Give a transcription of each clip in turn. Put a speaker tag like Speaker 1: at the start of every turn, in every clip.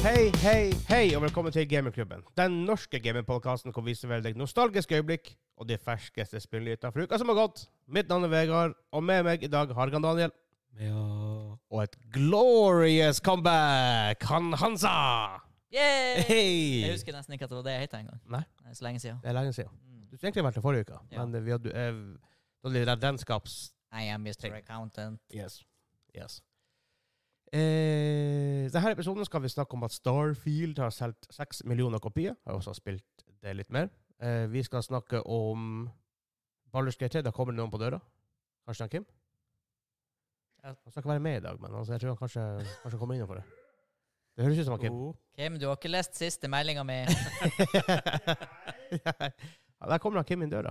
Speaker 1: hei, hei, og velkommen til Gamingklubben. Den norske gamingpodkasten hvor vi serverer deg nostalgiske øyeblikk og de ferskeste spillnyheter fra uka som har gått. Mitt navn er Vegard, og med meg i dag Hargan Daniel.
Speaker 2: Ja
Speaker 1: Og et glorious comeback, Han Hansa!
Speaker 3: Yay! Jeg
Speaker 1: Hei!
Speaker 3: husker nesten ikke at det var det jeg het engang.
Speaker 1: Nei.
Speaker 3: Det er Så lenge siden.
Speaker 1: Det er lenge siden.
Speaker 2: Mm.
Speaker 1: Du skulle egentlig vært der forrige uka,
Speaker 3: Ja.
Speaker 1: men vi hadde eh, da hadde vi den redenskaps...
Speaker 3: I am Mr.
Speaker 1: Tenk.
Speaker 3: Accountant.
Speaker 1: Yes. Yes. Eh, denne episoden skal vi snakke om at Starfield har solgt seks millioner kopier. Har også spilt det litt mer. Eh, vi skal snakke om Baldur's Gate 3. Da kommer det noen på døra. Kanskje han Kim?
Speaker 3: Ja.
Speaker 1: Han skal ikke være med i dag, men altså, jeg tror han kanskje, kanskje kommer innom for det. Det høres ut som han Kim.
Speaker 2: oh.
Speaker 3: Kim, du har ikke lest siste meldinga mi.
Speaker 1: ja, der kommer han Kim inn døra.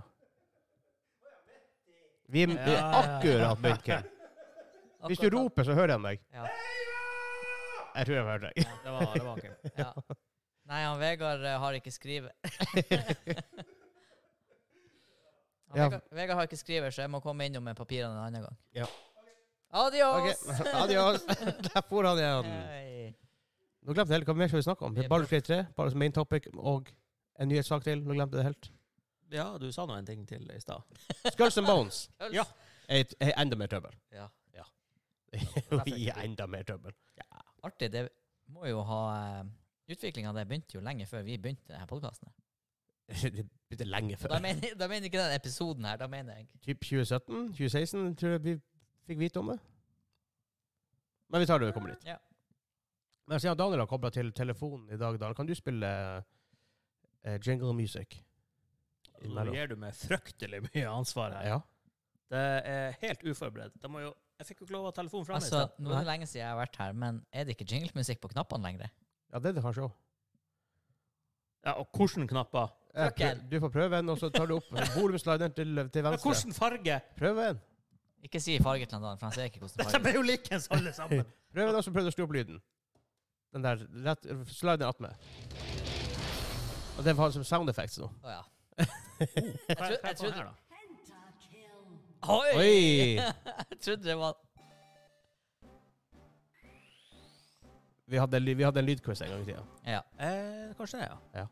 Speaker 1: Vi er vi er
Speaker 3: Ja, ja, ja.
Speaker 1: akkurat begynt, Kim. Hvis du roper, så hører han deg.
Speaker 3: Ja.
Speaker 1: Jeg tror han hører deg.
Speaker 2: Det var, det var ikke
Speaker 3: Ja. Nei, han Vegard eh, har ikke skriver. Han
Speaker 1: Ja.
Speaker 3: Vegard, Vegard har ikke skriver, så jeg må komme innom med papirene en annen gang.
Speaker 1: Ja. Ok,
Speaker 3: Adios!
Speaker 1: Adios. Sånn. Der for han igjen.
Speaker 3: Hei.
Speaker 1: Nå glemte jeg helt hva mer skal vi snakke om.
Speaker 3: Det er
Speaker 1: Baldur's Gate 3, bare som main topic, og en nyhetssak til. Nå glemte jeg det helt.
Speaker 2: Ja, du sa nå en ting til i stad.
Speaker 1: Skulls and Bones
Speaker 2: Ja.
Speaker 1: er et- er enda mer trøbbel.
Speaker 2: Ja.
Speaker 1: Vi er enda mer trøbbel.
Speaker 3: Artig. Det må jo ha Utviklinga av det begynte jo lenge før vi begynte denne podkasten.
Speaker 1: Det begynte lenge
Speaker 3: Da
Speaker 1: før.
Speaker 3: mener, da mener ikke den episoden her, da mener jeg
Speaker 1: Typ 2017-2016 tror jeg vi fikk vite om det. Men vi tar det når vi kommer dit.
Speaker 3: Ja.
Speaker 1: Men siden Daniel har kobla til telefonen i dag, Daniel, kan du spille eh, jingle music?
Speaker 2: Nå gir du meg fryktelig mye ansvar her.
Speaker 1: Ja.
Speaker 2: Det er helt uforberedt. Det må jo, jeg fikk jo ikke lov av telefonen fra meg i
Speaker 3: Altså,
Speaker 2: stad.
Speaker 3: nå er det lenge siden jeg har vært her, men er det ikke jinglemusikk på knappene lenger?
Speaker 1: ja, det er det kanskje òg.
Speaker 2: Ja, og hvilke knapper?
Speaker 1: Eh,
Speaker 3: Fuck
Speaker 1: prøv- Du får prøve en, og så tar du opp volumslideren til, til
Speaker 2: Ja,
Speaker 1: venstre.
Speaker 2: hvilken farge?
Speaker 1: Prøv en.
Speaker 3: Ikke si farge til han Dan, for han ser ikke hvordan
Speaker 2: Dette
Speaker 3: farge
Speaker 2: ble jo likens alle sammen.
Speaker 1: Prøv en, og så prøv å slå opp lyden. Den der rett, slideren attmed. Og det var som sound effects nå.
Speaker 3: Å ja.
Speaker 2: Jeg
Speaker 3: trodde- jeg trodde-
Speaker 2: her, da.
Speaker 3: Oi!
Speaker 1: Oi!
Speaker 3: Jeg trodde det var
Speaker 1: Vi hadde, en ly- vi hadde en lydquiz en gang i tida.
Speaker 3: Ja.
Speaker 2: Eh, kanskje det, ja.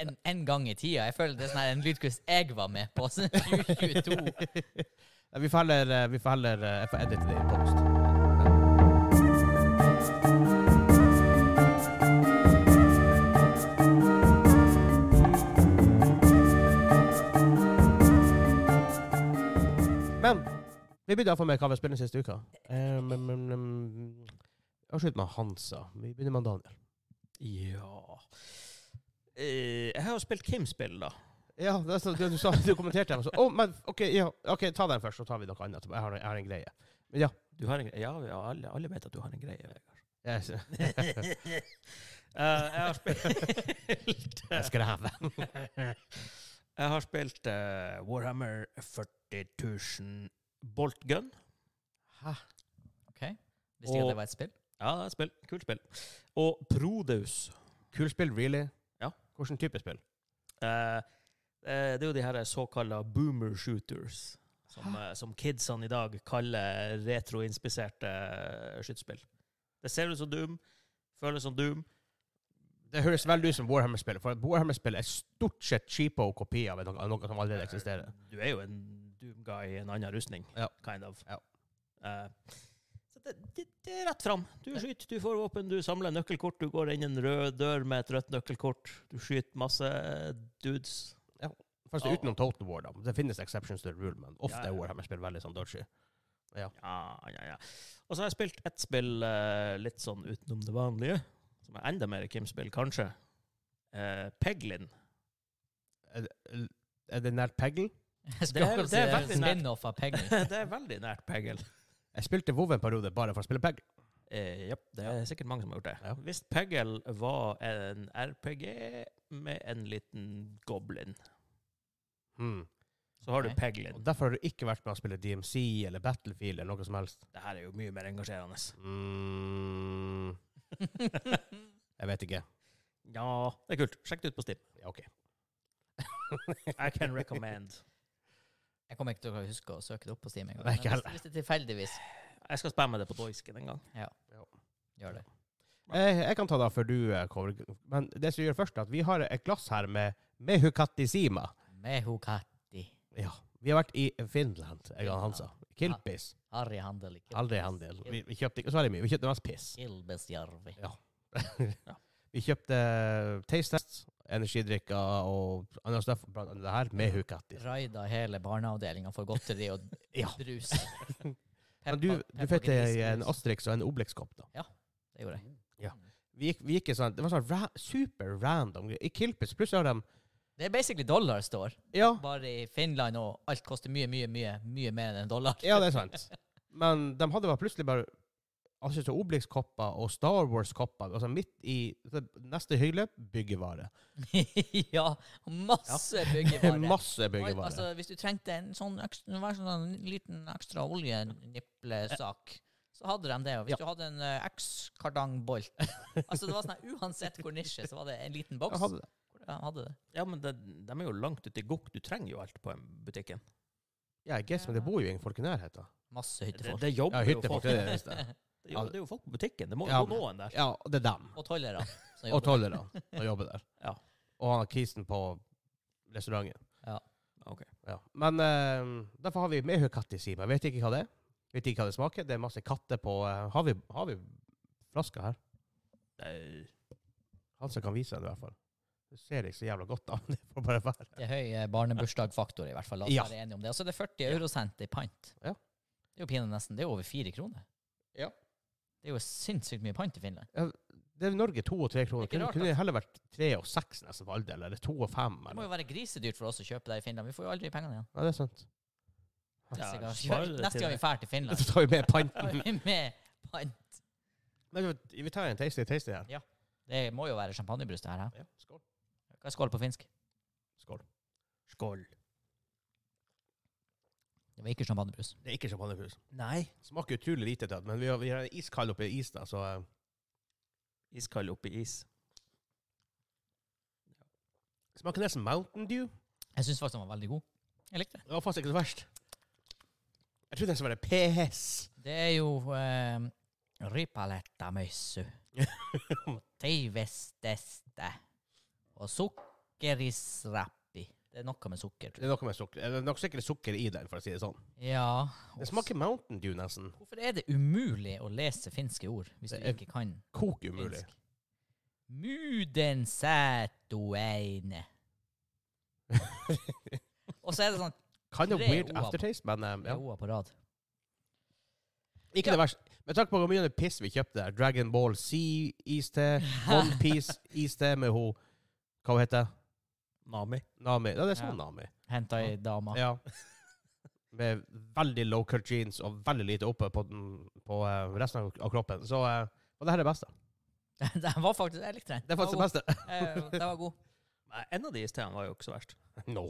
Speaker 3: En, en gang i tida. Jeg føler det er sånn her en lydquiz jeg var med på. siden 2022.
Speaker 1: Nei, Vi får heller eh, Vi får heller eh, Jeg får edite det i post. Men vi begynner iallfall med hva vi har spilt den siste uka. Um, um, um, um, Avslutt med Hansa. Vi begynner med Daniel.
Speaker 2: Ja Eh, Jeg har jo spilt Kim-spill, da.
Speaker 1: Ja, det er så, du, du, sa, du kommenterte dem. og Så, «Å, men, OK, ja, ok, ta den først, så tar vi noe annet. etterpå. Jeg har, jeg har en greie. Men ja.
Speaker 2: Du har en, gre- ja, ja alle, alle vet at du har en greie. Vegard.
Speaker 1: Jeg, jeg,
Speaker 2: Eh, jeg har spilt
Speaker 1: jeg skrev.
Speaker 2: Jeg har spilt eh, Warhammer 40 000 Bolt Gun.
Speaker 3: Ok? Visste ikke at det var et spill.
Speaker 2: Ja, det er et spill. Kult spill. Og Prodeus.
Speaker 1: Kult spill, really?
Speaker 2: Ja.
Speaker 1: Hvilken type spill?
Speaker 2: Eh, eh, det er jo de her såkalla boomer shooters, som, eh, som kidsene i dag kaller retroinspiserte eh, skytespill. Det ser ut som Doom, føles som Doom.
Speaker 1: Det høres veldig ut som Warhammer-spill, for Warhammer-spill er stort sett cheapo kopi av noe, av noe som allerede eksisterer.
Speaker 2: Du er jo en Doom-guy i en annen rustning,
Speaker 1: Ja.
Speaker 2: kind of.
Speaker 1: Ja.
Speaker 2: Eh, så det, det, det er rett fram. Du skyter, du får våpen, du samler nøkkelkort, du går inn en rød dør med et rødt nøkkelkort, du skyter masse eh, dudes.
Speaker 1: Først
Speaker 2: Ja.
Speaker 1: utenom Total War, da. Det finnes exceptions to the rule, men ofte
Speaker 2: Ja, ja.
Speaker 1: er Warhammer-spill veldig sånn dodgy.
Speaker 2: Ja, ja, ja. Og så har jeg spilt ett spill eh, litt sånn utenom det vanlige, som er enda mer Kim-spill, kanskje. Eh, Peglin.
Speaker 1: Er, det- er det nært Peggle?
Speaker 3: Jeg skulle
Speaker 2: Det er-
Speaker 3: akkurat si
Speaker 2: det er
Speaker 3: det er
Speaker 2: veldig
Speaker 3: en
Speaker 2: nært.
Speaker 3: spin-off av Peggy.
Speaker 2: det er veldig nært Pegel.
Speaker 1: Jeg spilte WoW en periode bare for å spille Peggle.
Speaker 2: Eh, Japp, det er sikkert mange som har gjort det.
Speaker 1: Ja.
Speaker 2: Hvis Pegel var en RPG med en liten goblin,
Speaker 1: Hmm.
Speaker 2: så har
Speaker 3: Ok.
Speaker 2: du Peglin.
Speaker 1: Og derfor har du ikke vært med å spille DMC eller Battlefield eller noe som helst.
Speaker 2: Det her er jo mye mer engasjerende.
Speaker 1: Mm. Jeg vet ikke.
Speaker 2: Ja, det er kult. Sjekk det ut på Steam.
Speaker 1: Ja, OK.
Speaker 2: I can recommend.
Speaker 3: Jeg kommer ikke til å huske å søke det opp på Steam engang.
Speaker 1: Nei, ikke
Speaker 3: Men
Speaker 1: heller.
Speaker 3: Hvis hvis det tilfeldigvis
Speaker 2: Jeg skal spamme det på Doisken en gang.
Speaker 3: Ja.
Speaker 1: Ja.
Speaker 3: Gjør det.
Speaker 1: Jeg, jeg kan ta det før du eh, kommer. Men det som vi gjør først, er at vi har et glass her med Mehukatisima.
Speaker 3: Mehukatti.
Speaker 1: Ja. Vi har vært i Finland, jeg og Hansa. Kilpis.
Speaker 3: Harry Handel. ikke
Speaker 1: Aldri handel. Vi, vi kjøpte ikke så veldig mye. Vi kjøpte mest piss.
Speaker 3: Kilbesjärvi.
Speaker 1: Vi kjøpte Taste Test, energidrikker og annet stuff blant annet det her med Hukatti.
Speaker 3: Raida hele barneavdelinga for godteri og
Speaker 1: Ja.
Speaker 3: brus.
Speaker 1: Men du, du
Speaker 3: Peppa-
Speaker 1: fikk deg
Speaker 3: Peppa
Speaker 1: en
Speaker 3: Gris-brus.
Speaker 1: Asterix og en Obelix-kopp, da.
Speaker 3: Det gjorde jeg.
Speaker 1: Vi gikk, vi gikk i sånn, det var sånn ra super random greier. I Kilpis plutselig har de
Speaker 3: Det er basically dollar står.
Speaker 1: ja,
Speaker 3: Bare i Finland, og alt koster mye, mye, mye mye mer enn en dollar.
Speaker 1: ja, det er sant. Men de hadde bare plutselig bare Asterix og Obelix-kopper og Star Wars-kopper. Altså midt i det neste hylle byggevare.
Speaker 3: ja, masse byggevarer.
Speaker 1: Masse
Speaker 3: Oi,
Speaker 1: byggevare.
Speaker 3: Altså, hvis du trengte en sånn, ekstra, det var en sånn liten ekstra oljeniplesak, så hadde de det. Og hvis
Speaker 1: Ja.
Speaker 3: du hadde en eh, X-kardangbolt Altså, det var sånn her, uansett hvor nisje, så var det en liten boks.
Speaker 1: Jeg hadde det.
Speaker 3: Ja, hadde det.
Speaker 2: Ja, men det, de er jo langt ute i gokk. Du trenger jo alt på en butikken.
Speaker 1: Ja, jeg guess, men det bor jo ingen folk i nærheten.
Speaker 3: Masse
Speaker 2: Det,
Speaker 3: hyttefolk.
Speaker 2: det
Speaker 1: Ja,
Speaker 2: jobber jo
Speaker 1: hyttefolk
Speaker 2: folk.
Speaker 1: det
Speaker 2: Det
Speaker 1: er det eneste.
Speaker 2: er jo, det er jo folk på butikken. Det må
Speaker 1: Ja,
Speaker 2: jo gå noen der.
Speaker 1: Ja, det er dem.
Speaker 3: Og tollere.
Speaker 1: Og
Speaker 3: som jobber der.
Speaker 1: tollere som jobber der.
Speaker 2: Ja.
Speaker 1: Og han har kisen på restauranten.
Speaker 2: Ok.
Speaker 1: Ja. Men eh, derfor har vi med kattisima. Vet ikke hva det er. Vet ikke hva det smaker. Det er masse katter på eh, Har vi, har vi flaska her?
Speaker 2: Nei.
Speaker 1: Han som kan vise den, i hvert fall. Det ser ikke så jævla godt av. Det får bare være.
Speaker 3: Det er høy eh, barnebursdagfaktor, i hvert fall. La oss
Speaker 1: Ja.
Speaker 3: være enige om det. Og så er det 40 eurosent i pant.
Speaker 1: Ja.
Speaker 3: Det er jo pinlig nesten. Det er over fire kroner.
Speaker 1: Ja.
Speaker 3: Det er jo sinnssykt mye pant i Finland.
Speaker 1: Det er Norge to og tre kroner.
Speaker 3: Det er ikke
Speaker 1: Kunne,
Speaker 3: rart,
Speaker 1: kunne det heller vært tre og seks nesten på alder, eller to og fem.
Speaker 3: Det må
Speaker 1: Eller.
Speaker 3: jo være grisedyrt for oss å kjøpe det i Finland. Vi får jo aldri pengene igjen.
Speaker 1: Ja, det er sant.
Speaker 2: Ja,
Speaker 3: Neste gang,
Speaker 2: spar det
Speaker 3: neste
Speaker 2: til
Speaker 3: gang vi
Speaker 2: det.
Speaker 3: drar til Finland,
Speaker 1: Så tar vi med
Speaker 3: tar
Speaker 1: panten.
Speaker 3: vi med pant.
Speaker 1: Men vi vi tar en tasty tasty her.
Speaker 3: Det må jo være champagnebrus, det her. hæ?
Speaker 1: Ja, skål.
Speaker 3: Hva er skål på finsk?
Speaker 1: Skål.
Speaker 2: Skål.
Speaker 3: Det var ikke champagnebrus.
Speaker 1: Det er ikke champagnebrus.
Speaker 2: Nei.
Speaker 1: Smaker utrolig lite til det, men vi har, vi har en iskald oppi is, da, så eh,
Speaker 2: Iskald oppi is.
Speaker 1: Smaker nesten Mountain Dew.
Speaker 3: Jeg syns faktisk den var veldig god. Jeg likte det.
Speaker 1: Det var faktisk ikke så verst. Jeg trodde den skulle være PS.
Speaker 3: Det er jo eh, rypaletta møyssu. og teivesteste. Og sukkerisrappi. Det er noe med sukker,
Speaker 1: Det er
Speaker 3: tror jeg.
Speaker 1: noe med sukker. Det er nok sikkert sukker i den, for å si det sånn.
Speaker 3: Ja.
Speaker 1: Det smaker Mountain Dew nesten.
Speaker 3: Hvorfor er det umulig å lese finske ord hvis du
Speaker 1: Det er
Speaker 3: ikke kan
Speaker 1: Kok umulig.
Speaker 3: finsk? Mudensætueine. og så er det sånn
Speaker 1: Kind of
Speaker 3: Tre
Speaker 1: weird
Speaker 3: O-er på.
Speaker 1: aftertaste, men um, ja.
Speaker 3: O-er på rad.
Speaker 1: Ikke det verste. Med tanke på hvor mye piss vi kjøpte der. Dragon Ball Z-iste, Onepiece-iste med ho Hva hun heter
Speaker 2: Nami.
Speaker 1: Nami. Ja, det er
Speaker 3: Ja.
Speaker 1: sånn Nami.
Speaker 3: Henta ei dame.
Speaker 1: Ja. Med veldig low cut jeans og veldig lite oppe på, den, på eh, resten av- av kroppen. Så eh, og det her er det beste.
Speaker 3: Den var faktisk Jeg likte den.
Speaker 1: Det er faktisk Mm. det beste.
Speaker 3: beste. Den var god.
Speaker 2: Nei, En av de isteene var jo ikke så verst.
Speaker 1: No.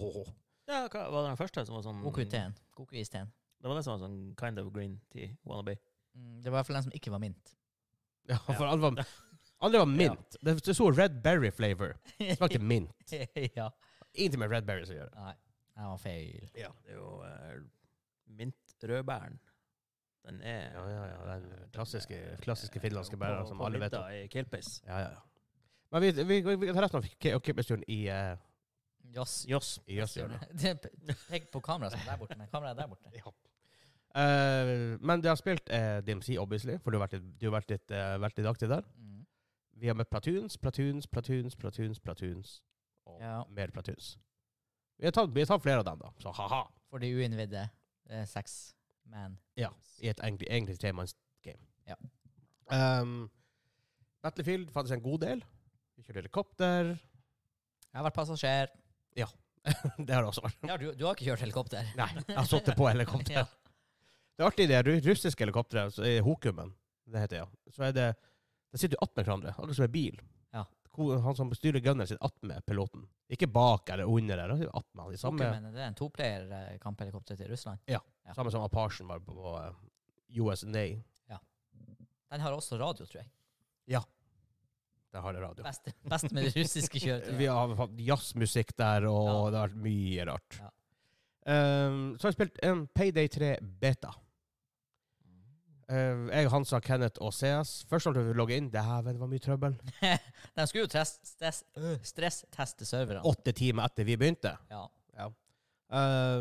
Speaker 2: Ja, hva var det den første som var sånn
Speaker 3: God Q-teen. God Q-isten.
Speaker 2: Det var den som var sånn kind of green tea wannabe.
Speaker 3: Mm, det var i hvert fall den som ikke var mint.
Speaker 1: Ja, for alle var, alle var mint. Det, det sto red berry flavor. Det smakte mint.
Speaker 3: ja.
Speaker 1: Ingenting med red berries å gjøre.
Speaker 3: Nei, den var feil.
Speaker 2: Ja. Det er jo eh, mintrødbæren. Den er
Speaker 1: Ja, ja, ja, den klassiske-
Speaker 2: eh,
Speaker 1: klassiske finlandske
Speaker 2: på-
Speaker 1: bæren som
Speaker 2: på
Speaker 1: alle vet
Speaker 2: middag i Kilpis.
Speaker 1: Ja, ja, ja. Men vi, vi, vi, vi tar resten av K- og Kippesturen i eh,
Speaker 3: Joss.
Speaker 2: Joss.
Speaker 1: i Jøssøyene.
Speaker 3: Pek på kameraet som er der borte, men kameraet er der borte.
Speaker 1: Ja. Eh, men du har spilt eh, DMC, obviously, for du har vært litt, du har vært litt, eh, vært litt aktiv der.
Speaker 3: Mm.
Speaker 1: Vi har møtt platoons, platoons, platoons, platoons, platoons. Og
Speaker 3: Ja.
Speaker 1: mer platoons. Vi har, tatt, vi har tatt flere av dem, da. Så ha-ha.
Speaker 3: For de uinnvidde. eh, Seks man.
Speaker 1: Ja. i et egentlig, egentlig tremannsgame.
Speaker 3: Ja.
Speaker 1: Ehm, Battlefield fantes en god del. Vi kjørte helikopter.
Speaker 3: Jeg har vært passasjer.
Speaker 1: det har det også vært.
Speaker 3: Ja, du, du har ikke kjørt helikopter?
Speaker 1: Nei, jeg har sittet på helikopter.
Speaker 3: Ja.
Speaker 1: Det er artig, det ru- russiske helikopteret, så er Hokumen, det heter ja. Så er det De sitter jo attmed hverandre, akkurat som en bil.
Speaker 3: Ja.
Speaker 1: Ko- Han som styrer gunneren, sitter attmed piloten. Ikke bak eller under der. Han sitter attmed han. i
Speaker 3: Samme.
Speaker 1: Samme,
Speaker 3: det er en toplayer-kamphelikopter til Russland. ja.
Speaker 1: samme som Apachen var på, på eh, US Navy.
Speaker 3: Den har også radio, tror jeg.
Speaker 1: Der har det radio.
Speaker 3: Best, best med det russiske
Speaker 1: Vi
Speaker 3: kjøretøyet.
Speaker 1: har hatt jazzmusikk der, og
Speaker 3: Ja.
Speaker 1: det har vært mye rart.
Speaker 3: Ja.
Speaker 1: Ehm, så har jeg spilt en Payday 3 Beta. Eh, jeg, Hansa, Kenneth og CS. Først når vi logger inn, dæven, det var mye trøbbel.
Speaker 3: De skulle jo test, stress, øh, stressteste serverne.
Speaker 1: Åtte timer etter vi begynte.
Speaker 3: Ja.
Speaker 1: Eh,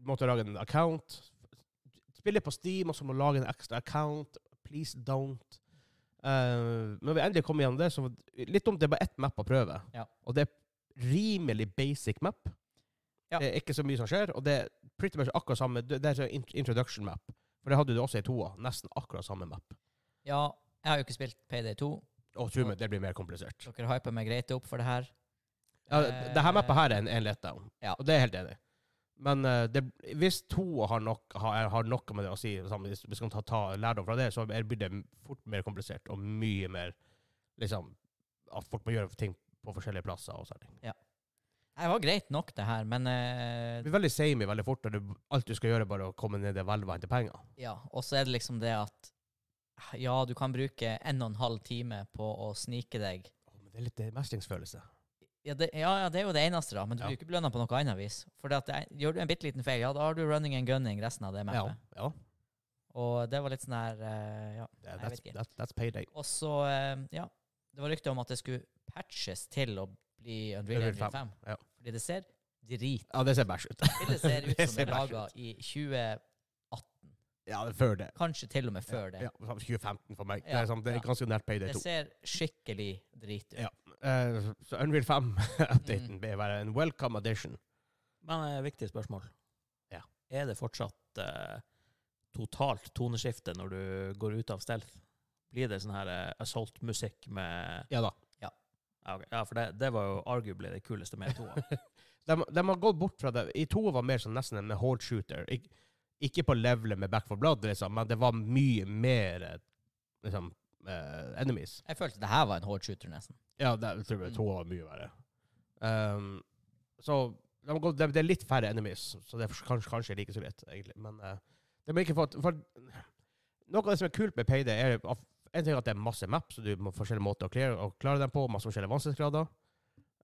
Speaker 1: måtte lage en account. Spille på Steam, og så må lage en ekstra account. Please don't. Eh, når vi endelig kom igjennom det, så var det- litt dumt, det er bare ett map å prøve.
Speaker 3: Ja.
Speaker 1: Og det er rimelig basic map.
Speaker 3: Ja.
Speaker 1: Det er ikke så mye som skjer, og det er pretty much akkurat samme, det det er sånn int- introduction map. For det hadde du også i toa, nesten akkurat samme map.
Speaker 3: ja, jeg har jo ikke spilt Payday 2.
Speaker 1: Og tro meg, det blir mer komplisert.
Speaker 3: Dere hyper meg greit opp for det her.
Speaker 1: Ja, det det her mappet her er en, en letdown,
Speaker 3: Eh, Ja.
Speaker 1: og det er jeg helt enig. i. Men eh, det, hvis to har, nok, har, har noe med det å si, sammen, hvis vi skal ta, ta lærdom fra det, så er- blir det fort mer komplisert, og mye mer liksom, at folk må gjøre ting på forskjellige plasser. og sånne ting.
Speaker 3: Det var greit nok, det her, men eh,
Speaker 1: Det blir veldig samey veldig fort, og du, alt du skal gjøre er bare å komme ned i hvelvet og hente penger.
Speaker 3: Ja, og så er det liksom det at ja, du kan bruke en og en halv time på å snike deg.
Speaker 1: Å, men Det er litt eh, mestringsfølelse.
Speaker 3: Ja, det, ja, ja, det er jo det eneste, da, men du
Speaker 1: Ja.
Speaker 3: blir jo ikke belønna på noe annet vis. For det at det er- gjør du en bitte liten feil, ja, da har du running and gunning resten av det
Speaker 1: Ja,
Speaker 3: mappet.
Speaker 1: ja.
Speaker 3: Og det var litt sånn her eh, Ja.
Speaker 1: Det,
Speaker 3: Nei,
Speaker 1: that's,
Speaker 3: jeg vet ikke.
Speaker 1: that, that's payday.
Speaker 3: Og så, eh, ja Det var rykte om at det skulle patches til å bli Unreal
Speaker 1: Unreal
Speaker 3: Engine 5.
Speaker 1: ja.
Speaker 3: Fordi det ser drit
Speaker 1: Ja, det ser bæsj ut.
Speaker 3: Det ser ut
Speaker 1: Det
Speaker 3: som
Speaker 1: ser
Speaker 3: det er
Speaker 1: bæsj
Speaker 3: laga i 20,
Speaker 1: ja, det er før det.
Speaker 3: kanskje til og med før det.
Speaker 1: Ja, 2015 for meg.
Speaker 3: Ja,
Speaker 1: det er, sånn, det er
Speaker 3: ja.
Speaker 1: ganske nært payday
Speaker 3: Det
Speaker 1: 2.
Speaker 3: ser skikkelig drit ut.
Speaker 1: Ja. Eh, så Unreal 5-updaten bør være en welcome addition.
Speaker 2: Men eh, viktig spørsmål.
Speaker 1: Ja.
Speaker 2: Er det fortsatt eh, totalt toneskifte når du går ut av stealth? Blir det sånn her eh, assault-musikk med
Speaker 1: Ja da.
Speaker 2: Ja, ok. Ja, for det, det var jo arguably det kuleste med toa.
Speaker 1: De, de har gått bort fra det. I to var mer sånn nesten en horde shooter. Ik ikke på levelet med Back for Blood, liksom, men det var mye mer eh, liksom, eh, enemies.
Speaker 3: Jeg følte det her var en hard shooter, nesten.
Speaker 1: Ja, det, jeg tror jeg to var mye verre. Um, så de har gått, det, det er litt færre enemies, så det er kanskje, kanskje like så lett, egentlig. Men eh, det må ikke få for, Noe av det som er kult med Payday, er at en ting er at det er masse maps, så du må forskjellige måter å klare, å klare dem på, masse forskjellige vanskelighetsgrader.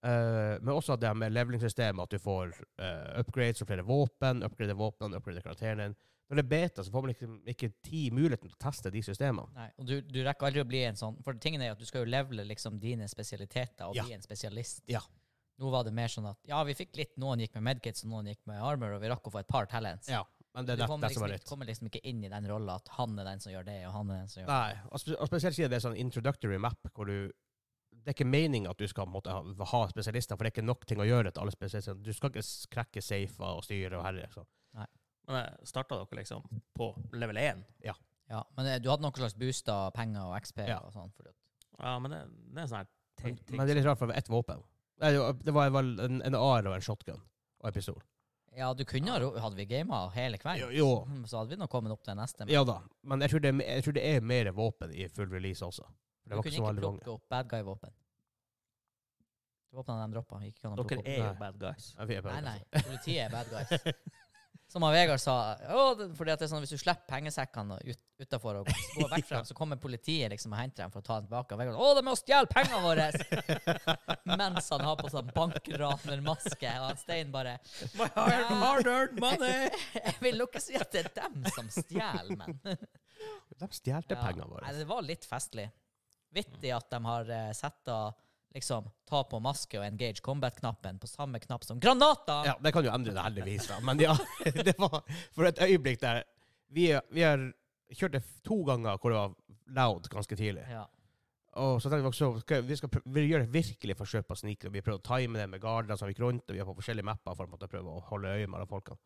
Speaker 1: Eh, men også at det her med levelingsystemet, at du får eh, upgrades og flere våpen, upgrade våpen, upgrade karakteren din. Når det er beta, så får man liksom ikke tid muligheten til å teste de systemene.
Speaker 3: Nei, og du, du rekker aldri å bli en sånn For tingen er jo at du skal jo levele liksom dine spesialiteter og
Speaker 1: Ja.
Speaker 3: bli en spesialist.
Speaker 1: Ja.
Speaker 3: Nå var det mer sånn at ja, vi fikk litt Noen gikk med medkits, og noen gikk med armor, og vi rakk å få et par talents.
Speaker 1: Ja, men det er
Speaker 3: Du
Speaker 1: nett-
Speaker 3: kommer
Speaker 1: det som
Speaker 3: liksom,
Speaker 1: er
Speaker 3: ikke-
Speaker 1: litt.
Speaker 3: kommer liksom ikke inn i den rolla at han er den som gjør det, og han er den som gjør det.
Speaker 1: Nei, og, spe og spesielt siden det er sånn introductory map, hvor du Det er ikke meninga at du skal måtte, ha, ha spesialister, for det er ikke nok ting å gjøre til alle spesialister. Du skal ikke s- krekke safer og styre og liksom. herje. så.
Speaker 2: Men starta dere liksom på level 1?
Speaker 3: Ja, men eh, du hadde noen slags booster, penger og XP
Speaker 1: Ja.
Speaker 3: og sånn. fordi at-
Speaker 2: Ja, men det, det er en sånn her
Speaker 1: Men,
Speaker 2: ting- ting
Speaker 1: men det er litt rart, for det var ett våpen. Nei, det var- det var vel en, en AR og en shotgun og en pistol.
Speaker 3: Ja, du kunne ha ro- Hadde vi gama hele kvelden,
Speaker 1: Jo, jo.
Speaker 3: Mm, så hadde vi nå kommet opp til neste. Men
Speaker 1: Ja da, men jeg tror, det, er me- jeg tror det er mer våpen i full release også. For
Speaker 3: du
Speaker 1: det var ikke
Speaker 3: kunne
Speaker 1: så
Speaker 3: ikke
Speaker 1: veldig mange.
Speaker 3: plukke opp bad guy-våpen. Våpnene de droppa. Gikk ikke an å plukke
Speaker 2: Dere
Speaker 3: opp.
Speaker 2: er jo
Speaker 1: Nei. altså.
Speaker 2: bad guys.
Speaker 1: Ja, vi er bare-
Speaker 3: Nei, nei. Politiet er bad guys. Som han Vegard sa «Å, det- fordi at det er sånn, Hvis du slipper pengesekkene ut, utenfor og går vekk fra dem, så kommer politiet liksom og henter dem for å ta dem tilbake. Og Vegard 'Å, de er og stjeler pengene våre!' Mens han har på sånn bankranermaske, og han Stein bare
Speaker 2: My hard,
Speaker 3: hard
Speaker 2: earned money!
Speaker 3: Jeg vil nok ikke si at det er dem som stjeler, men
Speaker 1: De stjal
Speaker 3: Ja.
Speaker 1: pengene
Speaker 3: Nei,
Speaker 1: våre.
Speaker 3: det var litt festlig. Vittig at de har eh, sett da liksom ta på maske og engage combat-knappen på samme knapp som granater!
Speaker 1: Ja, det kan jo endre det heldigvis, da. Men ja, det var for et øyeblikk der Vi, vi har kjørt det f- to ganger hvor det var loud ganske tidlig.
Speaker 3: Ja.
Speaker 1: Og så tenkte vi også, skal, vi, skal prø- vi gjør et virkelig forsøk på å snike. Vi prøvde å time det med garder som gikk rundt, og vi er på forskjellige mapper for å måtte prøve å holde øye med alle folkene.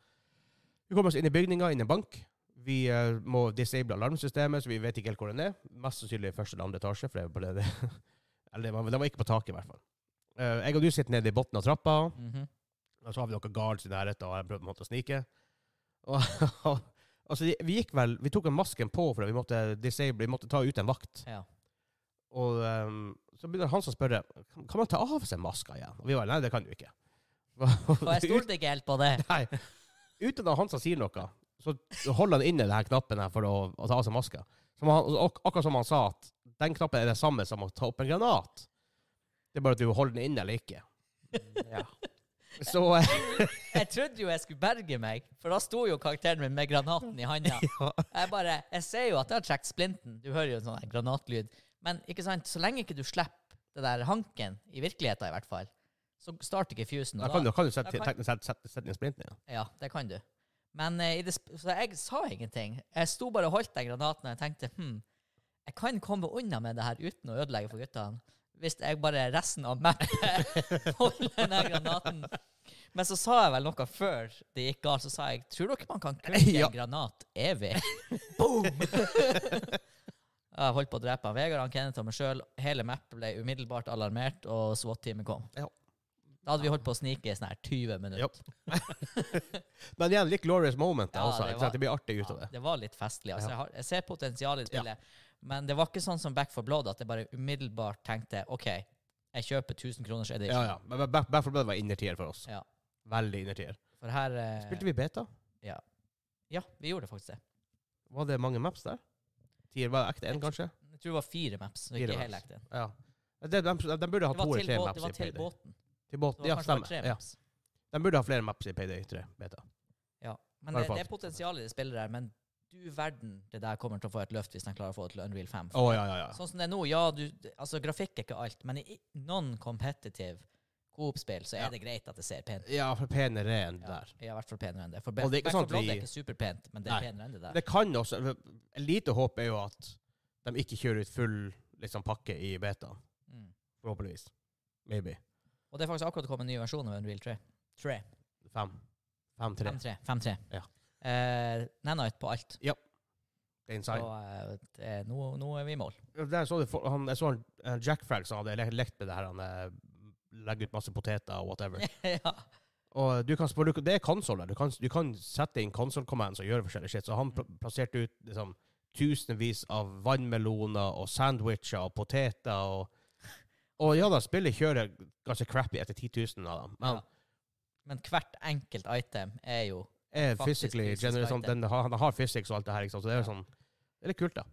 Speaker 1: Vi kommer oss inn i bygninga, inn i en bank. Vi eh, må disable alarmsystemet, så vi vet ikke helt hvor den er. Mest sannsynlig i første eller andre etasje, for det er på det det Eller det var, det var ikke på taket, i hvert fall. Eh, jeg og du sitter nede i bunnen av trappa,
Speaker 3: Mhm.
Speaker 1: og så har vi noen guards i nærheten, og jeg prøvde på en måte å snike. Og, altså, vi gikk vel Vi tok en masken på, for vi måtte disable, vi måtte ta ut en vakt.
Speaker 3: ja.
Speaker 1: Og ehm, så begynner han som spørre kan kan man ta av seg maska igjen. Og vi bare nei, det kan du ikke.
Speaker 3: Og jeg stolte ikke helt på det.
Speaker 1: Nei. Uten at han som sier noe, så holder han inne denne knappen her for å, å ta av seg maska. Som han, ak akkurat som han sa, at den knappen er det samme som å ta opp en granat. Det er bare at du holder den inne eller ikke.
Speaker 2: Ja.
Speaker 1: Så eh,
Speaker 3: Jeg trodde jo jeg skulle berge meg, for da sto jo karakteren min med granaten i handa. Jeg bare, jeg ser jo at jeg har trukket splinten. Du hører jo en sånn her granatlyd. Men ikke sant, så lenge ikke du slipper det der hanken, i virkeligheten i hvert fall, så starter ikke fusen.
Speaker 1: da
Speaker 3: og
Speaker 1: kan du, kan du sette,
Speaker 3: Da kan-
Speaker 1: teknisk sett sette, sette inn sprinten igjen.
Speaker 3: Ja, det kan du. Men eh, i det, sp- så jeg sa ingenting. Jeg sto bare og holdt den granaten, og jeg tenkte hm, jeg kan komme unna med det her uten å ødelegge for guttene. Hvis jeg bare resten av mappet holder den her granaten. Men så sa jeg vel noe før det gikk galt. Så sa jeg tror dere man kan krukke
Speaker 1: Ja.
Speaker 3: en granat evig? Boom! jeg holdt på å drepe han Vegard, han Kenneth og meg sjøl. Hele mappet ble umiddelbart alarmert, og SWAT-teamet kom.
Speaker 1: Ja.
Speaker 3: Da hadde vi holdt på å snike i sånn her 20 minutter.
Speaker 1: Jopp. Men igjen, litt glorious moment. da,
Speaker 3: Ja,
Speaker 1: også,
Speaker 3: det
Speaker 1: ikke
Speaker 3: var-
Speaker 1: sant? det blir artig ut av
Speaker 3: Ja,
Speaker 1: det.
Speaker 3: det var litt festlig.
Speaker 1: Ja.
Speaker 3: Altså, jeg, har, jeg ser potensial i spillet, men det var ikke sånn som Back for Blood, at jeg bare umiddelbart tenkte OK, jeg kjøper 1000 kroners
Speaker 1: Ja,
Speaker 3: edition.
Speaker 1: ja. Men Back- Back for Blood var innertier for oss.
Speaker 3: Ja.
Speaker 1: Veldig innertier.
Speaker 3: For her eh,
Speaker 1: Spilte vi beta?
Speaker 3: Ja, vi gjorde faktisk det.
Speaker 1: Var det mange maps der? Tier var ekte én, kanskje?
Speaker 3: Jeg tror det var fire maps. så
Speaker 1: Fire
Speaker 3: ikke
Speaker 1: maps.
Speaker 3: hele ekte.
Speaker 1: Ja. De, de, de burde ha
Speaker 3: Det var
Speaker 1: to eller
Speaker 3: til,
Speaker 1: tre
Speaker 3: båt,
Speaker 1: maps
Speaker 3: det var
Speaker 1: i
Speaker 3: til
Speaker 1: Payday.
Speaker 3: båten.
Speaker 1: Til
Speaker 3: Så
Speaker 1: båten,
Speaker 3: det var
Speaker 1: ja,
Speaker 3: kanskje bare
Speaker 1: stemmer.
Speaker 3: tre
Speaker 1: Ja.
Speaker 3: maps.
Speaker 1: De burde ha flere maps i Payday 3 beta.
Speaker 3: Ja. Men
Speaker 1: Bare
Speaker 3: det, det er
Speaker 1: faktisk.
Speaker 3: potensial i det spillet der, men du verden, det der kommer til å få et løft hvis de klarer å få det til Unreal 5.
Speaker 1: Å, ja, ja, ja.
Speaker 3: Sånn som det er nå, ja, du, altså grafikk er ikke alt, men i non-competitive Coop-spill så er
Speaker 1: Ja.
Speaker 3: det greit at det ser pent ut.
Speaker 1: Ja, for penere enn
Speaker 3: Ja,
Speaker 1: der.
Speaker 3: jeg har vært for penere enn det. For
Speaker 1: Og det er ikke
Speaker 3: Back 4
Speaker 1: sånn at
Speaker 3: Blood
Speaker 1: vi-
Speaker 3: er ikke superpent, men det er
Speaker 1: Nei.
Speaker 3: penere enn det der.
Speaker 1: Det kan også Et lite håp er jo at de ikke kjører ut full liksom, pakke i beta.
Speaker 3: Mm.
Speaker 1: Forhåpentligvis. Maybe.
Speaker 3: Og det er faktisk akkurat kommet en ny versjon av Unreal 3. 3.
Speaker 1: Fem. Fem-tre.
Speaker 3: 5-3. 5-3.
Speaker 1: Ja.
Speaker 3: Eh, Nanite på alt.
Speaker 1: Det er
Speaker 3: Så
Speaker 1: inside.
Speaker 3: eh, det, er- nå, nå er vi i mål.
Speaker 1: Der så du, for- han, jeg så han, eh, Jack Frag som hadde le- lekt med det her. Han eh, legger ut masse poteter og whatever.
Speaker 3: ja.
Speaker 1: Og du kan, spå- du, det er konsoler. Du kan, du kan sette inn console commands og gjøre forskjellig shit. Så han pl plasserte ut liksom, tusenvis av vannmeloner og sandwicher og poteter. Og, og ja da, spillet kjører ganske crappy etter 10 000 av dem. Men
Speaker 3: Ja. Men hvert enkelt item er jo
Speaker 1: er
Speaker 3: Faktisk
Speaker 1: physically
Speaker 3: fysisk
Speaker 1: generelt sånn,
Speaker 3: fighter.
Speaker 1: den har, Han har physics og alt det her, ikke sant? så det er jo
Speaker 3: Ja.
Speaker 1: sånn Det er litt kult, da.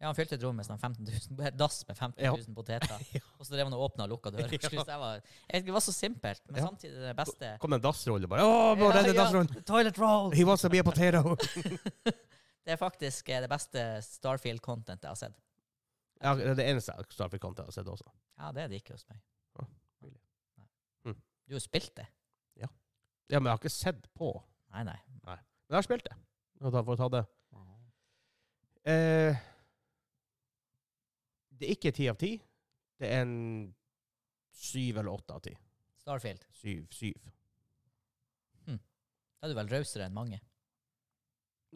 Speaker 3: Ja, han fylte et rom med sånn 15 000, et dass med 15 000 poteter. Og så drev han og åpna og lukka dører. Jeg synes det var- jeg vet ikke, det var så simpelt, men
Speaker 1: Ja.
Speaker 3: samtidig det beste.
Speaker 1: Kom det en dassrulle bare Å, bro,
Speaker 3: Ja,
Speaker 1: det er en
Speaker 3: ja,
Speaker 1: dassrulle!
Speaker 3: Toilet roll!
Speaker 1: He wants to be a potato!
Speaker 3: Det er faktisk eh, det beste Starfield-contentet jeg har sett.
Speaker 1: ja, det er det eneste Starfield Content har sett også.
Speaker 3: Ja, det er det ikke hos meg.
Speaker 1: Ja, mulig.
Speaker 3: Nei.
Speaker 1: Mm.
Speaker 3: Du har jo spilt det?
Speaker 1: Ja, men jeg har ikke sett på.
Speaker 3: Nei, nei.
Speaker 1: Men jeg har spilt det. Og da får jeg ta det. Eh, det er ikke ti av ti. Det er en syv eller åtte av ti.
Speaker 3: Starfield.
Speaker 1: Syv. Syv.
Speaker 3: Da er du vel rausere enn mange.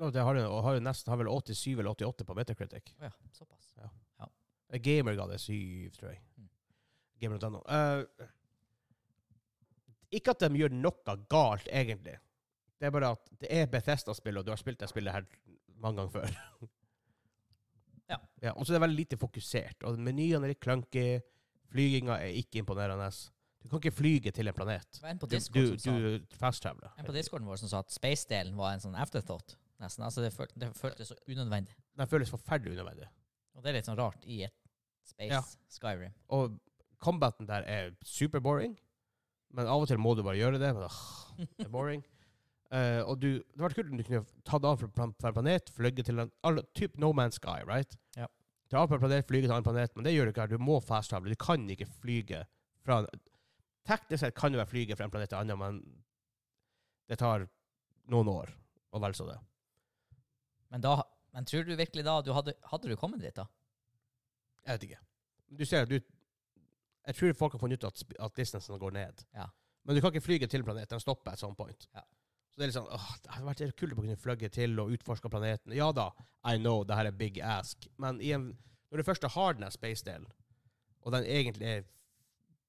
Speaker 1: Nå, det har, jo- og har jo nesten har vel 87 eller 88 på Metacritic.
Speaker 3: Å ja, såpass.
Speaker 1: Eh, Gamer ga det syv, tror jeg.
Speaker 3: Mm.
Speaker 1: Gamer.no. Eh, ikke at de gjør noe galt, egentlig. Det er bare at det er Bethesda-spill, og du har spilt det spillet her mange ganger før.
Speaker 3: Ja.
Speaker 1: ja og så er det veldig lite fokusert. Og menyene er litt clunky. Flyginga er ikke imponerende. Du kan ikke flyge til en planet.
Speaker 3: Det var en på
Speaker 1: Du,
Speaker 3: Discord
Speaker 1: du,
Speaker 3: som sa
Speaker 1: du fast-traveler.
Speaker 3: en på Discorden vår som sa at space-delen var en sånn afterthought, nesten. Altså, det, følt, det føltes så unødvendig.
Speaker 1: Den føles forferdelig unødvendig.
Speaker 3: Og det er litt sånn rart i et space
Speaker 1: Ja.
Speaker 3: Skyrim.
Speaker 1: Og combaten der er superboring. Men av og til må du bare gjøre det. Men, åh, det er boring. Eh, og du, det var kult om du kunne tatt av fra plan- fra en planet, flygge til en alle- Typ No Man's Sky, right?
Speaker 3: Ja.
Speaker 1: Ta av fra en planet, flyge til en annen planet, men det gjør du ikke her. Du må fast-travele. Du kan ikke flyge fra en Teknisk sett kan du vel flyge fra en planet til en annen, men det tar noen år, og vel så det.
Speaker 3: Men da men tror du virkelig da du hadde, hadde du kommet dit, da?
Speaker 1: Jeg vet ikke. Du ser at du Jeg tror folk har funnet ut at, sp- at distansen går ned.
Speaker 3: Ja.
Speaker 1: Men du kan ikke flyge til planeten. Den stopper at some point.
Speaker 3: Ja.
Speaker 1: Så det er litt sånn åh, Det hadde vært kult å kunne flygge til og utforske planeten. Ja da, I know, det her er big ask, men i en, når du først har den her space-delen, og den egentlig er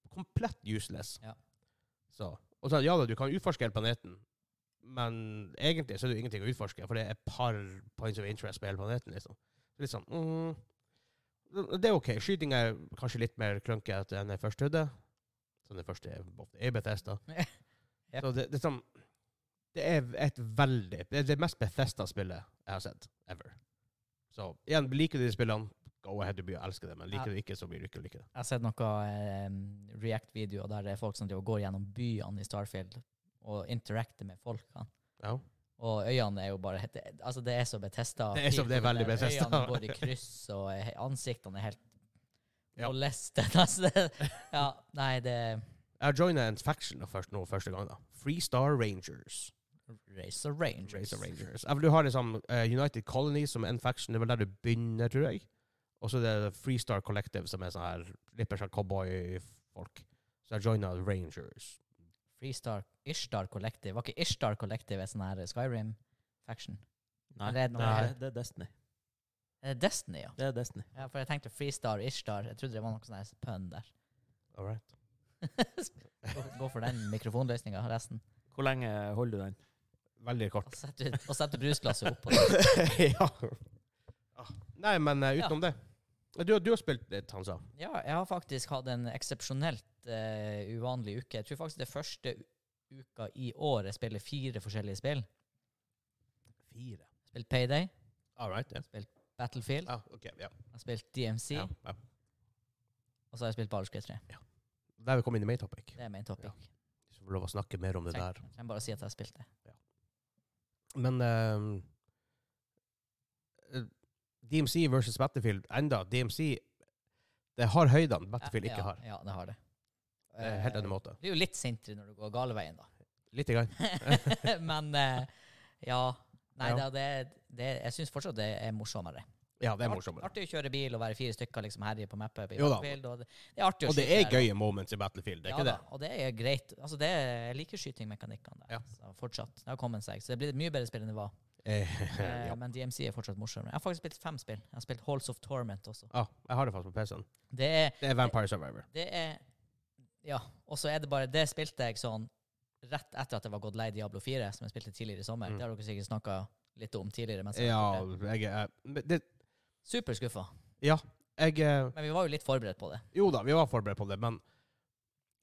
Speaker 1: komplett useless
Speaker 3: Ja.
Speaker 1: så, og så, Ja da, du kan utforske hele planeten, men egentlig så er det jo ingenting å utforske, for det er et par points of interest på hele planeten, liksom. Så Litt sånn mm, det er OK. Skyting er kanskje litt mer klunkete enn det første hodet. Som det første er ofte er Bethesda.
Speaker 3: Ja.
Speaker 1: Så det, det, er sånn, det er et veldig Det er det mest Bethesda-spillet jeg har sett ever. Så igjen, liker du de spillene, go ahead, du blir å elske det, men
Speaker 3: Ja.
Speaker 1: liker du ikke, så blir du ikke like det.
Speaker 3: Jeg har sett noen eh, React-videoer der det er folk som driver og går gjennom byene i Starfield og interacter med folkene.
Speaker 1: Ja.
Speaker 3: Og øyene er jo bare det, Altså, det er så Bethesda.
Speaker 1: Det er som det er veldig
Speaker 3: People,
Speaker 1: Bethesda.
Speaker 3: Øyene går i kryss, og he- ansiktene er helt
Speaker 1: Ja.
Speaker 3: Og lestet, altså. Det, ja, nei, det
Speaker 1: Jeg joina en faction nå først, nå første gang, da. Free Star Rangers.
Speaker 3: Racer Rangers.
Speaker 1: Race of Rangers. Ja, for Du har liksom eh, United Colony som en faction, det er vel der du begynner, tror jeg. Og så er det Free Star Collective, som er sånn her litt mer sånn cowboyfolk. Så jeg joina Rangers.
Speaker 3: Freestar Ishtar Collective. Var ikke Ishtar Collective et sånn her Skyrim-faction?
Speaker 2: Nei,
Speaker 3: Det er-
Speaker 2: nei, det er Destiny.
Speaker 3: Eh, Destiny, ja.
Speaker 2: Det er Destiny.
Speaker 3: ja. For jeg tenkte Freestar Ishtar. Jeg trodde det var noe sånn her pønn der.
Speaker 1: All right.
Speaker 3: Gå, gå for den mikrofonløsninga, resten.
Speaker 2: Hvor lenge holder du den?
Speaker 1: Veldig kort.
Speaker 3: Og sette, og sette brusglasset oppå.
Speaker 1: ja. Ah. Nei, men eh, utenom det du, du har spilt litt, han sa.
Speaker 3: Ja, jeg har faktisk hatt en eksepsjonelt eh, uvanlig uke. Jeg tror faktisk det er første u- uka i år jeg spiller fire forskjellige spill.
Speaker 1: Fire.
Speaker 3: Spilt Payday,
Speaker 1: All right, ja.
Speaker 3: Battlefield,
Speaker 1: Ja, ok, ja.
Speaker 3: jeg har spilt DMC,
Speaker 1: ja, ja.
Speaker 3: og så har jeg spilt Baldur's Gate 3.
Speaker 1: Der vi kom inn i main topic.
Speaker 3: Det er main topic.
Speaker 1: Så får vi lov å snakke mer om det der.
Speaker 3: Trenger trenger bare å si at jeg har spilt det.
Speaker 1: Men ehm, eh, DMC versus Battlefield enda, DMC det har høydene Battlefield
Speaker 3: ja, Eh,
Speaker 1: ikke har.
Speaker 3: Ja, det har det.
Speaker 1: Det er helt annen måte.
Speaker 3: Du er jo litt sintere når du går gale veien, da.
Speaker 1: Litt i gang.
Speaker 3: Men eh, ja. Nei,
Speaker 1: Ja.
Speaker 3: da, det, det, jeg syns fortsatt det er morsommere.
Speaker 1: Ja, det er
Speaker 3: Art-
Speaker 1: morsommere.
Speaker 3: Artig å kjøre bil og være fire stykker liksom herje på mappet. i
Speaker 1: Jo da.
Speaker 3: Battlefield, Og det, det er artig å
Speaker 1: Og det
Speaker 3: skyte
Speaker 1: er
Speaker 3: der,
Speaker 1: gøye moments i Battlefield, det er
Speaker 3: ja,
Speaker 1: ikke det?
Speaker 3: da, og det er greit. Altså, det er, jeg liker skytingmekanikkene der.
Speaker 1: Ja.
Speaker 3: Så fortsatt. Det har kommet seg. Så det blir et mye bedre spill enn det var.
Speaker 1: Eh,
Speaker 3: Eh,
Speaker 1: ja.
Speaker 3: Men DMC er fortsatt morsommere. Jeg har faktisk spilt fem spill. Jeg har spilt Halls of Torment også.
Speaker 1: ah, jeg har det fast på PC-en.
Speaker 3: Det er,
Speaker 1: Det er Vampire Survivor.
Speaker 3: det er Ja. Og så er det bare Det spilte jeg sånn rett etter at jeg var gått lei Diablo 4, som jeg spilte tidligere i sommer.
Speaker 1: Mm.
Speaker 3: Det har dere sikkert snakka litt om tidligere. Mens jeg
Speaker 1: Ja,
Speaker 3: har gjort det.
Speaker 1: jeg er eh, men det,
Speaker 3: Superskuffa.
Speaker 1: Ja, jeg eh,
Speaker 3: Men vi var jo litt forberedt på det.
Speaker 1: Jo da, vi var forberedt på det, men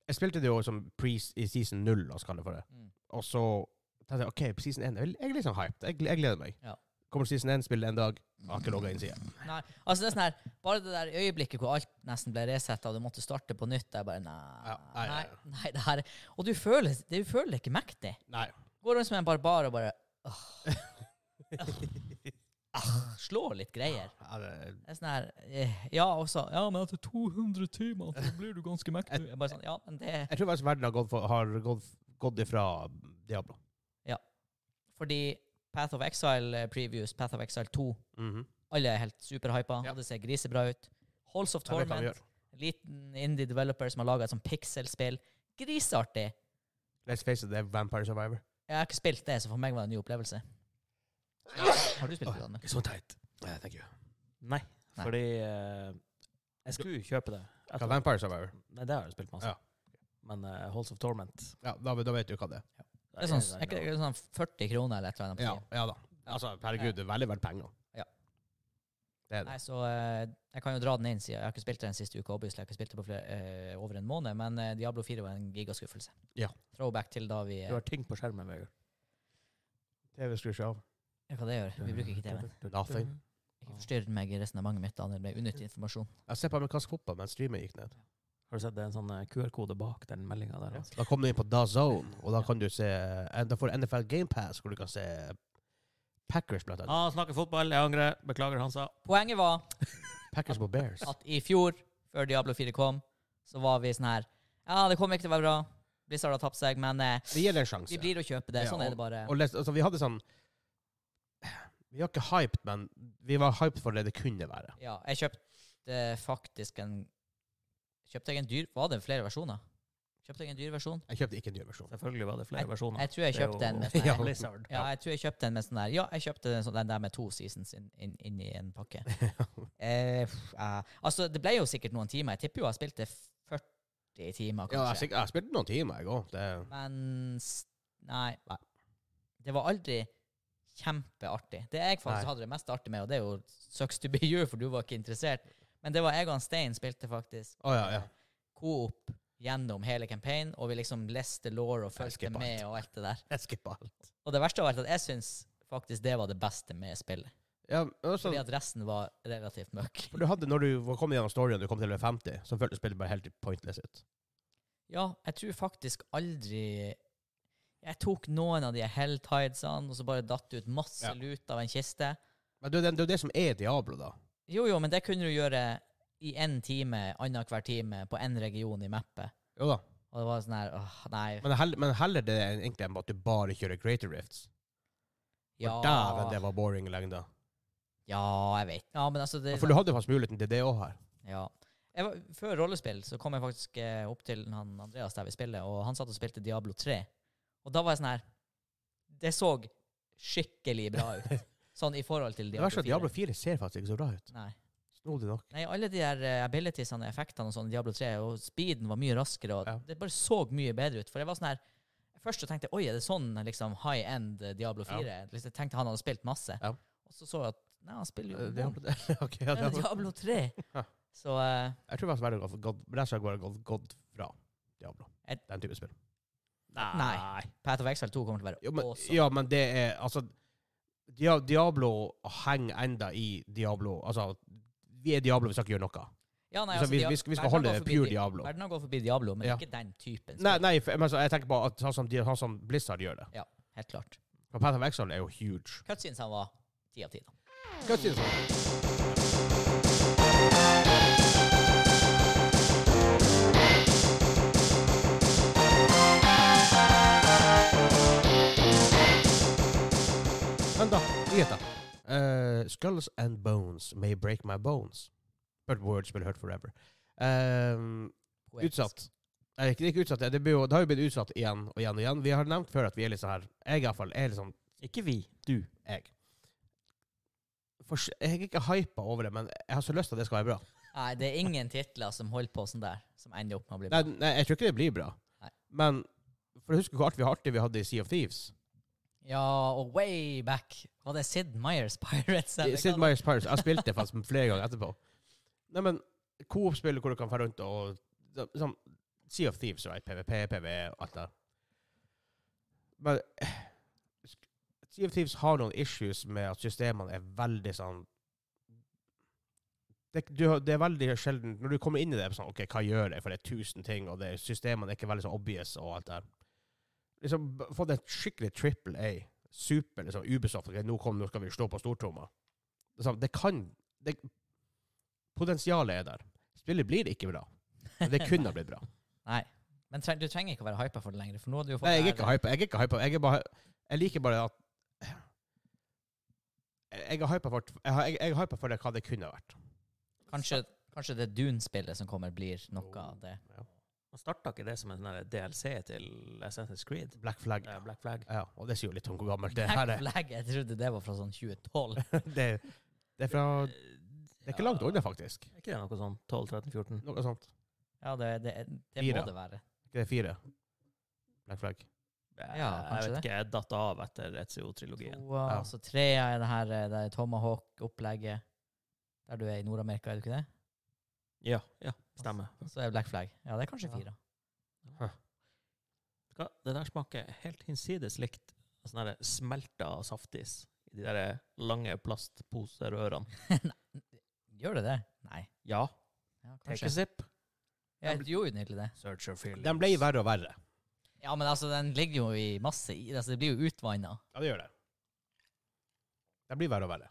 Speaker 1: jeg spilte det jo som pre i season 0, la oss kalle det for det.
Speaker 3: Mm.
Speaker 1: Og så tenkte jeg OK, på season 1 Jeg er litt sånn hyped. Jeg, jeg gleder meg.
Speaker 3: Ja.
Speaker 1: Kommer season 1, spiller en dag. Jeg har ikke logga inn siden.
Speaker 3: Nei, altså det er sånn her Bare det der øyeblikket hvor alt nesten ble resetta, og du måtte starte på nytt, det er bare nei,
Speaker 1: Ja, nei,
Speaker 3: nei,
Speaker 1: nei,
Speaker 3: nei det her Og du føler det, du føler det ikke mektig.
Speaker 1: Nei.
Speaker 3: Går rundt som en barbar og bare åh, ah, Slår litt greier.
Speaker 1: Ja, det,
Speaker 3: Det er sånn her eh, Ja, og så Ja, men etter 200 timer så blir du ganske mektig. Jeg bare sånn, ja, men det
Speaker 1: jeg tror faktisk verden har gått, for, har gått, gått ifra Diablo.
Speaker 3: Fordi Path of Exile eh, previews, Path of Exile 2, alle er helt superhypa,
Speaker 1: Ja.
Speaker 3: og det ser grisebra ut. Halls of
Speaker 1: Jeg vet hva vi
Speaker 3: Torment
Speaker 1: gjør.
Speaker 3: liten indie developer som har laga et sånt pixelspill. Griseartig.
Speaker 1: Let's face it, det er Vampire Survivor.
Speaker 3: Jeg har ikke spilt det, så for meg var det en ny opplevelse. Har du spilt det? Danne?
Speaker 1: Ikke så teit. Nei, thank you.
Speaker 2: Nei,
Speaker 3: Nei.
Speaker 2: fordi eh, Jeg skulle jo kjøpe det.
Speaker 1: Hva
Speaker 2: Etter,
Speaker 1: er Vampire Survivor?
Speaker 2: nei, det har jeg spilt masse.
Speaker 1: Ja.
Speaker 2: Men eh, Halls of Torment
Speaker 1: Ja, da, da vet du hva det er.
Speaker 3: Det er sånn, er ikke det sånn 40 kroner eller et eller annet? på
Speaker 1: Ja,
Speaker 3: siden?
Speaker 1: ja da. Altså, herregud, det er veldig verdt penger.
Speaker 3: Ja.
Speaker 1: Det er det.
Speaker 3: Nei, så eh, Jeg kan jo dra den inn, siden jeg har ikke spilt det den siste uka. Obviously, jeg har ikke spilt det på flere, eh, over en måned, men eh, Diablo 4 var en gigaskuffelse.
Speaker 1: Ja.
Speaker 3: Throwback til da vi eh,
Speaker 2: Du har ting på skjermen, Vegard.
Speaker 1: TV skrur seg av.
Speaker 3: Hva det gjør? Vi bruker ikke TV-en.
Speaker 1: Nothing.
Speaker 3: Ikke forstyrr meg i resonnementet mitt, Daniel. Det er unyttig informasjon.
Speaker 1: Jeg ser på amerikansk fotball mens streamen gikk ned.
Speaker 2: Har du sett det er en sånn eh, QR-kode bak den meldinga der? Altså.
Speaker 1: Da kom du inn på DAZN, og da kan du se eh, Da får du NFL Game Pass hvor du kan se Packers, blant annet.
Speaker 2: Ah, snakker fotball, jeg angrer. Beklager, Hansa.
Speaker 3: Poenget var
Speaker 1: Packers mot Bears.
Speaker 3: at i fjor, før Diablo 4 kom, så var vi sånn her Ja, det kommer ikke til å være bra. Blizzard har tapt seg, men eh,
Speaker 1: Det gir det en sjanse.
Speaker 3: vi blir å kjøpe det.
Speaker 1: Ja,
Speaker 3: Sånn er det bare.
Speaker 1: Og les, altså, vi hadde sånn Vi var ikke hyped, men vi var hyped for det det kunne være.
Speaker 3: Ja, jeg kjøpte faktisk en Kjøpte jeg en dyr Var det flere versjoner? Kjøpte jeg en dyr versjon?
Speaker 1: Jeg kjøpte ikke en ny versjon.
Speaker 2: Selvfølgelig var det flere versjoner.
Speaker 3: Jeg tror jeg
Speaker 2: Det er
Speaker 3: kjøpte
Speaker 2: jo-
Speaker 3: en med sånn her-
Speaker 2: Ja, Blizzard.
Speaker 3: Ja, jeg tror jeg kjøpte en med sånn der Ja, jeg kjøpte den, sånn- den der med to seasons inn inn- inn i en pakke. eh, pff, eh, altså, det ble jo sikkert noen timer. Jeg tipper jo jeg spilte 40 timer,
Speaker 1: Ja, jeg, sik-
Speaker 3: kanskje.
Speaker 1: jeg spilte noen timer, jeg òg.
Speaker 3: Men s- nei.
Speaker 1: Nei.
Speaker 3: Det var aldri kjempeartig. Det jeg faktisk
Speaker 1: Nei.
Speaker 3: hadde det mest artig med, og det er jo Sucks to be you, for du var ikke interessert, men det var jeg og han Stein spilte faktisk
Speaker 1: Å ja, ja.
Speaker 3: Coop gjennom hele campaign, og vi liksom leste law og fulgte
Speaker 1: Elsker på
Speaker 3: med
Speaker 1: alt.
Speaker 3: og alt det der.
Speaker 1: Jeg skippa alt.
Speaker 3: Og det verste av alt at jeg syns faktisk det var det beste med spillet.
Speaker 1: Ja, altså,
Speaker 3: Fordi at resten var relativt møkk.
Speaker 1: for du hadde, når du var- kom gjennom storyen, du kom til level 50, så føltes spillet bare helt pointless ut.
Speaker 3: Ja, jeg tror faktisk aldri Jeg tok noen av de helltidesene, og så bare datt det ut masse
Speaker 1: Ja.
Speaker 3: lut av en kiste.
Speaker 1: Men det er jo det, det, er jo det som er Diablo, da.
Speaker 3: Jo, jo, men det kunne du gjøre i én time, annenhver time, på én region i mappet.
Speaker 1: Jo da.
Speaker 3: Og det var sånn her åh, Nei.
Speaker 1: Men heller, men heller det enn egentlig enn at du bare kjører Greater Rifts. Ja.
Speaker 3: Ja,
Speaker 1: Dæven, det var boring i lengda.
Speaker 3: ja jeg vet. Ja, men altså det,
Speaker 1: For du hadde faktisk muligheten til det òg her.
Speaker 3: Ja. Jeg var, før rollespill så kom jeg faktisk eh, opp til han Andreas der vi spiller, og han satt og spilte Diablo 3. Og da var jeg sånn her Det så skikkelig bra ut. sånn i forhold til
Speaker 1: Det
Speaker 3: Diablo
Speaker 1: verste
Speaker 3: 4.
Speaker 1: er at Diablo 4 ser faktisk ikke så bra ut.
Speaker 3: Nei.
Speaker 1: Snodig nok.
Speaker 3: Nei, alle de der eh, abilitiesene og effektene og sånn i Diablo 3, og speeden var mye raskere, og
Speaker 1: Ja.
Speaker 3: det bare så mye bedre ut. For jeg var sånn her Først så tenkte jeg oi, er det sånn liksom high end eh, Diablo 4? Liksom, Jeg tenkte han hadde spilt masse.
Speaker 1: Ja.
Speaker 3: Og så så jeg at Nei, han spiller jo
Speaker 1: Eh,
Speaker 3: Diablo,
Speaker 1: Diablo, Ok, ja, Diablo.
Speaker 3: Diablo 3.
Speaker 1: Ja.
Speaker 3: Så eh,
Speaker 1: Jeg tror faktisk bare gått- gått- rett og slett bare gått- gått fra Diablo.
Speaker 3: Et-
Speaker 1: Den type spill.
Speaker 3: Nei. Path of Exile 2 kommer til å være
Speaker 1: Jo, men,
Speaker 3: awesome.
Speaker 1: ja, men det er Altså, Dia- Diablo henger enda i Diablo. Altså, vi er Diablo hvis vi ikke gjør noe.
Speaker 3: Ja, nei, altså,
Speaker 1: Så vi-
Speaker 3: Dia-
Speaker 1: vi skal- vi skal
Speaker 3: verden
Speaker 1: holde
Speaker 3: har
Speaker 1: det
Speaker 3: gått forbi
Speaker 1: pure
Speaker 3: Di-
Speaker 1: Diablo.
Speaker 3: Verden har gått forbi Diablo, men
Speaker 1: Ja.
Speaker 3: ikke den typen. spill.
Speaker 1: Nei, nei for, men, altså, jeg tenker på at sånn som, de- sånn som Blizzard gjør det.
Speaker 3: Helt klart.
Speaker 1: For Path of Exile er jo huge.
Speaker 3: Cutscenes han var 10 av 10 da.
Speaker 1: Cutscenes. Men da, nyheter. Eh, skulls and bones may break my bones. But words will hurt forever. Ehm,
Speaker 3: Poetisk.
Speaker 1: utsatt. Eh, ikke, ikke utsatt, det, blir jo, det har jo blitt utsatt igjen og igjen og igjen. Vi har nevnt før at vi er litt sånn her Jeg i hvert fall er litt sånn
Speaker 2: Ikke vi. Du.
Speaker 1: jeg. Fors- jeg er ikke hypa over det, men jeg har så lyst til at det skal være bra.
Speaker 3: Nei, det er ingen titler som holder på sånn der, som ender opp med å bli
Speaker 1: Nei, nei jeg tror ikke det blir bra.
Speaker 3: Nei.
Speaker 1: Men for å huske hvor artig vi, artig vi hadde i Sea of Thieves
Speaker 3: Ja, og way back var det Sid Meyers Pirates. eller hva
Speaker 1: Sid
Speaker 3: det-
Speaker 1: Meier's Pirates. Jeg spilte det faktisk flere ganger etterpå. Nei, men Coop-spill hvor du kan fære rundt og så- sånn, Sea of Thieves, right? PVP, PVE og E, alt det der. Men eh, sk- Sea of Thieves har noen issues med at systemene er veldig sånn det, du, har- det er veldig sjelden Når du kommer inn i det, er det sånn, ok, hva gjør jeg? For det er tusen ting, og det, er- systemene er ikke veldig så obvious og alt det der. Liksom, b- Fått en skikkelig triple A. Super, liksom, Ubisoft. ok, nå, kom, nå skal vi slå på stortromma. Det, er sånn, det kan det, Potensialet er der. Spillet blir ikke bra. Men det kunne ha blitt bra.
Speaker 3: Nei. Men treng, du trenger ikke å være hypa for det lenger, for nå har du jo fått
Speaker 1: Nei, jeg er
Speaker 3: det
Speaker 1: ikke
Speaker 3: her-
Speaker 1: hypa. Jeg er ikke hypa. Jeg, er bare, jeg liker bare at Jeg er hypa for, jeg har- jeg er hypa for det, hva det kunne ha vært.
Speaker 3: Kanskje, kanskje det Dune-spillet som kommer, blir noe
Speaker 1: Jo.
Speaker 3: av det.
Speaker 2: Man starta ikke det som en sånn her DLC til Assassin's Creed?
Speaker 1: Black flag.
Speaker 2: Eh, Black Flag.
Speaker 1: Ja, og det sier jo litt om hvor gammelt det her
Speaker 3: Black
Speaker 1: er.
Speaker 3: Flag, jeg trodde det var fra sånn 2012.
Speaker 1: Det, det er fra Det er ikke langt
Speaker 2: Ja,
Speaker 1: unna, faktisk.
Speaker 2: Er ikke det noe sånn 12-13-14?
Speaker 1: Noe sånt.
Speaker 3: Ja, det, det, det
Speaker 1: Fire.
Speaker 3: må det være.
Speaker 1: Ikke det fire? Black flag.
Speaker 3: Ja,
Speaker 2: jeg
Speaker 3: kanskje
Speaker 2: vet
Speaker 3: det.
Speaker 2: ikke. Jeg datt av etter Ezio-trilogien.
Speaker 3: To, ja.
Speaker 1: Ja.
Speaker 3: altså tre er det her eh, det er Tomahawk-opplegget, der du er i Nord-Amerika, er du ikke det?
Speaker 2: Ja, ja, stemmer.
Speaker 3: Så er Black Flag. Ja, det er kanskje
Speaker 2: Ja.
Speaker 3: fire.
Speaker 2: Hva? Det der smaker helt hinsides likt sånn her smelta saftis i de der lange plastposerørene.
Speaker 3: Gjør det det? Nei.
Speaker 2: Ja,
Speaker 3: Ja,
Speaker 2: take a
Speaker 3: kanskje.
Speaker 2: sip.
Speaker 3: Ja, det gjorde jo egentlig det.
Speaker 2: Search your feelings.
Speaker 1: Den ble verre og verre.
Speaker 3: Ja, men altså, den ligger jo i masse i altså, Det blir jo utvanna.
Speaker 1: Ja, det gjør det. Den blir verre og verre.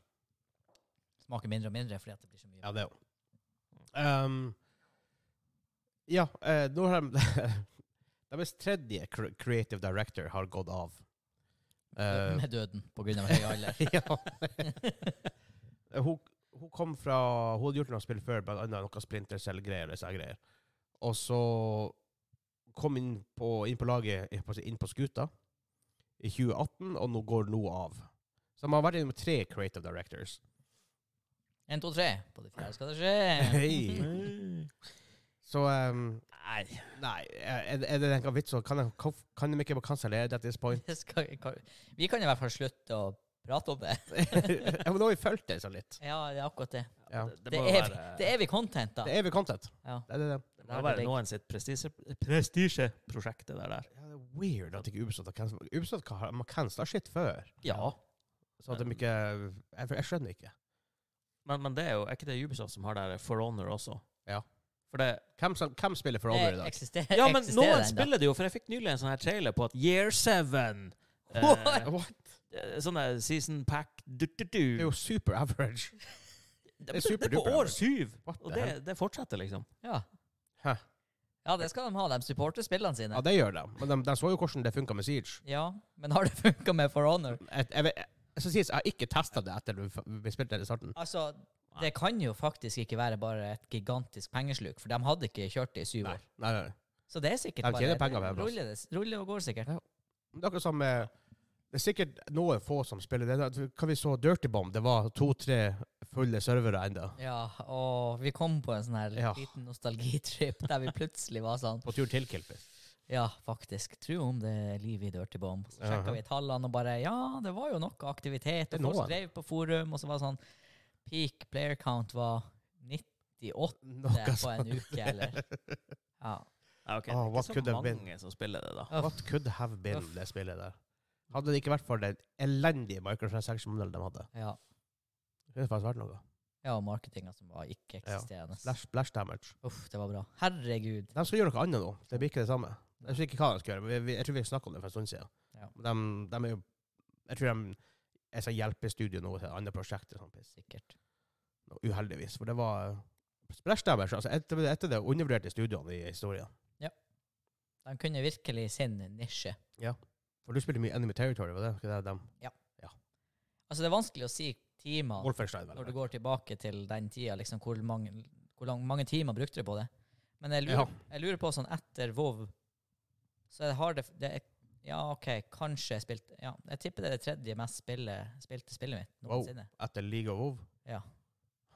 Speaker 3: Smaker mindre og mindre fordi at det blir så mye.
Speaker 1: Ja, det òg. Um, ja, eh, nå har de Deres tredje cr- creative director har gått av. Eh,
Speaker 3: Med døden, på grunn av høy alder.
Speaker 1: ja. hun, hun kom fra Hun hadde gjort noe spill før, blant annet noe Splinter Cell-greier. og disse greier. Og så kom inn på, inn på laget, jeg holdt på å si, inn på skuta, i 2018, og nå går nå av. Så de har vært innom tre creative directors.
Speaker 3: En, to, tre. På det fjerde skal det skje.
Speaker 1: Hei.
Speaker 2: Mm.
Speaker 1: Så ehm,
Speaker 2: Nei.
Speaker 1: Nei, er, er det noen vits? så Kan, jeg- kan, kan de ikke bare kansellere det at this point?
Speaker 3: Det skal, kan, vi kan i hvert fall slutte å prate om det.
Speaker 1: ja, men nå har vi fulgt det sånn litt.
Speaker 3: Ja, det er akkurat det.
Speaker 1: Ja.
Speaker 2: Det, det
Speaker 3: Det
Speaker 2: må jo
Speaker 3: er,
Speaker 2: være
Speaker 3: det er vi content, da.
Speaker 1: Det er evig content.
Speaker 3: Ja.
Speaker 1: Det er det. det.
Speaker 2: Det må være noen sitt prestisje- prestisjeprosjekt, det der.
Speaker 1: Ja, det er weird at ikke Ubisoft har cancelled Ubisoft har- de har cancela shit før.
Speaker 2: Ja.
Speaker 1: Så at de ikke Jeg, jeg skjønner ikke.
Speaker 2: Men, men det er jo er ikke det Ubisoft som har det her For Honor også?
Speaker 1: Ja.
Speaker 2: For det,
Speaker 1: Hvem, som, hvem spiller for Honor i dag?
Speaker 3: eksisterer,
Speaker 2: ja, men
Speaker 3: eksisterer
Speaker 2: noen
Speaker 3: den da.
Speaker 2: spiller det jo, for jeg fikk nylig en sånn her trailer på at Year 7
Speaker 3: What?
Speaker 2: Sånn der season pack du, du, du.
Speaker 1: Det er jo super average.
Speaker 2: Det
Speaker 1: er super
Speaker 2: det er på
Speaker 1: duper,
Speaker 2: år
Speaker 1: Albert.
Speaker 2: syv!
Speaker 1: What
Speaker 2: Og
Speaker 1: the
Speaker 2: det, det fortsetter, liksom.
Speaker 3: Ja.
Speaker 1: Hæ.
Speaker 3: ja, det skal de ha, de supporter spillene
Speaker 1: Ja,
Speaker 3: sine.
Speaker 1: det gjør de. Men de, de så jo hvordan det funka med Siege.
Speaker 3: Ja, men har det funka med For Honor?
Speaker 1: Jeg, jeg, vet- jeg, skal sies, jeg har ikke testa det etter vi vi spilte det i starten.
Speaker 3: Altså, det kan jo faktisk ikke være bare et gigantisk pengesluk, for de hadde ikke kjørt det i syv
Speaker 1: Nei,
Speaker 3: år.
Speaker 1: nei, nei.
Speaker 3: Så det er sikkert
Speaker 1: De
Speaker 3: bare
Speaker 1: tjener penger på en plass.
Speaker 3: ruller, det, ruller og går sikkert.
Speaker 1: Men Det er akkurat som eh, Det er sikkert noen få som spiller det. det. Hva vi så Dirty Bomb, det var to-tre fulle servere ennå.
Speaker 3: Ja, og vi kom på en sånn her
Speaker 1: Ja.
Speaker 3: liten nostalgitrip der vi plutselig var sånn
Speaker 1: På tur til Kilpis.
Speaker 3: Ja, faktisk. Tro om det er liv i Dirty Bomb. Så sjekka
Speaker 1: Ja.
Speaker 3: vi tallene og bare Ja, det var jo noe aktivitet.
Speaker 1: Det er
Speaker 3: Og folk
Speaker 1: noen.
Speaker 3: skrev på forum, og så var det sånn Peak player count var 98
Speaker 1: Noe
Speaker 3: på en
Speaker 1: sånt.
Speaker 3: uke, eller Ja.
Speaker 2: Ja, ok,
Speaker 1: Ah,
Speaker 2: det er
Speaker 1: what
Speaker 2: ikke så
Speaker 1: could have
Speaker 2: mange
Speaker 1: been?
Speaker 2: som spiller det, da.
Speaker 1: What could have been,
Speaker 3: Uff.
Speaker 1: det spillet der. Hadde det ikke vært for den elendige microtransaction-modellen de hadde,
Speaker 3: Ja,
Speaker 1: kunne det faktisk vært noe.
Speaker 3: ja og marketinga som var ikke-eksisterende.
Speaker 1: Splash, splash damage.
Speaker 3: Uff, det var bra. Herregud.
Speaker 1: De skal gjøre noe annet nå. Det blir ikke det samme. Jeg vet ikke hva de skal gjøre. men Vi, vi, jeg tror vi snakket om det for en stund siden.
Speaker 3: Ja.
Speaker 1: De, de er jo Jeg tror de er sånn hjelpestudio nå til andre prosjekter. Sånn piss.
Speaker 3: Sikkert.
Speaker 1: Nå, Uheldigvis. For det var Splash damage. Altså, etter, etter det undervurderte studioene i historien.
Speaker 3: De kunne virkelig sin nisje.
Speaker 1: For du spilte mye Enemy Territory, var det ikke det? dem?
Speaker 3: Altså, det er vanskelig å si timer
Speaker 1: Wolfenstein,
Speaker 3: når du
Speaker 1: vel?
Speaker 3: går tilbake til den tida, liksom, hvor mange, hvor lang, mange timer brukte du på det? Men jeg
Speaker 1: Ja.
Speaker 3: lurer, jeg lurer på sånn etter WoW Så jeg har det, det er, Ja, OK, kanskje jeg spilte Ja, jeg tipper det er det tredje mest spillet, spilte spillet mitt
Speaker 1: Wow.
Speaker 3: noensinne.
Speaker 1: Etter League of Wov?
Speaker 3: Ja.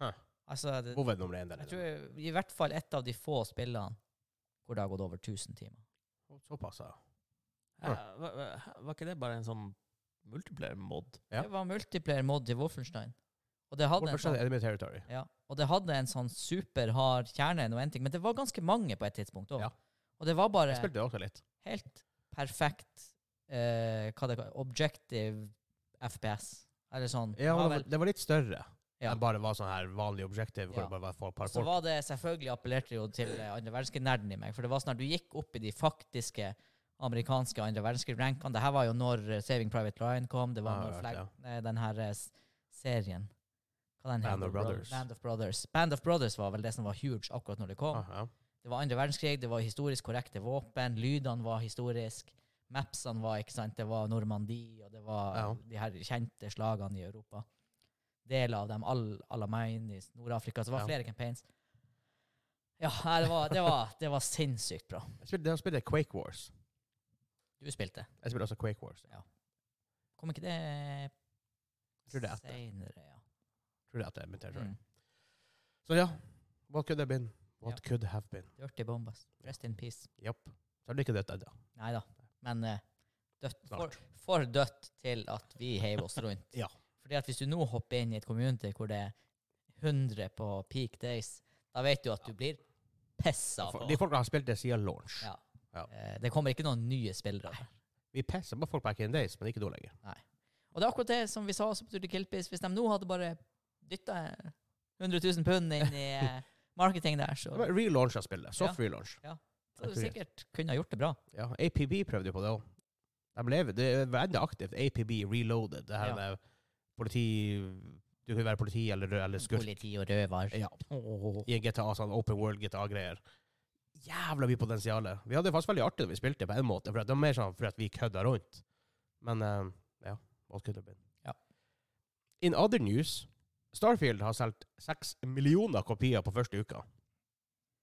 Speaker 1: Huh.
Speaker 3: Altså, det,
Speaker 1: Wov er nummer én der.
Speaker 3: jeg tror i hvert fall et av de få spillene hvor det har gått over 1000 timer.
Speaker 1: Såpass, ja.
Speaker 2: Ja, var, var- var ikke det bare en sånn multiplayer-mod?
Speaker 1: Ja.
Speaker 3: Det var multiplayer mod i Wolfenstein. Og det hadde en
Speaker 1: Wolfenstein
Speaker 3: sånn
Speaker 1: Enemy Territory.
Speaker 3: Ja, og det hadde en sånn superhard kjerne, noe en ting, men det var ganske mange på et tidspunkt òg.
Speaker 1: Ja.
Speaker 3: Og det var bare
Speaker 1: Jeg spilte det også litt.
Speaker 3: helt perfekt eh, hva det kalles, objective FPS. Eller sånn.
Speaker 1: Ja,
Speaker 3: Ja,
Speaker 1: men det
Speaker 3: vel.
Speaker 1: var- det var litt større
Speaker 3: Ja.
Speaker 1: enn bare var sånn her vanlig objektiv. Hvor
Speaker 3: Ja.
Speaker 1: det bare var for, par
Speaker 3: Så
Speaker 1: folk.
Speaker 3: var det selvfølgelig appellerte jo til eh, andre verdenskrig-nerden i meg. For det var sånn at du gikk opp i de faktiske amerikanske andre verdenskrig-rankene. Det her var jo når eh, Saving Private Lion kom, det var
Speaker 1: Ah, Ja,
Speaker 3: når
Speaker 1: ja,
Speaker 3: flag,
Speaker 1: ja.
Speaker 3: eh, den her eh, s- serien Hva den
Speaker 1: Band of
Speaker 3: heter?
Speaker 1: Brothers.
Speaker 3: Band of Brothers. Band of Brothers var vel det som var huge akkurat når det kom.
Speaker 1: Ah, ja.
Speaker 3: Det var andre verdenskrig, det var historisk korrekte våpen, lydene var historisk, mapsene var, ikke sant, det var Normandie, og det var
Speaker 1: Ja.
Speaker 3: de her kjente slagene i Europa. Deler av dem, all, Alamein i Nord-Afrika, så det var
Speaker 1: Ja.
Speaker 3: flere campaigns. Ja, nei, det var, det, var, det var sinnssykt bra.
Speaker 1: Jeg spilte, jeg spilte Quake Wars.
Speaker 3: Du spilte.
Speaker 1: Jeg spilte også Quake Wars.
Speaker 3: Kom ikke det
Speaker 1: Tror det er etter.
Speaker 3: senere, ja.
Speaker 1: Tror det at det er Enemy Territory.
Speaker 3: Mm.
Speaker 1: Så ja, what could have been? What
Speaker 3: Ja.
Speaker 1: could have been?
Speaker 3: Dirty Bombas. Rest in peace.
Speaker 1: Japp. Så er det ikke dødt ennå.
Speaker 3: Nei da. Men eh, dødt, for,
Speaker 1: Snart.
Speaker 3: for dødt til at vi heiv oss rundt.
Speaker 1: Ja.
Speaker 3: Fordi at hvis du nå hopper inn i et community hvor det er 100 på peak days, da vet du at du blir pissa på.
Speaker 1: De folka har spilt det siden launch.
Speaker 3: Ja.
Speaker 1: Ja.
Speaker 3: Eh, Det kommer ikke noen nye spillere. der.
Speaker 1: Vi pisser på folk back in days, men ikke nå lenger.
Speaker 3: Og det er akkurat det som vi sa også på Tutti Kilpis. Hvis de nå hadde bare dytta 100 000 pund inn i eh, marketing der, så
Speaker 1: Det var relaunch av spillet. Soft relaunch.
Speaker 3: så hadde du sikkert kunne ha gjort det bra.
Speaker 1: Ja, APB prøvde jo på det òg. De lever, det er enda aktivt. APB reloaded. Det her
Speaker 3: Ja.
Speaker 1: med politi Du kan være politi eller, eller skurk.
Speaker 3: Politi og røver.
Speaker 1: Ja. I en GTA, sånn open world GTA-greier. Jævla mye potensial. Vi hadde det faktisk veldig artig da vi spilte, på en måte. For at det var mer sånn for at vi kødda rundt. Men eh, ja, what could have been.
Speaker 3: Ja.
Speaker 1: In other news, Starfield har solgt seks millioner kopier på første uka.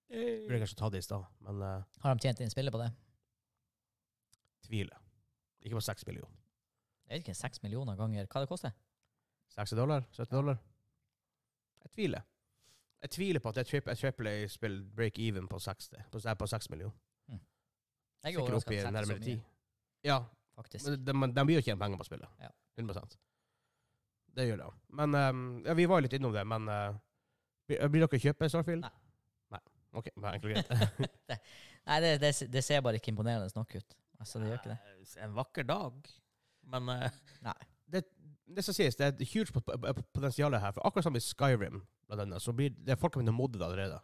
Speaker 1: Burde kanskje ta det i stad, men eh,
Speaker 3: Har de tjent inn spillet på det?
Speaker 1: tviler. Ikke på seks millioner.
Speaker 3: Jeg vet ikke, 6 millioner ganger hva det koster?
Speaker 1: 60 dollar? 70 dollar? Jeg tviler. Jeg tviler på at et trip- et AAA-spill break even på 60 På, nei, på 6 millioner.
Speaker 3: Jeg er
Speaker 1: Sikkert opp
Speaker 3: overrasket
Speaker 1: i
Speaker 3: at de
Speaker 1: nærmere
Speaker 3: selger så
Speaker 1: 10.
Speaker 3: mye,
Speaker 1: Ja,
Speaker 3: faktisk.
Speaker 1: men de, men de blir jo tjene penger på spillet.
Speaker 3: Ja.
Speaker 1: 100 Det gjør de. Men ehm, ja, Vi var jo litt innom det, men eh, blir- Blir dere kjøpe Starfield?
Speaker 3: Nei.
Speaker 1: Nei. OK, bare enkelt og greit.
Speaker 3: Nei, det, det, det
Speaker 2: sånn Eh,
Speaker 3: ser bare ikke imponerende nok ut. Altså, det gjør ikke det.
Speaker 2: En vakker dag, men eh,
Speaker 3: Nei.
Speaker 1: det, det som sies, det er et huge pot- pot- potensial her. For akkurat som i Skyrim, blant annet, så blir det folk har begynt å modde det allerede.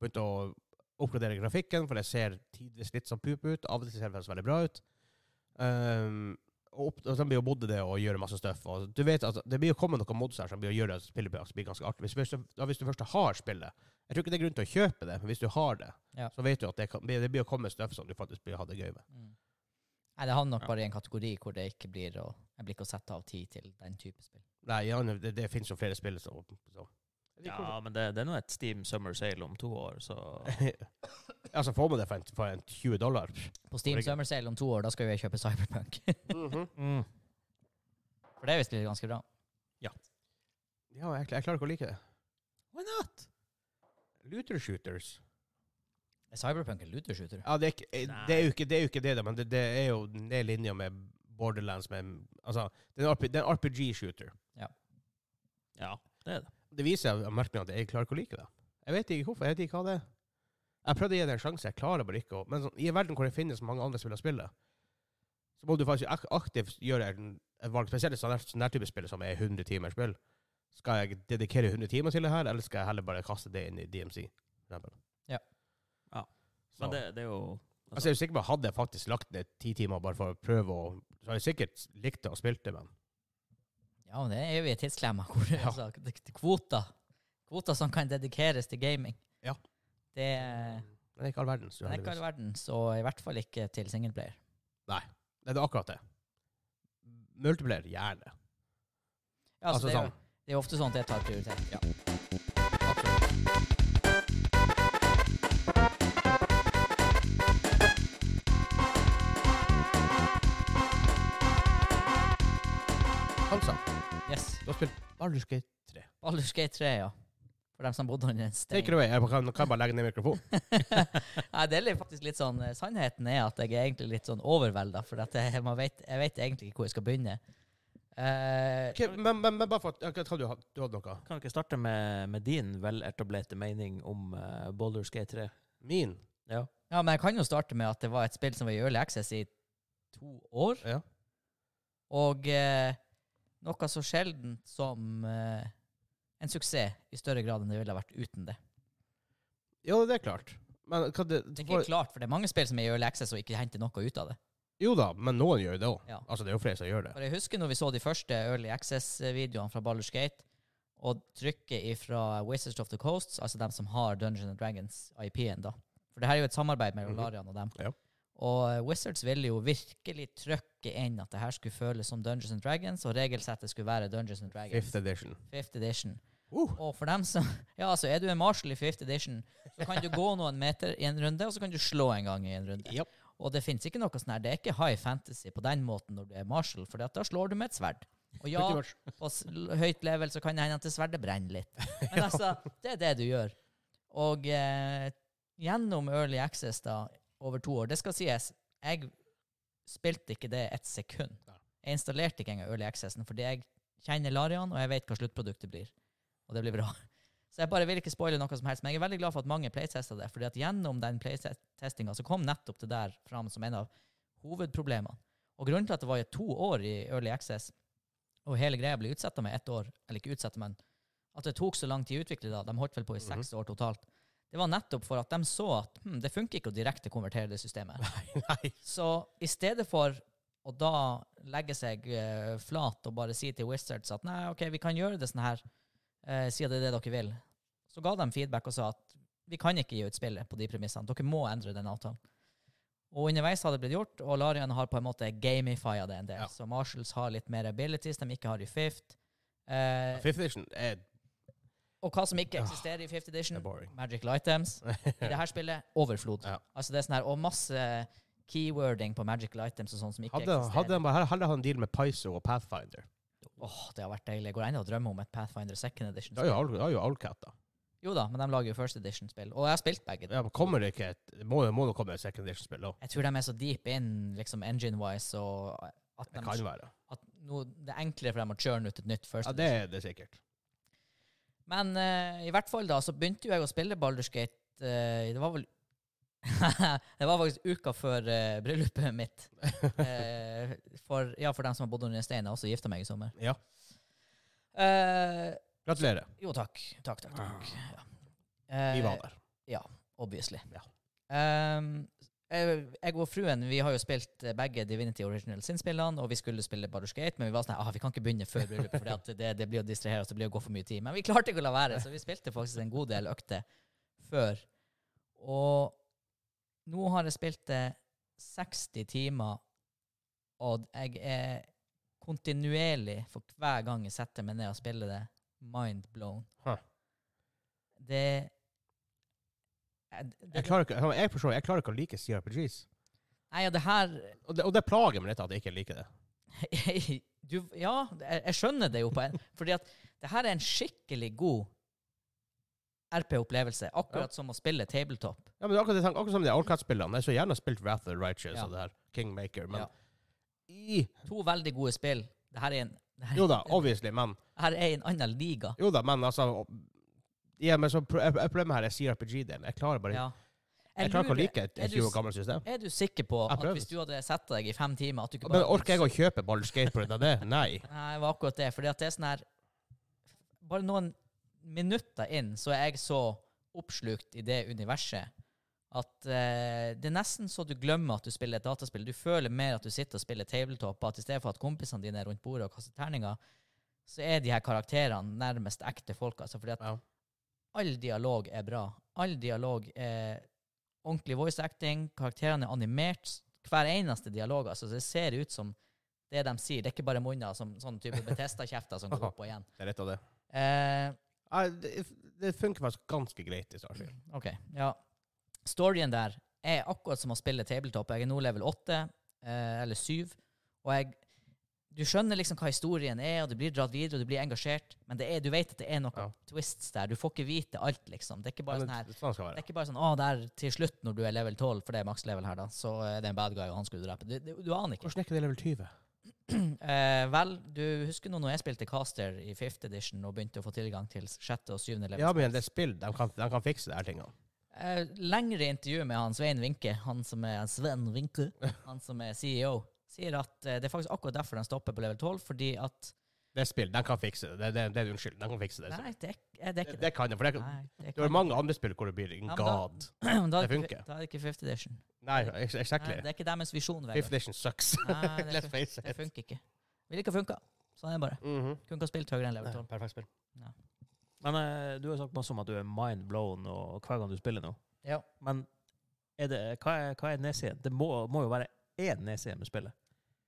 Speaker 1: Begynt å oppgradere grafikken, for det ser tidvis litt som pup ut. Av og til ser det faktisk veldig bra ut. Ehm, og, opp, og så blir jo modde det og gjøre masse stuff. Og du vet at det blir jo kommet noen mods her som blir å gjøre at spillet blir- blir ganske artig. Hvis, hvis, du- ja, hvis du først har spillet Jeg tror ikke det er grunn til å kjøpe det, men hvis du har det,
Speaker 3: Ja.
Speaker 1: så vet du at det, kan, det blir å komme stuff som du faktisk blir å ha det gøy med.
Speaker 3: Mm. Nei, det havner nok
Speaker 2: Ja.
Speaker 3: bare i en kategori hvor det ikke blir å Jeg blir ikke å sette av tid til den type spill.
Speaker 1: Nei, ja, det, det finnes jo flere spill som så.
Speaker 2: Ja, men det, det er nå et Steam Summer Sale om to år, så
Speaker 1: altså, får man det for en, for en 20 dollar
Speaker 3: På Steam
Speaker 1: Origi-
Speaker 3: Summer Sale om to år, da skal jo jeg kjøpe Cyberpunk.
Speaker 1: Mm.
Speaker 3: For det er visst litt ganske bra.
Speaker 1: Ja, jeg, jeg klarer ikke å like det.
Speaker 2: Why not?
Speaker 1: Looter shooters.
Speaker 3: Er Cyberpunk en lootershooter?
Speaker 1: Ja, det er, ikke, eh,
Speaker 2: Nei.
Speaker 1: det er jo ikke det, er jo ikke det da, men det, det er jo ned linja med Borderlands med Altså, det er en, RP, det er en RPG-shooter.
Speaker 2: Ja, det er det.
Speaker 1: Det viser jeg merker meg at jeg klarer ikke å like det. Jeg vet ikke hvorfor. Jeg vet ikke hva det er. Jeg prøvde å gi det en sjanse. Jeg klarer bare ikke å Men sånn, i en verden hvor det finnes mange andre som vil spille, så må du faktisk ak aktivt gjøre en- et valg. Spesielt i sånne, sånne her type spill som er 100 timer spill. Skal jeg dedikere 100 timer til det her, eller skal jeg heller bare kaste det inn i DMC? For eksempel?
Speaker 3: Ja.
Speaker 2: Ja.
Speaker 1: Så-
Speaker 2: Men det, det er jo
Speaker 1: Altså, jeg er sikker på Hadde jeg faktisk lagt ned ti timer bare for å prøve å Så hadde jeg sikkert likt det og spilt det, men
Speaker 3: Ja, men det er evige tidsklemmer. Hvor,
Speaker 1: Ja.
Speaker 3: altså, det- det- kvoter. Kvoter som kan dedikeres til gaming.
Speaker 1: Ja.
Speaker 3: Det er
Speaker 1: Men det er ikke all verdens.
Speaker 3: Eh. det er ikke all
Speaker 1: uheldigvis.
Speaker 3: verden, så i hvert fall ikke til singleplayer.
Speaker 1: Nei, det er akkurat det. Multiplayer, gjerne.
Speaker 3: Ja, altså,
Speaker 1: altså
Speaker 3: det, er jo,
Speaker 1: sånn.
Speaker 3: det er jo ofte sånn at jeg tar prioritet. Ja.
Speaker 1: Absolutt. Hansa,
Speaker 3: Yes.
Speaker 1: sånn, du har spilt Baldur's Gate 3.
Speaker 3: Baldur's Gate 3, ja. For dem som bodde under en stein.
Speaker 1: Take it away. Jeg kan, kan bare legge ned mikrofonen.
Speaker 3: Nei, det er litt- faktisk litt sånn eh, Sannheten er at jeg er egentlig litt sånn overvelda, for at jeg, man vet, jeg vet egentlig ikke hvor jeg skal begynne. Eh,
Speaker 1: Ok, men, men, men bare for at Jeg tror du, had- du hadde noe.
Speaker 2: Kan vi ikke starte med, med din veletablerte mening om uh, Boulders Gate 3?
Speaker 1: Min?
Speaker 2: Ja.
Speaker 3: ja, men jeg kan jo starte med at det var et spill som var i early access i to år,
Speaker 1: Ja.
Speaker 3: og eh, noe så sjeldent som eh, en suksess i større grad enn det ville ha vært uten det.
Speaker 1: Jo, det er klart. Men hva det,
Speaker 3: Det er
Speaker 1: for,
Speaker 3: ikke klart, for det er mange spill som er i early access og ikke henter noe ut av det.
Speaker 1: Jo da, men noen gjør jo det òg.
Speaker 3: Ja.
Speaker 1: Altså, det er jo flere som gjør det.
Speaker 3: For jeg husker når vi så de første Early Access-videoene fra Baldur's Gate, og trykket fra Wizards of the Coasts, altså dem som har Dungeons and Dragons IP-en, da. For det her er jo et samarbeid mellom
Speaker 1: Mhm.
Speaker 3: Larian og dem.
Speaker 1: Ja.
Speaker 3: Og eh, Wizards ville jo virkelig trykke inn at det her skulle føles som Dungeons and Dragons, og regelsettet skulle være Dungeons and Dragons.
Speaker 1: Fifth edition.
Speaker 3: Fifth edition.
Speaker 1: Uh.
Speaker 3: Og for dem som Ja, altså, er du en Marshall i fifth edition, så kan du gå noen meter i en runde, og så kan du slå en gang i en runde.
Speaker 1: Japp.
Speaker 3: Og det finnes ikke noe sånn her. Det er ikke high fantasy på den måten når du er Marshall, for da slår du med et sverd. Og ja,
Speaker 1: Pretty much.
Speaker 3: på s- l- høyt level så kan det hende at det sverdet brenner litt. Men altså, det er det du gjør. Og eh, gjennom Early Access da, over to år, det skal sies, jeg spilte ikke det et sekund.
Speaker 1: Nei.
Speaker 3: Jeg installerte ikke engang Early Accessen, fordi jeg kjenner Larian, og jeg vet hva sluttproduktet blir. Og det blir bra. Så jeg bare vil ikke spoile noe som helst, men jeg er veldig glad for at mange playtesta det, fordi at gjennom den playtestinga så kom nettopp det der fram som en av hovedproblemene. Og grunnen til at det var i to år i Early Access, og hele greia ble utsetta med ett år, eller ikke utsetta, men at det tok så lang tid å utvikle det, de holdt vel på i seks
Speaker 1: Mhm.
Speaker 3: år totalt, det var nettopp for at de så at hm, det funker ikke å direkte konvertere det systemet.
Speaker 1: Nei.
Speaker 3: Så i stedet for å da legge seg eh, flat og bare si til Wizards at nei, ok, vi kan gjøre det sånn her, eh, siden det er det dere vil, så ga de feedback og sa at vi kan ikke gi ut spillet på de premissene. Dere må endre den avtalen. Og underveis har det blitt gjort, og Larian har på en måte gamifia det en del.
Speaker 1: Ja.
Speaker 3: Så Marshalls har litt mer abilities de ikke har i fifth. Eh,
Speaker 1: Fifth edition er,
Speaker 3: og hva som ikke
Speaker 1: Ja.
Speaker 3: eksisterer i fifth edition,
Speaker 1: er boring.
Speaker 3: magical items. I det her spillet, overflod.
Speaker 1: Ja.
Speaker 3: Altså det er sånn her, Og masse keywording på magical items og sånn som ikke
Speaker 1: Hadde, hadde
Speaker 3: eksisterer.
Speaker 1: han bare hadde han en deal med Paizo og Pathfinder
Speaker 3: Åh, det har vært deilig. Går det an å drømme om et Pathfinder second edition?
Speaker 1: Det er jo Owl- det er jo Owlcat, da.
Speaker 3: Jo da, men de lager jo first edition-spill. Og jeg har spilt begge.
Speaker 1: Ja, men kommer det ikke et Det må, det må nå komme et second edition-spill òg.
Speaker 3: Jeg tror de er så deep in liksom engine-wise og at,
Speaker 1: Det
Speaker 3: de,
Speaker 1: kan være.
Speaker 3: at no, det er enklere for dem å churne ut et nytt first
Speaker 1: Ja,
Speaker 3: edition.
Speaker 1: det er det sikkert.
Speaker 3: Men eh, i hvert fall da, så begynte jo jeg å spille Baldur's Gate eh, Det var vel det var faktisk uka før eh, bryllupet mitt. Eh, for, ja, for dem som har bodd under en stein. Jeg har også gifta meg i sommer.
Speaker 1: Ja.
Speaker 3: Eh,
Speaker 1: Gratulerer.
Speaker 3: jo, takk. Takk, takk, takk. Ja.
Speaker 1: Vi
Speaker 3: Eh,
Speaker 1: var der.
Speaker 3: Obviously.
Speaker 1: Ja.
Speaker 3: Ehm, jeg jeg og fruen vi har jo spilt eh, begge Divinity Original Sin-spillene, og vi skulle spille Baldur's Gate, men vi var sånn ah, vi kan ikke begynne før bryllupet, for det, det blir å distrahere oss, det blir å gå for mye tid. Men vi klarte ikke å la være, så vi spilte faktisk en god del økter før. Og nå har jeg spilt det 60 timer, og jeg er kontinuerlig, for hver gang jeg setter meg ned og spiller det, mind blown.
Speaker 1: Huh.
Speaker 3: Det, det,
Speaker 1: Jeg klarer ikke, jeg, forstår, jeg klarer ikke å like CRPGs.
Speaker 3: Nei, ja, det her
Speaker 1: Og det, og det plager meg litt at jeg ikke liker det.
Speaker 3: du, Ja, jeg, jeg skjønner det jo på en Fordi at det her er en skikkelig god RP-opplevelse. Akkurat som å spille tabletop.
Speaker 1: Ja, men det er akkurat, det jeg tenker, akkurat som de Allcat-spillene. Jeg skulle gjerne spilt Wrath of the Righteous
Speaker 3: Ja.
Speaker 1: og det her Kingmaker, men
Speaker 3: Ja.
Speaker 1: i,
Speaker 3: To veldig gode spill. Det her er en, det her,
Speaker 1: Jo da, obviously, men
Speaker 3: det her er en annen liga.
Speaker 1: Jo da, men altså ja, men så pro- eh, Problemet her er CRPG-delen. Jeg klarer bare
Speaker 3: Ja.
Speaker 1: Jeg klarer ikke å
Speaker 3: lurer-
Speaker 1: like et
Speaker 3: er
Speaker 1: 20
Speaker 3: du
Speaker 1: år gammelt system.
Speaker 3: Er du sikker på
Speaker 1: Jeg
Speaker 3: at
Speaker 1: prøver.
Speaker 3: hvis du hadde satt deg i fem timer at du ikke
Speaker 1: Men orker jeg å kjøpe Baldur's Gate på grunn av det? Nei.
Speaker 3: Nei, det var akkurat det. Fordi at det er sånn her Bare noen minutter inn så er jeg så oppslukt i det universet at eh, det er nesten så du glemmer at du spiller et dataspill. Du føler mer at du sitter og spiller tabletop, og at i stedet for at kompisene dine er rundt bordet og kaster terninger, så er de her karakterene nærmest ekte folk. Altså, fordi at
Speaker 1: Ja.
Speaker 3: all dialog er bra. All dialog er ordentlig voice acting. Karakterene er animert. Hver eneste dialog. Altså, det ser ut som det de sier. Det er ikke bare munner som sånn type Betesta-kjefter som går opp og igjen.
Speaker 1: Det er litt av det.
Speaker 3: Eh,
Speaker 1: Nei, det, det funker faktisk ganske greit i Starfield.
Speaker 3: OK. Ja. Storyen der er akkurat som å spille tabletop. Jeg er nå level 8, eh, eller 7, og jeg Du skjønner liksom hva historien er, og du blir dratt videre, og du blir engasjert, men det er, du vet at det er noen
Speaker 1: Ja.
Speaker 3: twists der. Du får ikke vite alt, liksom. Det er ikke bare
Speaker 1: Men
Speaker 3: sånn her
Speaker 1: det- Sånn skal det
Speaker 3: Det er
Speaker 1: være.
Speaker 3: ikke bare sånn 'Å, der til slutt, når du er level 12, for det er makslevel her, da, så er det en bad guy, og han skulle drepe'. Du, du, du aner ikke.
Speaker 1: Hvordan er ikke det level 20?
Speaker 3: Eh, vel, du husker nå når jeg spilte Caster i 5th edition og begynte å få tilgang til 6. og 7. level?
Speaker 1: Ja, men det er spill. De kan, de kan fikse de her tingene.
Speaker 3: Eh, lengre intervju med han Svein Vinke, han som er Sven Vinke, han som er CEO, sier at eh, det er faktisk akkurat derfor den stopper på level 12, fordi at
Speaker 1: Det er spill. De kan fikse det. Det, det, det er unnskyld. De kan fikse det.
Speaker 3: Nei, det er, ikke- eh, det er
Speaker 1: det,
Speaker 3: ikke
Speaker 1: det kan de. For det,
Speaker 3: Nei, det
Speaker 1: det er mange andre spill hvor det blir en
Speaker 3: Ja, men da-
Speaker 1: god.
Speaker 3: Men da er
Speaker 1: det
Speaker 3: ikke-
Speaker 1: funker.
Speaker 3: Da er det ikke 5th edition.
Speaker 1: Nei, ex-
Speaker 3: Nei,
Speaker 1: exactly.
Speaker 3: det er ikke deres visjon,
Speaker 1: Fifth
Speaker 3: Vegard.
Speaker 1: edition sucks.
Speaker 3: Nei, det,
Speaker 1: Let's
Speaker 3: fun-
Speaker 1: face
Speaker 3: det
Speaker 1: it.
Speaker 3: funker ikke. Ville ikke ha funka. Sånn er det bare.
Speaker 1: Mhm.
Speaker 3: Kunne ikke ha spilt høyere enn level 12.
Speaker 2: Perfekt spill.
Speaker 3: Ja.
Speaker 2: Men eh, du har sagt masse om at du er mind blown og hver gang du spiller nå.
Speaker 3: Ja.
Speaker 2: Men er det, hva er, hva er nedsiden? Det må, må jo være én nedside med spillet.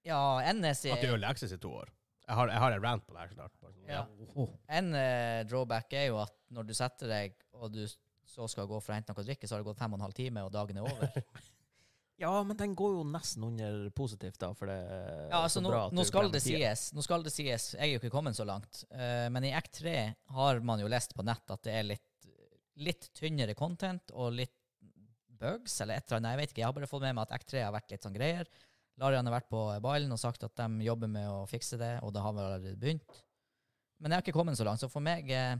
Speaker 3: Ja, NS
Speaker 1: At det
Speaker 3: er,
Speaker 1: gjør lekses i to år. Jeg har, jeg har en rant på det her snart. bare sånn,
Speaker 3: Ja. en eh, drawback er jo at når du setter deg, og du s- så skal gå for å hente noe å drikke, så har det gått fem og en halv time, og dagen er over.
Speaker 2: Ja, men den går jo nesten under positivt, da, for det er
Speaker 3: Ja, altså
Speaker 2: så
Speaker 3: nå,
Speaker 2: bra at
Speaker 3: nå
Speaker 2: du
Speaker 3: skal
Speaker 2: glemmer
Speaker 3: det
Speaker 2: tida.
Speaker 3: sies, nå skal det sies, jeg er jo ikke kommet så langt, eh, men i Act 3 har man jo lest på nett at det er litt, litt tynnere content, og litt bugs, eller et eller annet, jeg vet ikke, jeg har bare fått med meg at Act 3 har vært litt sånn greier. Larian har vært på ballen og sagt at de jobber med å fikse det, og det har vel allerede begynt. Men jeg har ikke kommet så langt, så for meg... eh,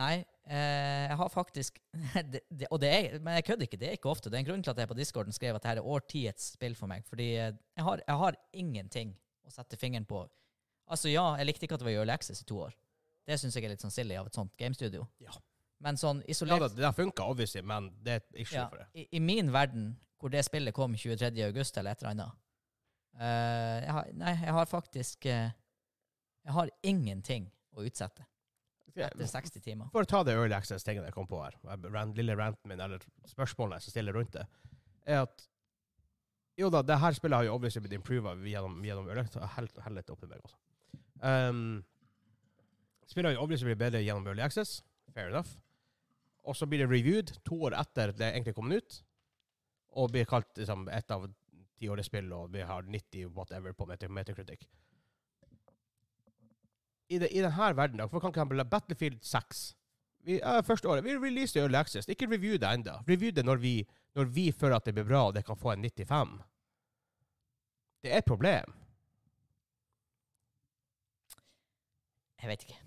Speaker 3: Nei, eh, jeg har faktisk det, det, Og det er, men jeg kødder ikke, det er ikke ofte. Det er en grunn til at jeg på discorden skrev at dette er årtiets spill for meg. Fordi eh, jeg har, jeg har ingenting å sette fingeren på. Altså ja, jeg likte ikke at det var Early Access i to år. Det syns jeg er litt sånn silly av et sånt gamestudio.
Speaker 1: Ja.
Speaker 3: Men sånn
Speaker 1: Ja,
Speaker 3: isolert
Speaker 1: da, det har funka, obviously, men det er et issue
Speaker 3: ja,
Speaker 1: for det.
Speaker 3: i, I min verden, hvor det spillet kom 23. august eller et eller annet eh, jeg har, Nei, jeg har faktisk eh, Jeg har ingenting å utsette etter 60 timer.
Speaker 1: For å ta det early access-tinget jeg kom på her, rant, lille ranten min, eller spørsmålet jeg stiller rundt det, er at jo da, det her spillet har jo obviously blitt improva gjennom, gjennom early access. Hell, hell litt oppi meg også. Um, spillet har jo obviously blitt bedre gjennom early access. Fair enough. Og så blir det reviewed to år etter det egentlig kom ut, og blir kalt liksom, et av tiårets spill, og vi har 90 whatever på Meta- Metacritic. I, det, I denne verden, da, hvorfor kan ikke han la Battlefield 6 vi, ja, første året. Vi releaser Early Access. Ikke review det ennå. Review det når vi, når vi føler at det blir bra, og det kan få en 95. Det er et problem.
Speaker 3: Jeg vet ikke.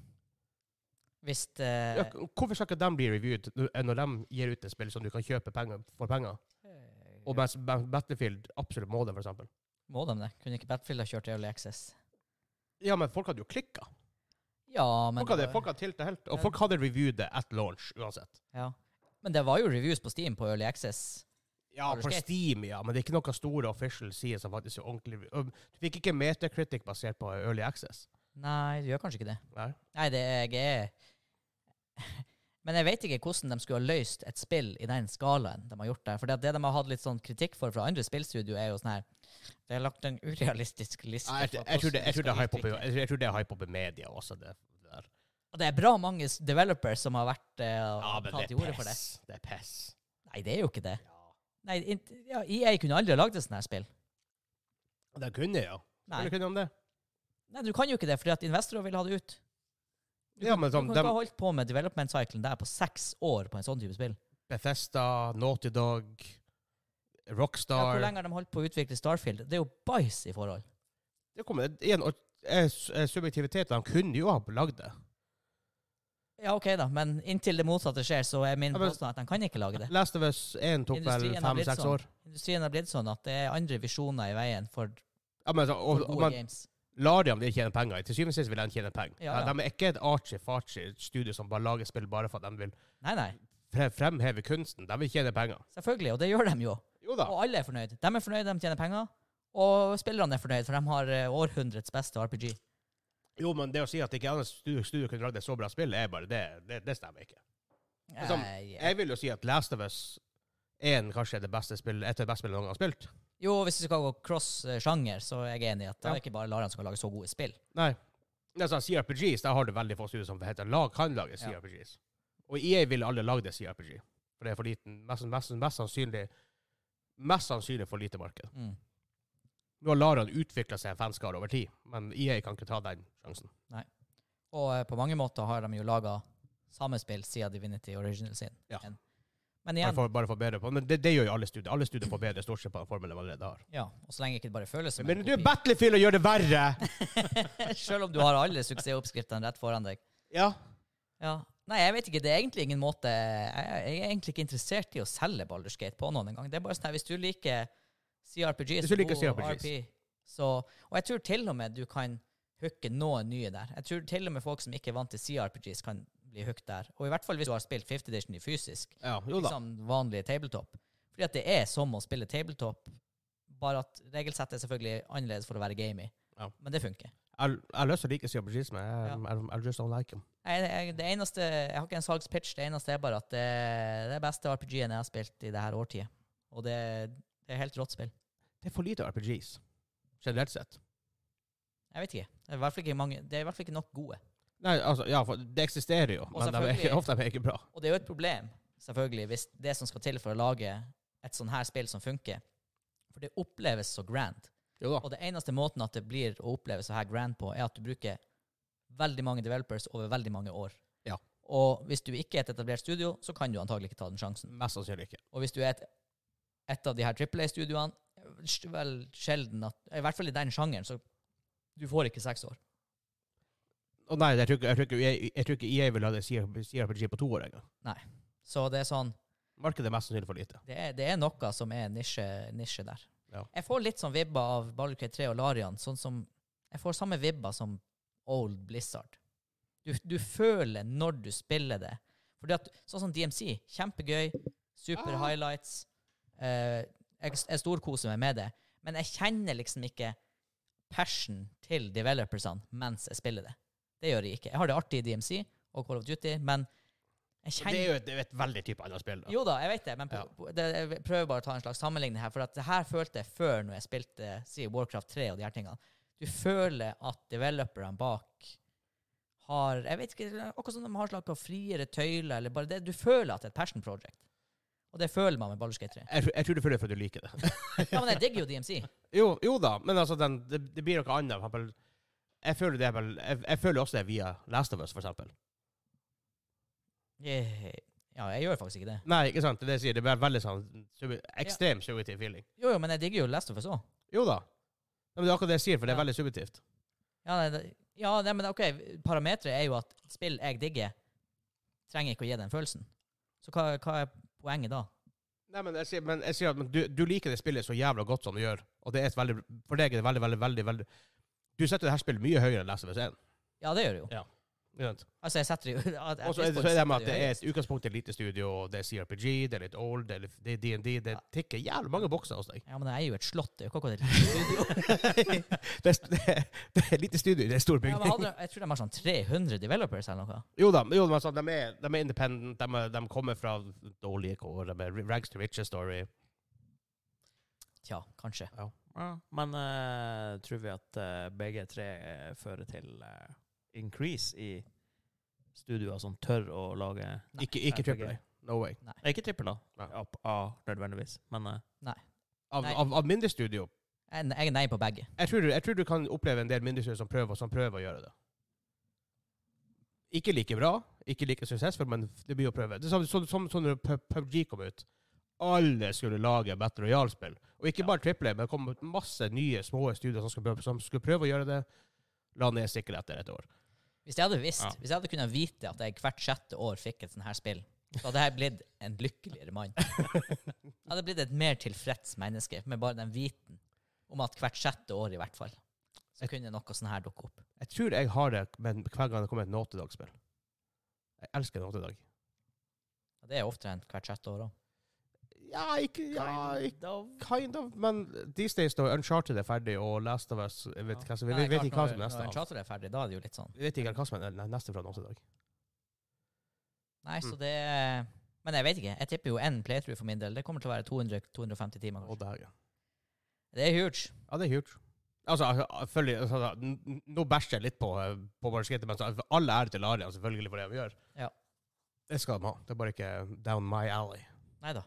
Speaker 3: Hvis eh,
Speaker 1: Ja, hvorfor skal ikke de bli reviewed nå- enn når de gir ut et spill som du kan kjøpe penger, for penger? Og mens Ba- Battlefield absolutt må det, for eksempel.
Speaker 3: Eh, Må de det? Kunne ikke Battlefield ha kjørt Early Access?
Speaker 1: Ja, men folk hadde jo klikka.
Speaker 3: Ja, men
Speaker 1: Folk hadde,
Speaker 3: det var-
Speaker 1: folk hadde tiltet helt. Og folk hadde reviewed det at launch, uansett.
Speaker 3: Ja. Men det var jo reviews på Steam på Early Access.
Speaker 1: Ja,
Speaker 3: Har du
Speaker 1: på
Speaker 3: skate?
Speaker 1: Steam, ja, men det er ikke noen store official sider som faktisk er ordentlig Um, Du fikk ikke Metacritic basert på Early Access.
Speaker 3: Nei, det gjør kanskje ikke det.
Speaker 1: Nei.
Speaker 3: Nei, det er jeg er Men jeg vet ikke hvordan de skulle ha løst et spill i den skalaen de har gjort der. For det de har hatt litt sånn kritikk for fra andre spillstudio, er jo sånn her Det er lagt en urealistisk liste.
Speaker 1: Nei, jeg,
Speaker 3: for
Speaker 1: jeg, jeg, tror det,
Speaker 3: hvordan vi
Speaker 1: jeg tror det er hype
Speaker 3: skal
Speaker 1: opp i-
Speaker 3: utvikle.
Speaker 1: jeg tror- jeg tror det er hype opp i media også. Det, det der.
Speaker 3: Og det er bra mange s- developers som har vært eh, og
Speaker 1: Ja, men
Speaker 3: tatt
Speaker 1: det
Speaker 3: til orde
Speaker 1: er
Speaker 3: for det.
Speaker 1: pess. Det er pess.
Speaker 3: Nei, det er jo ikke det.
Speaker 1: Ja.
Speaker 3: Nei, int- ja, EA kunne aldri ha lagd et sånt her spill.
Speaker 1: Det kunne jeg, ja.
Speaker 3: Nei.
Speaker 1: Skulle kunne de det?
Speaker 3: Nei, du kan jo ikke det, fordi at investorer vil ha det ut.
Speaker 1: Ja, men
Speaker 3: Du
Speaker 1: sånn,
Speaker 3: kan ikke
Speaker 1: dem-
Speaker 3: ha holdt på med development cyclen der på seks år på en sånn type spill.
Speaker 1: Bethesda, Naughty Dog,
Speaker 3: Ja, hvor
Speaker 1: Rockstar
Speaker 3: lenge har de holdt på å utvikle Starfield? Det er jo bæsj i forhold.
Speaker 1: Det kommer igjen og- eh, s- eh, subjektivitet. De kunne jo ha lagd det.
Speaker 3: Ja, OK, da, men inntil det motsatte skjer, så er min
Speaker 1: Ja, men-
Speaker 3: påstand at de kan ikke lage det.
Speaker 1: Last of Us 1 tok vel
Speaker 3: Industrien har blitt
Speaker 1: fem-seks
Speaker 3: sånn.
Speaker 1: år.
Speaker 3: Industrien har blitt sånn at det er andre visjoner i veien for,
Speaker 1: Ja, men, så, og,
Speaker 3: for
Speaker 1: og
Speaker 3: gode
Speaker 1: man
Speaker 3: games.
Speaker 1: lar dem de tjene penger. Til syvende og sist vil de tjene penger.
Speaker 3: Ja, ja.
Speaker 1: De er ikke et archie-farchie-studio som bare lager spill bare for at de vil
Speaker 3: Nei, nei.
Speaker 1: fre fremheve kunsten. De vil tjene penger.
Speaker 3: Selvfølgelig, og det gjør de jo.
Speaker 1: Jo da.
Speaker 3: Og alle er fornøyd. De er fornøyd, de tjener penger. Og spillerne er fornøyd, for de har eh, århundrets beste RPG.
Speaker 1: Jo, men det å si at ikke annet studio, studio kunne lagd et så bra spill, er bare det, det, det stemmer ikke. Som-
Speaker 3: Nei, ja.
Speaker 1: sånn, Jeg vil jo si at Last of Us 1 kanskje er det beste spill, et av de beste spillene noen gang har spilt.
Speaker 3: Jo, hvis du skal gå cross-sjanger, så er jeg enig i at det
Speaker 1: Ja.
Speaker 3: er ikke bare Laran som kan lage så gode spill.
Speaker 1: Nei. Det er sånn CRPGs, der har du veldig få studier som heter lag kan lage
Speaker 3: Ja.
Speaker 1: CRPGs. Og EA ville aldri lagd et CRPG. For det er for liten, mest, mest, mest sannsynlig Mest sannsynlig for lite marked.
Speaker 3: Mm.
Speaker 1: Nå har Laran utvikla seg en fanskare over tid, men EA kan ikke ta den sjansen.
Speaker 3: Og eh, på mange måter har de jo laga samme spill siden Divinity Original sin.
Speaker 1: Ja.
Speaker 3: Men- Men
Speaker 1: Bare
Speaker 3: igjen,
Speaker 1: for, bare for bedre på. Men det, det gjør jo alle studier. Alle studier får bedre stort sett på den formelen de allerede har.
Speaker 3: ja, og så lenge ikke det bare føles som
Speaker 1: Men
Speaker 3: en
Speaker 1: du er
Speaker 3: kopi.
Speaker 1: Battlefield og gjør det verre!
Speaker 3: Selv om du har alle suksessoppskriftene rett foran deg.
Speaker 1: Ja.
Speaker 3: Ja. Nei, jeg vet ikke. Det er egentlig ingen måte Jeg jeg er egentlig ikke interessert i å selge Baldur's Gate på noen engang. Det er bare sånn her, hvis du liker CRPGs
Speaker 1: Hvis du liker
Speaker 3: og
Speaker 1: CRPGs.
Speaker 3: RP, så Og jeg tror til og med du kan hooke noen nye der. Jeg tror til og med folk som ikke er vant til CRPGs, kan bli hooked der. Og i hvert fall hvis du har spilt 50 Edition i fysisk.
Speaker 1: ja. Jo da.
Speaker 3: Liksom vanlig tabletop. Fordi at det er som å spille tabletop, bare at regelsettet er selvfølgelig annerledes for å være gamey.
Speaker 1: Ja.
Speaker 3: Men det funker.
Speaker 1: Jeg jeg har lyst til å like CRPGs, men jeg, I, I just don't like them.
Speaker 3: Nei, det, jeg, det eneste, jeg har ikke en salgspitch. Det eneste er bare at det det er det beste RPG-en jeg har spilt i det her årtiet. Og det, det er helt rått spill.
Speaker 1: Det er for lite RPGs, generelt sett.
Speaker 3: Jeg vet ikke. Det er i hvert fall ikke, mange, det er i hvert fall ikke nok gode.
Speaker 1: Nei, altså, ja, for det eksisterer jo, men de er
Speaker 3: selvfølgelig-
Speaker 1: ikke, ofte er de ikke bra.
Speaker 3: Og det er jo et problem, selvfølgelig, hvis det som skal til for å lage et sånn her spill som funker For det oppleves så grand.
Speaker 1: Jo da.
Speaker 3: Og det eneste måten at det blir å oppleve så her grand på, er at du bruker veldig mange developers over veldig mange år.
Speaker 1: Ja.
Speaker 3: Og hvis du ikke er et etablert studio, så kan du antagelig ikke ta den sjansen.
Speaker 1: Mest sannsynlig ikke.
Speaker 3: Og hvis du er et, et av de her AAA-studioene, vel sjelden at I hvert fall i den sjangeren, så du får ikke seks år.
Speaker 1: Og nei, jeg tror ikke, jeg tror ikke, jeg, jeg tror ikke EA vil ha det CRPG på to år engang.
Speaker 3: Så det er sånn
Speaker 1: Markedet er mest sannsynlig for lite.
Speaker 3: Det er, det er noe som er nisje, nisje der.
Speaker 1: Ja.
Speaker 3: Jeg får litt sånn vibba av Ballucray 3 og Larian. Sånn som Jeg får samme vibba som Old Blizzard. Du, du føler når du spiller det. Fordi at, sånn som DMC. Kjempegøy. Super
Speaker 1: Ah.
Speaker 3: highlights. Eh, jeg, jeg storkoser meg med det. Men jeg kjenner liksom ikke passion til developersene mens jeg spiller det. Det gjør jeg ikke. Jeg har det artig i DMC og Call of Duty, men jeg
Speaker 1: Det
Speaker 3: kjenner
Speaker 1: er jo et, det er jo et veldig type annet spill. da.
Speaker 3: jo da, jeg vet det, men på,
Speaker 1: Ja.
Speaker 3: på, det, jeg prøver bare å ta en slags sammenligning her. For at det her følte jeg før når jeg spilte si, Warcraft 3 og de her tingene. Du føler at developerne bak har Jeg vet ikke, akkurat som de har slags av friere tøyler, eller bare det. Du føler at det er et passion project. Og det føler man med Baldur's Gate 3.
Speaker 1: Jeg, tror- jeg tror du føler for at du liker det.
Speaker 3: Ja, men jeg digger jo DMC.
Speaker 1: Jo, jo da, men altså, den, det, det blir noe annet. For eksempel, jeg føler, det er vel, jeg, jeg føler også det via Last of Us, for eksempel.
Speaker 3: Yeah. Eh, Ja, jeg gjør faktisk ikke det.
Speaker 1: Nei, ikke sant? Det er Det jeg sier, det er veldig sånn sub- ekstrem subjektiv feeling.
Speaker 3: Jo, jo, men jeg digger jo Last of Us òg.
Speaker 1: Jo da. Ja, Men det er akkurat det jeg sier, for det er
Speaker 3: Ja.
Speaker 1: veldig subjektivt.
Speaker 3: Ja, nei, det- ja nei, men OK, parameteret er jo at spill jeg digger, trenger ikke å gi den følelsen. Så hva, hva er poenget da?
Speaker 1: Nei, men jeg sier, men jeg sier at men du, du liker det spillet så jævla godt som du gjør. Og det er et veldig, for deg er det veldig, veldig, veldig, veldig Du setter det her spillet mye høyere enn Last of Us 1.
Speaker 3: Ja, det gjør det jo.
Speaker 1: Ikke sant?
Speaker 3: Altså, jeg setter det jo at- at
Speaker 1: Og så er det, så er det med at det er
Speaker 3: høyest.
Speaker 1: et utgangspunkt i et lite studio, og det er CRPG, det er litt old, det er litt- det er D&D Det
Speaker 3: Ja.
Speaker 1: tikker jævlig mange bokser hos deg.
Speaker 3: Ja, men det er jo et slott. Det er jo ikke akkurat et studio.
Speaker 1: det, er, det, er, det er et lite studio, det er en stor
Speaker 3: Ja, men
Speaker 1: bygning.
Speaker 3: hadde, jeg tror de har sånn 300 developers eller noe.
Speaker 1: Jo da, jo, men altså, de, er, de er independent, de, er, de kommer fra dårlige kår, de er rags to riches story.
Speaker 3: Tja, kanskje.
Speaker 2: Men eh, tror vi at eh, begge tre eh, fører til eh, increase i studioer som tør å lage
Speaker 3: Nei.
Speaker 1: Ikke, ikke
Speaker 2: RPG.
Speaker 1: triple A. No way.
Speaker 2: Nei, ikke trippel, da.
Speaker 1: Nei.
Speaker 2: Ja, på A, nødvendigvis. Men eh,
Speaker 1: Av,
Speaker 3: Nei.
Speaker 1: av, av mindre studio.
Speaker 3: Jeg jeg er nei på begge.
Speaker 1: Jeg tror, du- jeg tror du kan oppleve en del mindre studio som prøver, som prøver å gjøre det. Ikke like bra, ikke like suksessfull, men det blir å prøve. Det er som, som, som, som når Pub- PubG kom ut. Alle skulle lage Battle Royale-spill. Og ikke
Speaker 2: Ja.
Speaker 1: bare triple A, men det kom ut masse nye, små studier som skulle, prøve- som skulle prøve å gjøre det. La ned sikkert etter et år.
Speaker 3: Hvis jeg hadde visst,
Speaker 2: Ja.
Speaker 3: hvis jeg hadde kunnet vite at jeg hvert sjette år fikk et sånt her spill, så hadde jeg blitt en lykkeligere mann. Jeg hadde blitt et mer tilfreds menneske med bare den viten om at hvert sjette år i hvert fall, så kunne noe sånt her dukke opp.
Speaker 1: Jeg tror jeg har det men hver gang det kommer et Nåtedag-spill. Jeg elsker Nåtedag.
Speaker 3: Og det er oftere enn hvert sjette år òg.
Speaker 1: Ja, ikke ja,
Speaker 2: kind
Speaker 1: ikke-
Speaker 2: of.
Speaker 1: Kind of, men these days når Uncharted er ferdig, og Last of Us jeg vet,
Speaker 2: Ja.
Speaker 1: hva som, vi, vet- vet ikke hva som er
Speaker 3: Når
Speaker 1: neste. av-
Speaker 3: Uncharted er ferdig, da er det jo litt sånn.
Speaker 1: Vi vet ikke hva som er ne- neste fra Nåtedag.
Speaker 3: Nei,
Speaker 1: Mm.
Speaker 3: så det Men jeg vet ikke. Jeg tipper jo én playthrough for min del. Det kommer til å være 200-250 timer.
Speaker 1: Og
Speaker 3: kanskje.
Speaker 1: dagen.
Speaker 3: Det er huge.
Speaker 1: Ja, det er huge. Altså, altså, selvfølgelig, altså, da, n- n- nå bæsjer jeg litt på, eh, på Barskete, men så- alle ære til Arian selvfølgelig for det de gjør.
Speaker 3: Ja.
Speaker 1: Det skal de ha. Det er bare ikke down my alley.
Speaker 3: Nei da.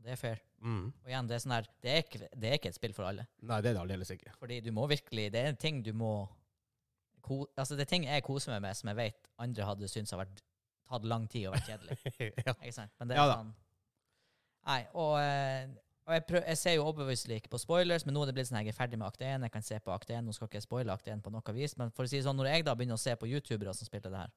Speaker 3: Det er fair.
Speaker 1: Mm.
Speaker 3: Og igjen, det er sånn her Det er ikke, det er ikke et spill for alle.
Speaker 1: Nei, det er det aldeles ikke.
Speaker 3: Fordi du må virkelig Det er en ting du må ko, Altså, det er ting jeg koser meg med, som jeg vet andre hadde syntes har vært tatt lang tid og vært kjedelig.
Speaker 1: ja.
Speaker 3: Ikke sant? Men det er
Speaker 1: Ja da.
Speaker 3: sånn Nei, og, eh, og jeg, prøv, jeg ser jo obviously ikke på spoilers, men nå er det blitt sånn at jeg er ferdig med akt 1. Jeg kan se på akt 1. Nå skal ikke jeg spoile akt 1 på noe vis, men for å si det sånn, når jeg da begynner å se på youtubere som spiller det her,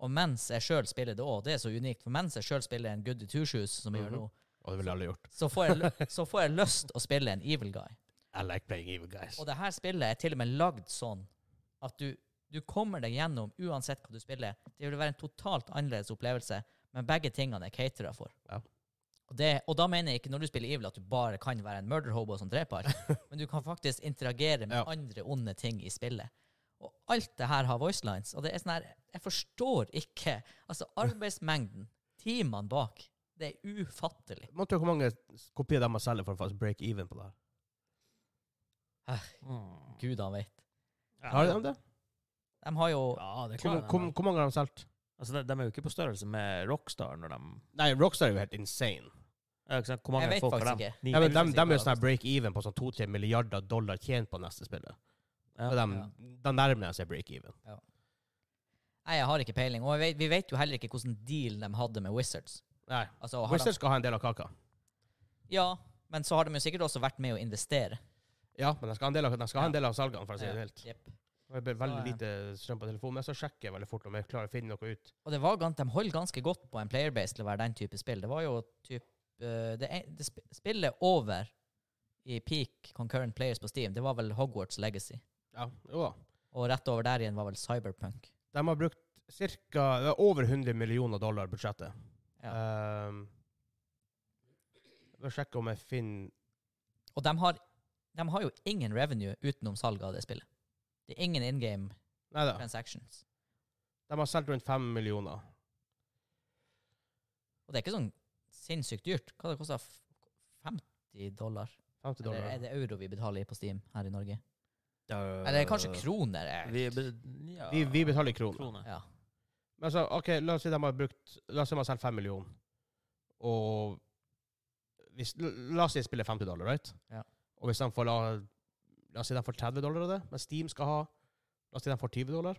Speaker 3: og mens jeg sjøl spiller det òg, det er så unikt, for mens jeg sjøl spiller en Goody Two Shoes, som jeg gjør
Speaker 1: Mhm.
Speaker 3: nå,
Speaker 1: Og det ville alle gjort.
Speaker 3: så får, jeg, lø- så får jeg lyst å spille en evil guy.
Speaker 1: I like playing evil guys.
Speaker 3: Og det her spillet er til og med lagd sånn at du, du kommer deg gjennom uansett hva du spiller. Det vil være en totalt annerledes opplevelse, men begge tingene er catera for.
Speaker 1: Ja.
Speaker 3: Og, det, og da mener jeg ikke når du spiller Evil at du bare kan være en murder hobo som dreper alle, men du kan faktisk interagere med
Speaker 1: Ja.
Speaker 3: andre onde ting i spillet. Og alt det her har voicelines, og det er sånn her Jeg forstår ikke. Altså, arbeidsmengden, timene bak, det er ufattelig.
Speaker 1: Man tror hvor mange kopier de må selge for å faktisk break even på det her.
Speaker 2: Mm.
Speaker 3: Gud han vet.
Speaker 1: Har de det?
Speaker 3: De har jo
Speaker 2: Ja, det
Speaker 1: Hvor,
Speaker 2: klarer
Speaker 1: hvor,
Speaker 2: de.
Speaker 1: hvor mange har de solgt?
Speaker 2: Altså, de, de er jo ikke på størrelse med Rockstar når de
Speaker 1: Nei, Rockstar er jo helt insane.
Speaker 2: Ja, ikke sant?
Speaker 3: Jeg
Speaker 2: Hvor mange
Speaker 3: vet
Speaker 2: folk har
Speaker 3: faktisk
Speaker 2: de?
Speaker 3: ikke.
Speaker 2: Ni-
Speaker 1: Ja, men de,
Speaker 3: tusen
Speaker 1: de er jo
Speaker 3: sikkert.
Speaker 1: sånn her break even på sånn 2-3 milliarder dollar tjent på neste spillet.
Speaker 2: Ja.
Speaker 1: Og de, de nærmer seg break even.
Speaker 3: Nei, jeg har ikke peiling. Og jeg vet, vi vet jo heller ikke hvordan deal de hadde med Wizards.
Speaker 1: Nei.
Speaker 3: Altså, har
Speaker 1: Wizards skal ha en del av kaka.
Speaker 3: De, ja, men så har de jo sikkert også vært med å investere. Eh,
Speaker 1: Ja, men de skal ha en del av, de skal ha en del av salgene, for å si
Speaker 3: Ja,
Speaker 1: det helt.
Speaker 3: jepp.
Speaker 1: Det blir veldig
Speaker 3: Så, eh,
Speaker 1: lite strøm på telefonen, men så sjekker jeg veldig fort om jeg klarer å finne noe ut.
Speaker 3: Og det var, gan- de holdt ganske godt på en playerbase til å være den type spill. Det var jo typ, eh, det, en- det sp- spillet over i peak concurrent players på Steam, det var vel Hogwarts Legacy.
Speaker 1: Ja, jo da.
Speaker 3: Og rett over der igjen var vel Cyberpunk.
Speaker 1: De har brukt cirka, det er over 100 millioner dollar i budsjettet.
Speaker 3: Ja.
Speaker 1: Um, jeg må sjekke om jeg finner
Speaker 3: Og de har, de har jo ingen revenue utenom salget av det spillet. Det er ingen in game
Speaker 1: Nei da.
Speaker 3: transactions.
Speaker 1: De har solgt rundt 5 millioner.
Speaker 3: Og det er ikke sånn sinnssykt dyrt. Hva det kosta 50 dollar?
Speaker 1: 50
Speaker 3: Eller er
Speaker 1: dollar.
Speaker 3: det euro vi betaler i på Steam her i Norge?
Speaker 2: Øh,
Speaker 3: Eller kanskje kroner? jeg-
Speaker 2: Vi, be- ja.
Speaker 1: Vi, vi betaler i kroner.
Speaker 2: kroner.
Speaker 3: Ja.
Speaker 1: Men så, ok, la oss si de har brukt La oss si de har solgt 5 millioner, og hvis, La oss si de spiller 50 dollar, right?
Speaker 3: Ja.
Speaker 1: Og hvis de får la, la oss si de får 30 dollar av det, men Steam skal ha La oss si de får 20 dollar,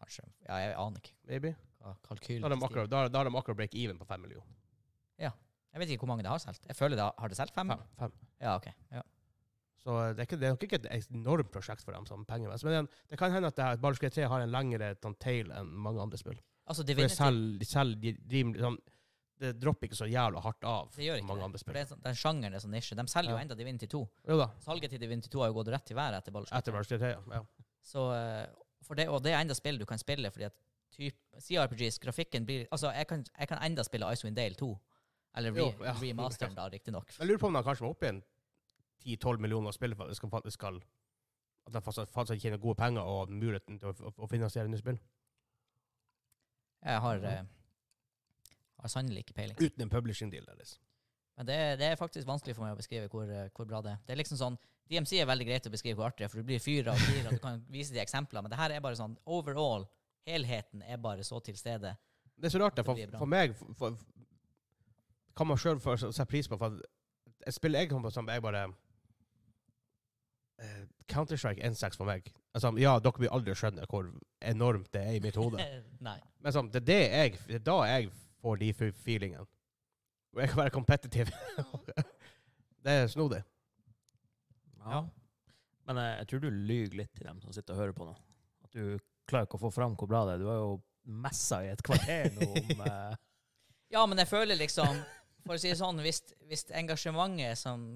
Speaker 3: Kanskje. Ja, jeg aner ikke.
Speaker 1: maybe.
Speaker 3: hva Kalkyl.
Speaker 1: Da har de
Speaker 3: til Steam.
Speaker 1: akkurat, da, da har de akkurat break even på 5 millioner.
Speaker 3: Jeg vet ikke hvor mange det har solgt. Jeg føler det har- Har det solgt fem?
Speaker 1: Fem, fem.
Speaker 3: Ja, OK. Ja.
Speaker 1: Så eh, det er, ikke, det er nok ikke et enormt prosjekt for dem som pengemessig. Men igjen, det kan hende at det her Baldur's Gate 3 har en lengre sånn, tail enn mange andre spill.
Speaker 3: Altså
Speaker 1: For det
Speaker 3: Divinity.
Speaker 1: selv, selv de, rimelig sånn, det dropper ikke så jævla hardt av
Speaker 3: Det gjør ikke
Speaker 1: mange
Speaker 3: det.
Speaker 1: andre
Speaker 3: For
Speaker 1: spill.
Speaker 3: det er sånn, den sjangeren er sånn nisje. De selger
Speaker 1: Ja.
Speaker 3: jo enda Divinity 2.
Speaker 1: Jo da.
Speaker 3: Salget til Divinity 2 har jo gått rett til været etter Baldur's
Speaker 1: Etter
Speaker 3: Gate.
Speaker 1: Baldur's Gate 3, ja. ja.
Speaker 3: Så, eh, for det, og det er enda spill du kan spille, fordi at typ, CRPGs, grafikken blir Altså, jeg kan, jeg kan enda spille Icewind Dale 2. Eller re,
Speaker 1: Jo, ja.
Speaker 3: remasteren, da, riktignok.
Speaker 1: Jeg lurer på om de kanskje må opp igjen 10-12 millioner spill for at det skal, faktisk skal At de faktisk faktisk tjener gode penger og muligheten til å, å, å finansiere nye spill.
Speaker 3: Jeg har, eh, har sannelig ikke peiling.
Speaker 1: Uten en publishing deal deres.
Speaker 3: Men det, det er faktisk vanskelig for meg å beskrive hvor, eh, hvor bra det er. Det er liksom sånn, DMC er veldig greit å beskrive hvor artig det er, for du blir fyra og fyra, og du kan vise de eksempler, men det her er bare sånn overall. Helheten er bare så til stede.
Speaker 1: Det er så rart, det,
Speaker 3: Det
Speaker 1: for,
Speaker 3: blir bra.
Speaker 1: for meg for, for, kan man sjøl sette pris på. For at et spill jeg kommer på som jeg bare eh, Counter-Strike 1.6 for meg. Altså, ja, dere vil aldri skjønne hvor enormt det er i mitt hode.
Speaker 3: Nei.
Speaker 1: Men sånn, det er det jeg Det er da jeg får de fe- feelingene. Og jeg kan være kompetitiv. det er snodig.
Speaker 2: Ja. Men eh, jeg tror du lyver litt til dem som sitter og hører på nå. At du klarer ikke å få fram hvor bra det er. Du har jo messa i et kvarter nå om eh,
Speaker 3: Ja, men jeg føler liksom, for å si det sånn, hvis, hvis engasjementet som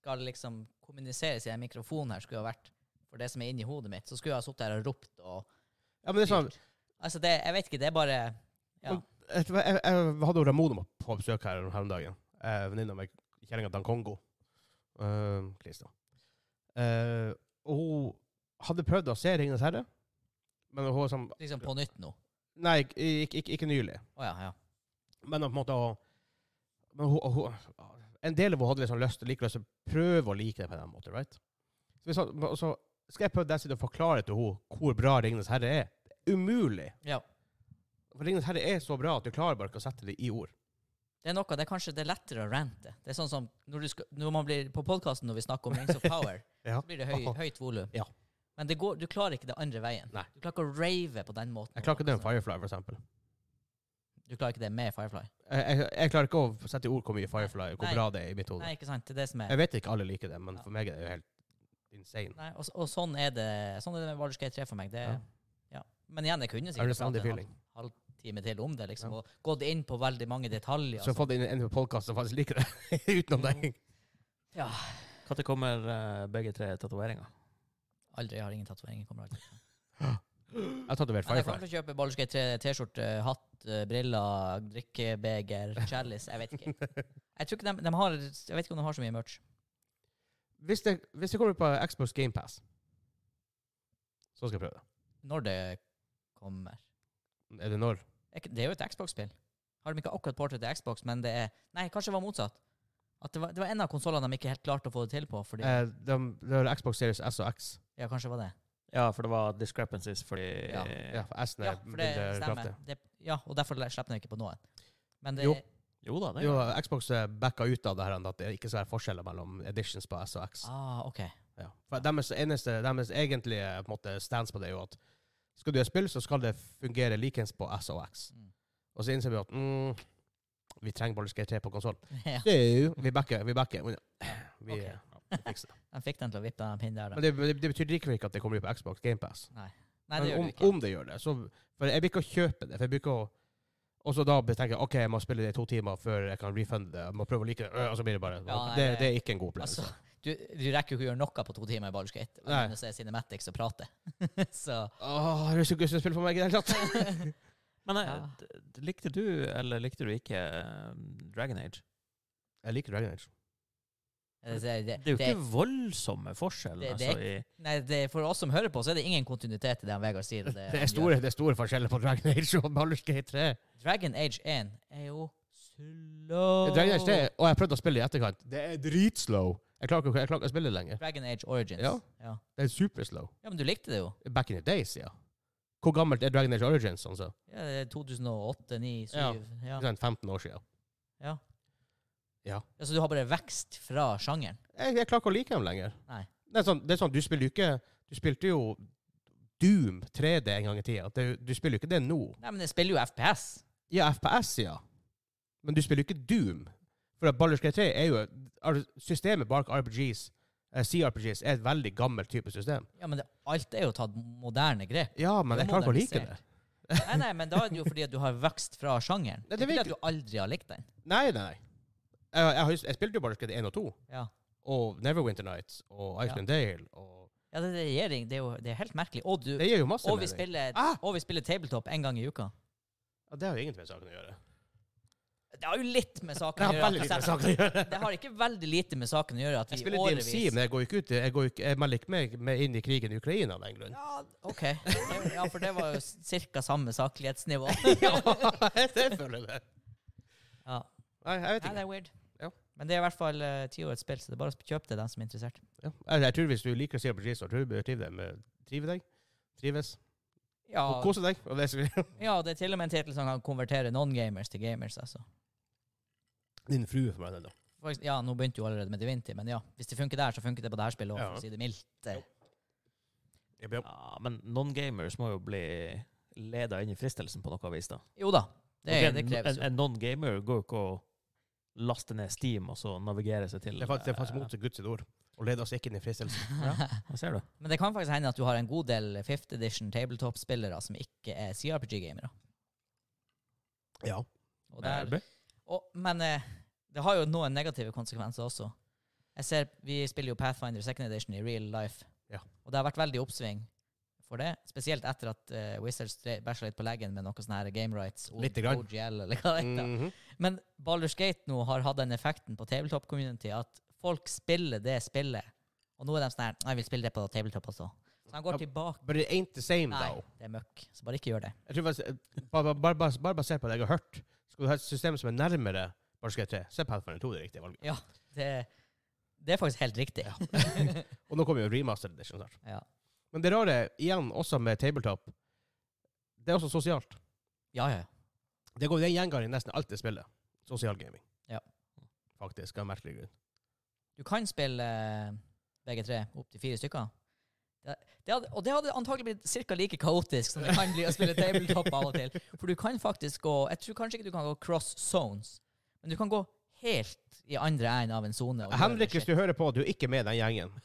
Speaker 3: skal liksom kommuniseres i den mikrofonen her, skulle ha vært for det som er inni hodet mitt, så skulle jeg ha sittet her og ropt og
Speaker 1: Ja, men det er sånn,
Speaker 3: Altså, det, jeg vet ikke, det er bare Ja.
Speaker 1: Men- jeg, jeg, jeg hadde jo Ramona på besøk her her om dagen. Eh, Venninna mi, kjerringa Dan Kongo. Eh, Kristian. Eh, og hun hadde prøvd å se 'Ringenes herre', men hun var sånn
Speaker 3: Liksom på nytt nå.
Speaker 1: Nei, ikke, ikke, ikke, ikke nylig.
Speaker 3: Å ja, ja.
Speaker 1: Men på en måte å men hun, hun, En del av henne hadde liksom lyst, like lyst til å prøve å like det på den måten, right? Så, vi sa, og så skal jeg prøve dessen å forklare til henne hvor bra 'Ringenes herre' er. Det er umulig.
Speaker 3: ja.
Speaker 1: For 'Ringenes herre' er så bra at du klarer bare ikke å sette det i ord.
Speaker 3: Det er noe, det er kanskje det er lettere å rante. Det er sånn som når, du skal, når man blir på podkasten når vi snakker om Rings of Power,
Speaker 1: Ja.
Speaker 3: så blir det høy, høyt volum.
Speaker 1: Ja.
Speaker 3: Men det går, du klarer ikke det andre veien.
Speaker 1: Nei.
Speaker 3: Du klarer ikke å rave på den måten.
Speaker 1: Jeg klarer ikke det med Firefly, for eksempel.
Speaker 3: Du klarer ikke det med Firefly.
Speaker 1: Jeg, jeg, jeg klarer ikke å sette i ord hvor mye Firefly hvor
Speaker 3: Nei.
Speaker 1: bra det er i mitt hode.
Speaker 3: Nei, ikke sant? Det er det som er.
Speaker 1: Jeg vet ikke alle liker det, men
Speaker 3: Ja.
Speaker 1: for meg er det jo helt insane.
Speaker 3: Nei, og, og sånn er det Sånn er det med Baldur's Gate 3 for meg. Det,
Speaker 1: Ja.
Speaker 3: ja. Men igjen, jeg kunne
Speaker 1: I
Speaker 3: sikkert
Speaker 1: understand the
Speaker 3: pratet en
Speaker 1: feeling.
Speaker 3: halvtime til om det, liksom,
Speaker 1: Ja.
Speaker 3: og gått inn på veldig mange detaljer.
Speaker 1: Så jeg har
Speaker 3: sånn.
Speaker 1: fått inn en podkast som faktisk liker det, utenom deg.
Speaker 3: Ja.
Speaker 2: Når kommer eh, begge tre tatoveringer?
Speaker 3: Aldri, jeg har ingen tatoveringer. kommer aldri.
Speaker 1: Jeg har tatovert
Speaker 3: Men jeg
Speaker 1: Firefly.
Speaker 3: kommer til å kjøpe Baldur's Gate 3 T-skjorte, hatt, eh, briller, drikkebeger, chalice. Jeg vet ikke. Jeg tror ikke de, de har Jeg vet ikke om de har så mye merch.
Speaker 1: Hvis det, hvis det kommer på Xbox Game Pass, så skal jeg prøve det.
Speaker 3: Når det kommer.
Speaker 1: Er det når?
Speaker 3: Er ikke- Det er jo et Xbox-spill. Har de ikke akkurat portet til Xbox, men det er Nei, kanskje det var motsatt. At det var, det var en av konsollene de ikke helt klarte å få det til på. Fordi,
Speaker 1: Eh, de, det er Xbox Series S og X.
Speaker 3: ja, kanskje det var det.
Speaker 2: Ja, for det var discrepancies fordi
Speaker 3: Ja.
Speaker 1: Ja, for S-en
Speaker 3: Ja,
Speaker 1: er
Speaker 3: for det
Speaker 1: mindre
Speaker 3: stemmer.
Speaker 1: kraftig.
Speaker 3: Det, ja, og derfor le- slipper den ikke på noen. Men det,
Speaker 1: Jo.
Speaker 2: Jo da, det
Speaker 1: Jo, Xbox eh, backa ut av det her at det ikke skal være forskjeller mellom editions på S og X.
Speaker 3: Ah, OK.
Speaker 1: Ja. For deres eneste, deres egentlige på en måte, stance på det er jo at skal du gjøre spill, så skal det fungere likens på S og X.
Speaker 3: Mm.
Speaker 1: Og så innser vi at mm, vi trenger Baldur's Gate 3 på konsoll.
Speaker 3: Ja,
Speaker 1: Vi backer. Vi backer. Men, vi,
Speaker 3: Ok.
Speaker 1: ja, vi fikser det.
Speaker 3: den fikk den til å vippe den pinnen der.
Speaker 1: Men
Speaker 3: Da.
Speaker 1: det, det, det betyr likevel ikke at det kommer ut på Xbox GamePass.
Speaker 3: Nei, det gjør
Speaker 1: om,
Speaker 3: du ikke.
Speaker 1: om det gjør det, så For jeg blir ikke å kjøpe det. For jeg blir ikke å Og så da tenker jeg OK, jeg må spille det i to timer før jeg kan refunde det. Jeg må prøve å like det. Øh, Og så blir det bare
Speaker 3: Ja, nei,
Speaker 1: det,
Speaker 3: det-
Speaker 1: det er ikke en god opplevelse.
Speaker 3: Altså, du, du rekker jo ikke å gjøre noe på to timer i Baldur's Gate.
Speaker 1: Nei.
Speaker 3: Men å se Cinematics og prate. så
Speaker 1: Åh, det er så gøy å spille for meg i det hele tatt.
Speaker 2: Men eh,
Speaker 3: Ja.
Speaker 2: d- d- likte du, eller likte du ikke eh, Dragon Age?
Speaker 1: Jeg liker Dragon Age.
Speaker 3: det, det, det,
Speaker 2: Det er jo
Speaker 3: det,
Speaker 2: ikke voldsomme forskjeller.
Speaker 3: det- det er
Speaker 2: altså, i,
Speaker 3: nei, det, for oss som hører på, så er det ingen kontinuitet i det han Vegard sier. og
Speaker 1: Det
Speaker 3: han
Speaker 1: er, store, det er store forskjeller på Dragon Age og Baldur's Gate 3.
Speaker 3: gjør. Dragon Age 1 er jo slow.
Speaker 1: Dragon Age 3 og jeg prøvde å spille det i etterkant. Det er dritslow. Jeg klarer ikke jeg klarer ikke å spille det lenger.
Speaker 3: Dragon Age Origins.
Speaker 1: Ja.
Speaker 3: Ja.
Speaker 1: Det er superslow.
Speaker 3: ja, men du likte det jo.
Speaker 1: Back in the days, ja. Hvor gammelt er Dragon Age Origins? Altså?
Speaker 3: Ja, det er 2008, 2009, 2007 ja.
Speaker 1: Ikke sant, 15 år siden.
Speaker 3: Ja.
Speaker 1: Ja.
Speaker 3: Altså, du har bare vekst fra sjangeren.
Speaker 1: Jeg, jeg klarer ikke å like dem lenger.
Speaker 3: Nei.
Speaker 1: Det er sånn, det er sånn du spiller jo ikke Du spilte jo Doom 3D en gang i tida. Det, er jo- du spiller jo ikke det nå.
Speaker 3: Nei, men jeg spiller jo FPS.
Speaker 1: Ja, FPS, ja. Men du spiller jo ikke Doom. For at Baldur's Gate 3 er jo ar- Systemet bak RPGs, eh, CRPGs, er et veldig gammelt type system.
Speaker 3: Ja, men det, alt er jo tatt moderne grep.
Speaker 1: Ja, men
Speaker 3: Det er
Speaker 1: jeg klarer ikke å like det.
Speaker 3: modernisert. Nei, nei, men da er det jo fordi at du har vokst fra sjangeren.
Speaker 1: Nei,
Speaker 3: Det
Speaker 1: det
Speaker 3: er ikke
Speaker 1: vet
Speaker 3: det at du aldri har likt den.
Speaker 1: Nei, nei, nei. Jeg, jeg, har jo- jeg spilte jo Baldur's Gate 1 og 2,
Speaker 3: Ja.
Speaker 1: og Neverwinter Nights, og Iceland Dale, og
Speaker 3: Ja, det, det, gir ing- det er jo det er helt merkelig. Og, du,
Speaker 1: Det gir jo masse
Speaker 3: og, vi
Speaker 1: mening.
Speaker 3: spiller,
Speaker 1: Ah!
Speaker 3: og vi spiller tabletop én gang i uka.
Speaker 1: Ja, det har jo ingenting med saken å gjøre.
Speaker 3: Det har jo litt med
Speaker 1: Det
Speaker 3: saken å
Speaker 1: har
Speaker 3: gjøre. at
Speaker 1: veldig
Speaker 3: vi
Speaker 1: lite med
Speaker 3: setter-
Speaker 1: saken å gjøre.
Speaker 3: Det har ikke veldig lite med saken å gjøre at vi
Speaker 1: Jeg
Speaker 3: i
Speaker 1: spiller
Speaker 3: årevis
Speaker 1: DMC, men jeg går jo ikke ut Jeg, går jo ikke, jeg melder ikke meg med inn i krigen i Ukraina av den grunn.
Speaker 3: Ja, OK. Det- Ja, for det var jo ca. samme saklighetsnivå.
Speaker 1: Ja, jeg føler det.
Speaker 3: Ja.
Speaker 1: Nei, jeg vet
Speaker 3: Nei,
Speaker 1: ikke.
Speaker 3: det er weird.
Speaker 1: Ja.
Speaker 3: Men det er i hvert fall eh, ti år et spill, så det er bare å kjøpe det, den som er interessert.
Speaker 1: Ja. Jeg, jeg tror hvis du liker CRPG, så tror jeg trive deg med Trive deg. Trives.
Speaker 3: Ja,
Speaker 1: Og kose deg. Og det som
Speaker 3: ja, det er til og med en tittel som kan konvertere non-gamers til gamers, altså.
Speaker 1: Din frue for meg, den, da.
Speaker 3: For eks- Ja, nå begynte jo allerede med Divinity, men ja. Hvis det funker der, så funker det på det her spillet òg, for
Speaker 1: Ja.
Speaker 3: å si det mildt. Eh,
Speaker 1: Jeg blir-
Speaker 2: Ja, men non-gamers må jo bli leda inn i fristelsen på noe vis, da.
Speaker 3: Jo da, det,
Speaker 2: Ok,
Speaker 3: det kreves
Speaker 2: En,
Speaker 3: jo.
Speaker 2: en non-gamer går jo ikke å laste ned Steam og så navigere seg til
Speaker 1: Det er faktisk, det er faktisk
Speaker 2: eh,
Speaker 1: mot Guds sitt ord. Og leder oss ikke inn i fristelsen.
Speaker 2: Hva ser du?
Speaker 3: Men det kan faktisk hende at du har en god del fifth edition tabletop-spillere som ikke er CRPG-gamere.
Speaker 1: Ja.
Speaker 3: Og der Og, men eh, det har jo noen negative konsekvenser også. Jeg ser, Vi spiller jo Pathfinder 2nd edition i real life,
Speaker 1: Ja.
Speaker 3: og det har vært veldig oppsving for det. Spesielt etter at eh, Wizards dre- bæsja litt på leggen med noe sånn her game rights, O-
Speaker 1: Lite grann.
Speaker 3: OGL eller hva det heter.
Speaker 1: Mhm.
Speaker 3: Men Baldur's Gate nå har hatt den effekten på tabletop community at folk spiller det spillet, og nå er de sånn her Nei, vi spiller det på tabletop også. Så han
Speaker 1: Ja,
Speaker 3: går tilbake.
Speaker 1: But it ain't the same,
Speaker 3: Nei,
Speaker 1: though.
Speaker 3: det er møkk. Så bare ikke gjør det.
Speaker 1: Jeg tror faktisk, eh, bare, bare, bare, bare basert på det jeg har hørt, skal du ha et system som er nærmere Barskei 3, så er Pathfinder 2 det riktige valget.
Speaker 3: Det, det er faktisk helt riktig.
Speaker 1: Og nå kommer jo remaster edition snart.
Speaker 3: Ja.
Speaker 1: Men det rare, igjen, også med tabletop, det er også sosialt.
Speaker 3: ja, ja.
Speaker 1: Det går den gjengangen i nesten alt det spillet. Sosial gaming.
Speaker 3: Ja.
Speaker 1: Faktisk, av merkelig grunn.
Speaker 3: Du kan spille eh, begge tre opp til fire stykker. Det, det hadde, og det hadde antagelig blitt cirka like kaotisk som det kan bli å spille tabletop av og til. For du kan faktisk gå Jeg tror kanskje ikke du kan gå cross zones, men du kan gå helt i andre enden av en sone. og gjøre
Speaker 1: Henrik,
Speaker 3: shit.
Speaker 1: hvis du hører på, du er ikke med i den gjengen.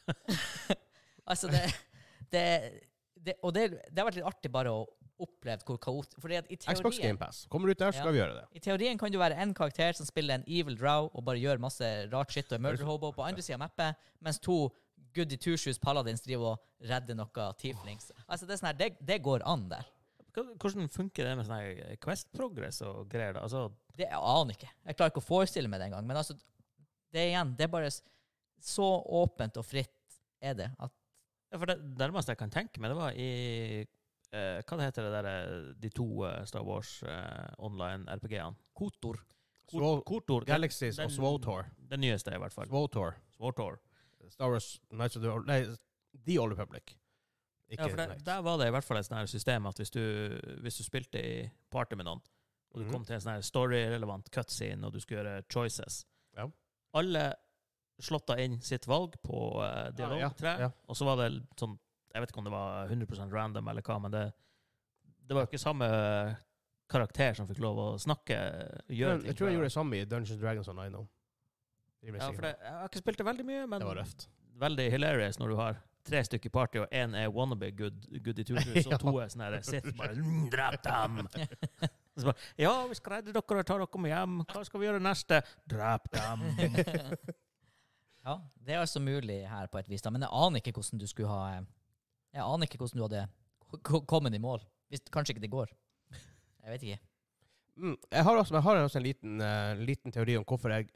Speaker 3: Altså, det, det, det Og det, det har vært litt artig bare å oppleve hvor kaotisk Fordi at i
Speaker 1: Xbox
Speaker 3: teorien,
Speaker 1: GamePass. Kommer du ut der, så skal
Speaker 3: Ja.
Speaker 1: vi gjøre det.
Speaker 3: i teorien kan du være en karakter som spiller en evil drow og bare gjør masse rart shit og er murder hobo på andre sida av mappet, mens to goody two-shoes paladins driver og redder noe tieflings. Altså, det, er sånn her, det, det går an der.
Speaker 2: Hva- Hvordan funker det med sånn her Quest Progress og greier? da? Altså,
Speaker 3: Det jeg aner ikke. Jeg klarer ikke å forestille meg det engang. Men altså, det er igjen, det er bare s- så åpent og fritt er det at
Speaker 2: ja, for det nærmeste jeg kan tenke meg, det var i eh, Hva det heter det der, eh, de to eh, Star Wars eh, online RPG-ene? Kotor.
Speaker 1: Swol-
Speaker 2: Kotor. den-
Speaker 1: Galaxies og
Speaker 2: den-
Speaker 1: Swotor.
Speaker 2: Den nyeste, i hvert fall.
Speaker 1: Swotor.
Speaker 2: Swotor.
Speaker 1: Star Wars Knights of the Old Nei, The Old Republic. Ikke
Speaker 2: Ja, for der,
Speaker 1: Knights.
Speaker 2: der var det i hvert fall et sånt her system at hvis du, hvis du spilte i party med noen, og du
Speaker 1: Mhm.
Speaker 2: kom til en sånn her story-relevant cutscene, og du skulle gjøre choices
Speaker 1: Ja.
Speaker 2: Alle slotta inn sitt valg på eh,
Speaker 1: ja,
Speaker 2: dialogtre,
Speaker 1: ja.
Speaker 2: og så var det sånn Jeg vet ikke om det var 100 random eller hva, men det, det var jo ikke samme karakter som fikk lov å snakke. Gjøre
Speaker 1: Men
Speaker 2: ting
Speaker 1: jeg tror jeg
Speaker 2: for-
Speaker 1: gjorde det samme i Dungeons Dragons Online nå.
Speaker 2: ja, for det, Jeg har ikke spilt det veldig mye, men
Speaker 1: Det var røft.
Speaker 2: veldig hilarious når du har tre stykker party, og én er wannabe good, good i turnus, og to er sånn her Sith bare "Mm, Drep dem! Så bare, ja, vi skal redde dere og ta dere med hjem. Hva skal vi gjøre neste? Drep dem!
Speaker 3: Ja, det er altså mulig her på et vis, da. Men jeg aner ikke hvordan du skulle ha Jeg aner ikke hvordan du hadde ko- ko- kommet i mål. Hvis, kanskje ikke det går. Jeg vet ikke.
Speaker 1: Mm, jeg har også, jeg har også en liten, eh, liten teori om hvorfor jeg,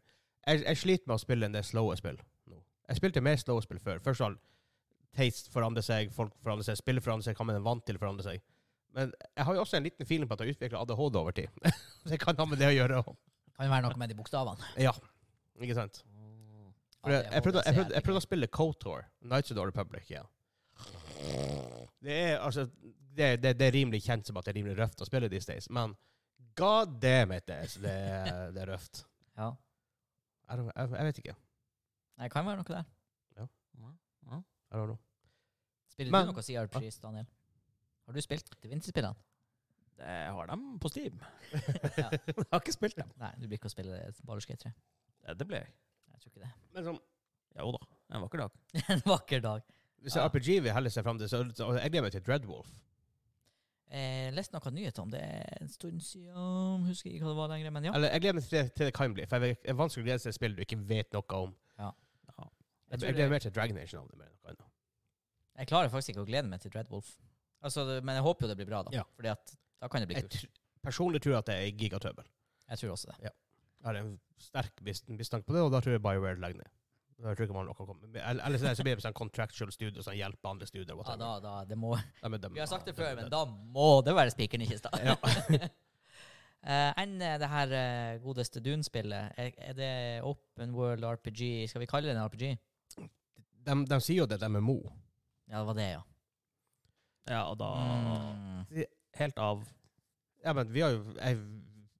Speaker 1: jeg Jeg sliter med å spille en del slowe spill nå. Jeg spilte mer slowe spill før. Først all taste forandrer seg, folk forandrer seg, spillet forandrer seg, hva man er vant til, forandrer seg. Men jeg har jo også en liten feeling på at jeg utvikler ADHD over tid. det kan ha med det å gjøre òg.
Speaker 3: Kan jo være noe med de bokstavene.
Speaker 1: Ja, ikke sant?
Speaker 2: Mm,
Speaker 1: For jeg, jeg, prøvde, jeg, prøvde, jeg prøvde å spille Kotor, Nights of the Old Republic, igjen. Det er, altså, det, det, det er rimelig kjent som at det er rimelig røft å spille these days, men god damn it, det, er- det, er- det er røft.
Speaker 3: Ja.
Speaker 1: I don't, jeg, jeg vet ikke.
Speaker 3: Nei, det kan være noe der.
Speaker 1: I don't know.
Speaker 3: Spiller
Speaker 1: Men-
Speaker 3: du noe CRPGs, Daniel? Har du spilt de vinterspillene?
Speaker 2: Jeg har dem på Steam.
Speaker 3: Ja.
Speaker 2: Jeg har ikke spilt dem.
Speaker 3: Nei, du blir ikke å spille Baldur's Gate 3.
Speaker 2: Ja, Det ble jeg.
Speaker 3: Jeg tror ikke det.
Speaker 1: Men sånn,
Speaker 2: Jo da, en vakker dag.
Speaker 3: en vakker dag.
Speaker 1: hvis det er RPG vi heller ser frem til, så så- jeg gleder meg til Dreadwolf.
Speaker 3: Jeg leste Eh, noen nyheter om det en stund siden. Husker ikke hva det var lenger, men ja.
Speaker 1: Eller jeg gleder meg til det, til det kan bli, for jeg vet- det er vanskelig å glede seg til et spill du ikke vet noe om.
Speaker 2: Ja.
Speaker 1: Jeg, jeg
Speaker 3: Jeg, tror
Speaker 1: gleder
Speaker 3: jeg,
Speaker 1: meg til Dragon Age navnet mer enn noe annet.
Speaker 3: jeg klarer faktisk ikke å glede meg til Dread Wolf. Altså, det- men jeg håper jo det blir bra, da.
Speaker 1: Ja.
Speaker 3: Fordi at da kan det bli
Speaker 1: Jeg
Speaker 3: kult.
Speaker 1: tr personlig tror jeg at det er gigatrøbbel.
Speaker 3: Jeg tror også det.
Speaker 1: Jeg har en sterk mis- mistanke på det, og da tror jeg BioWare legger ned. Jeg tror ikke man kan komme. men- Eller eller så blir det sånn contractual studio som hjelper andre studier.
Speaker 3: Ja,
Speaker 1: whatever.
Speaker 3: da, da, det må,
Speaker 1: Nei, men dem-
Speaker 3: vi har sagt det
Speaker 1: ja,
Speaker 3: før,
Speaker 1: dem-
Speaker 3: men
Speaker 1: dem-
Speaker 3: da må det være spikeren i kista.
Speaker 1: Ja.
Speaker 3: Eh, Enn eh, det her eh, godeste Dune-spillet. Er, er det open world RPG? Skal vi kalle det en RPG?
Speaker 1: dem- dem sier jo det, dem er mo.
Speaker 3: Ja, det var det, ja.
Speaker 2: ja, og da
Speaker 3: Mm.
Speaker 2: Helt av.
Speaker 1: Ja, men vi har jo jeg,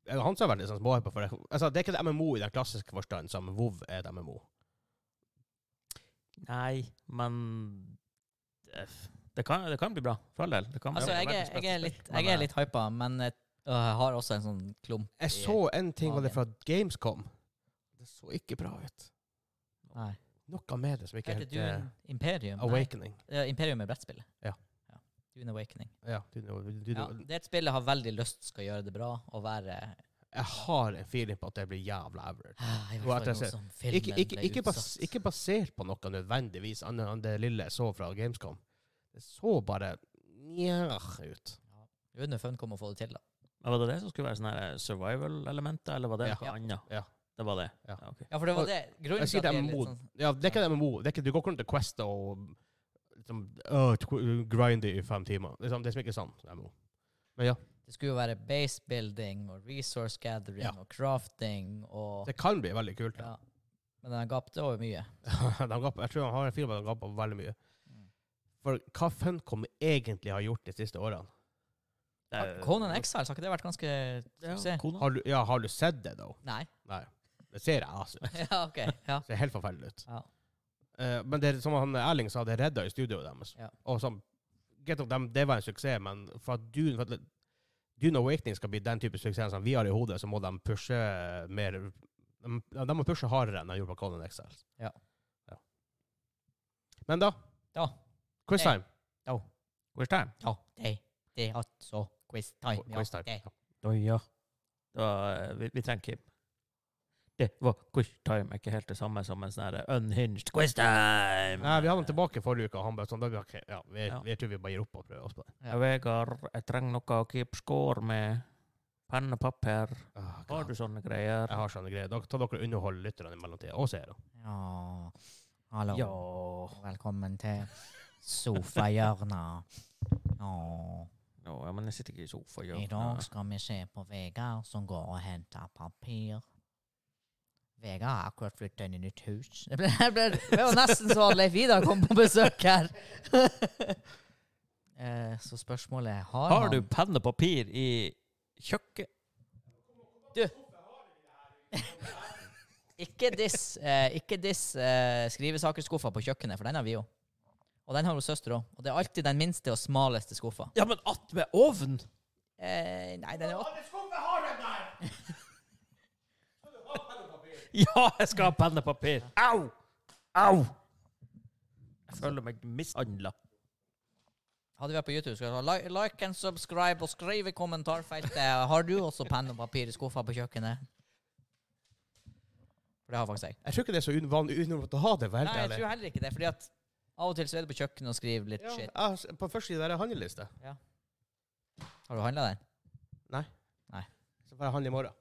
Speaker 1: jeg, Han sa veldig sånn små på for det. Altså, det er ikke et MMO i den klassiske forstand som WoW er et MMO.
Speaker 2: Nei, men det, det, kan, det kan bli bra, for all del. Det kan bli
Speaker 3: Altså, jeg,
Speaker 2: verdens
Speaker 3: er-
Speaker 2: beste
Speaker 3: jeg er
Speaker 2: spill,
Speaker 3: litt,
Speaker 2: men,
Speaker 3: jeg
Speaker 2: eh,
Speaker 3: er litt hypa, men jeg øh, har også en sånn klump.
Speaker 1: Jeg
Speaker 3: i-
Speaker 1: så en ting var det
Speaker 3: Magen.
Speaker 1: fra Gamescom. Det så ikke bra ut.
Speaker 3: Nei.
Speaker 1: Noe med det som ikke
Speaker 3: Heter
Speaker 1: helt eh,
Speaker 3: Dune Imperium? Nei.
Speaker 1: Awakening.
Speaker 3: Ja, Imperium er brettspillet.
Speaker 1: Ja.
Speaker 3: Dune Awakening.
Speaker 1: Ja, Dune, Dune,
Speaker 3: Ja, det er et spill jeg har veldig lyst skal gjøre det bra, og være
Speaker 1: Jeg har en feeling på at det blir jævla average.
Speaker 3: Ah, I
Speaker 1: Og at jeg
Speaker 3: hvert fall noe
Speaker 1: ser-
Speaker 3: som
Speaker 1: Ikke,
Speaker 3: filmen
Speaker 1: ikke,
Speaker 3: ble
Speaker 1: ikke, bas,
Speaker 3: utsatt.
Speaker 1: ikke basert på noe nødvendigvis annet enn det lille jeg så fra Gamescom. Det så bare nja ut.
Speaker 3: Det er Under fun kom å få det til, da.
Speaker 2: men Var det det som skulle være sånne her eh, survival-elementer, eller var det
Speaker 1: Ja.
Speaker 2: noe annet?
Speaker 1: Ja.
Speaker 2: Det var det.
Speaker 1: Ja.
Speaker 2: ok.
Speaker 3: Ja, for det
Speaker 1: Og-
Speaker 3: var det. Grunnen
Speaker 1: Jeg sier
Speaker 3: til
Speaker 1: det
Speaker 3: at det
Speaker 1: er
Speaker 3: er litt
Speaker 1: mod-
Speaker 3: sånn
Speaker 1: Ja, det er ikke det med Mo. Det er ikke, du går ikke rundt til Quest og liksom, «Åh, tw- grindy i fem timer. Liksom, det er liksom ikke sånn. Det er Mo.
Speaker 3: Det skulle jo være base building og resource gathering
Speaker 1: Ja.
Speaker 3: og crafting og
Speaker 1: Det kan bli veldig kult.
Speaker 3: ja. Men den gapte over mye.
Speaker 1: de ga på, jeg tror han har en film der de ga på veldig mye. For hva Funcom egentlig har gjort de siste årene?
Speaker 2: Det er-
Speaker 3: Conan Exile, har ikke det vært ganske
Speaker 2: Ja,
Speaker 3: suksess?
Speaker 2: Conan.
Speaker 1: Har du, ja, har du sett det, da?
Speaker 3: Nei.
Speaker 1: Nei. Det ser jeg altså ut.
Speaker 3: ja, OK. Ja.
Speaker 1: Det ser helt forferdelig ut.
Speaker 3: ja.
Speaker 1: Eh, men det, er som han Erling sa, det redda i studioet deres.
Speaker 3: Ja.
Speaker 1: Og som, get up, dem, det var en suksess, men for at Dune, for at Dune Awakening skal bli den type suksess som vi har i hodet, så må de pushe mer De, de må pushe hardere enn de gjorde på Conan Excel.
Speaker 3: Ja.
Speaker 1: Ja. Men da
Speaker 3: Da.
Speaker 1: Quiz
Speaker 3: Hey.
Speaker 1: time.
Speaker 2: Quiz time.
Speaker 3: Ja, det, det er altså quiz time.
Speaker 1: Qu- Quiz time.
Speaker 3: Ja, det.
Speaker 1: Ja.
Speaker 2: Da, ja. Da, eh, vi, vi trenger Kim. Det var quiz time. Er ikke helt det samme som en sånn her unhinged quiz time.
Speaker 1: Nei, vi hadde han tilbake forrige uke, og han bare sånn da, vi- ok, ja, vi,
Speaker 2: Ja.
Speaker 1: vi tror vi bare gir opp og prøver oss på det.
Speaker 2: Ja, Vegard, jeg trenger noe å keep score med. Penn og papir.
Speaker 1: Ah,
Speaker 2: Har
Speaker 1: God.
Speaker 2: du sånne greier?
Speaker 1: jeg har sånne greier. Da tar dere underhold lytterne i mellomtida, og seere.
Speaker 3: Ja. Hallo.
Speaker 2: Ja.
Speaker 3: Velkommen til sofahjørnet. Ja.
Speaker 2: Nå, ja, men jeg sitter ikke i sofa. Ja.
Speaker 3: I dag skal vi se på Vegard som går og henter papir. Vegard har akkurat flytta inn i nytt hus. Det, ble, det, ble, det var nesten så at Leif Vidar kom på besøk her. Eh, Så spørsmålet er har,
Speaker 2: Har du
Speaker 3: han-
Speaker 2: penn og papir i kjøkkenet?
Speaker 3: Ikke diss, eh, ikke diss eh, skrivesakerskuffa på kjøkkenet, for den har vi jo. Og den har jo søster òg. Og det er alltid den minste og smaleste skuffa.
Speaker 2: Ja, men att med ovn!
Speaker 3: Eh, nei, den er åt-
Speaker 2: Ja, jeg skal ha penn og papir! Au! Au! Jeg føler meg mishandla.
Speaker 3: Hadde vi vært på YouTube, skulle jeg sagt like, like and subscribe og skriv i kommentarfeltet. Har du også penn og papir i skuffa på kjøkkenet? For det har faktisk jeg.
Speaker 1: Jeg tror ikke det er så uvanlig unormalt å ha det. Vel,
Speaker 3: Nei, jeg tror heller ikke det, fordi at av og til så er du på kjøkkenet og skriver litt shit.
Speaker 1: Ja, altså, på første side der er handleliste.
Speaker 3: Har du handla den?
Speaker 1: Så får jeg handle i morgen.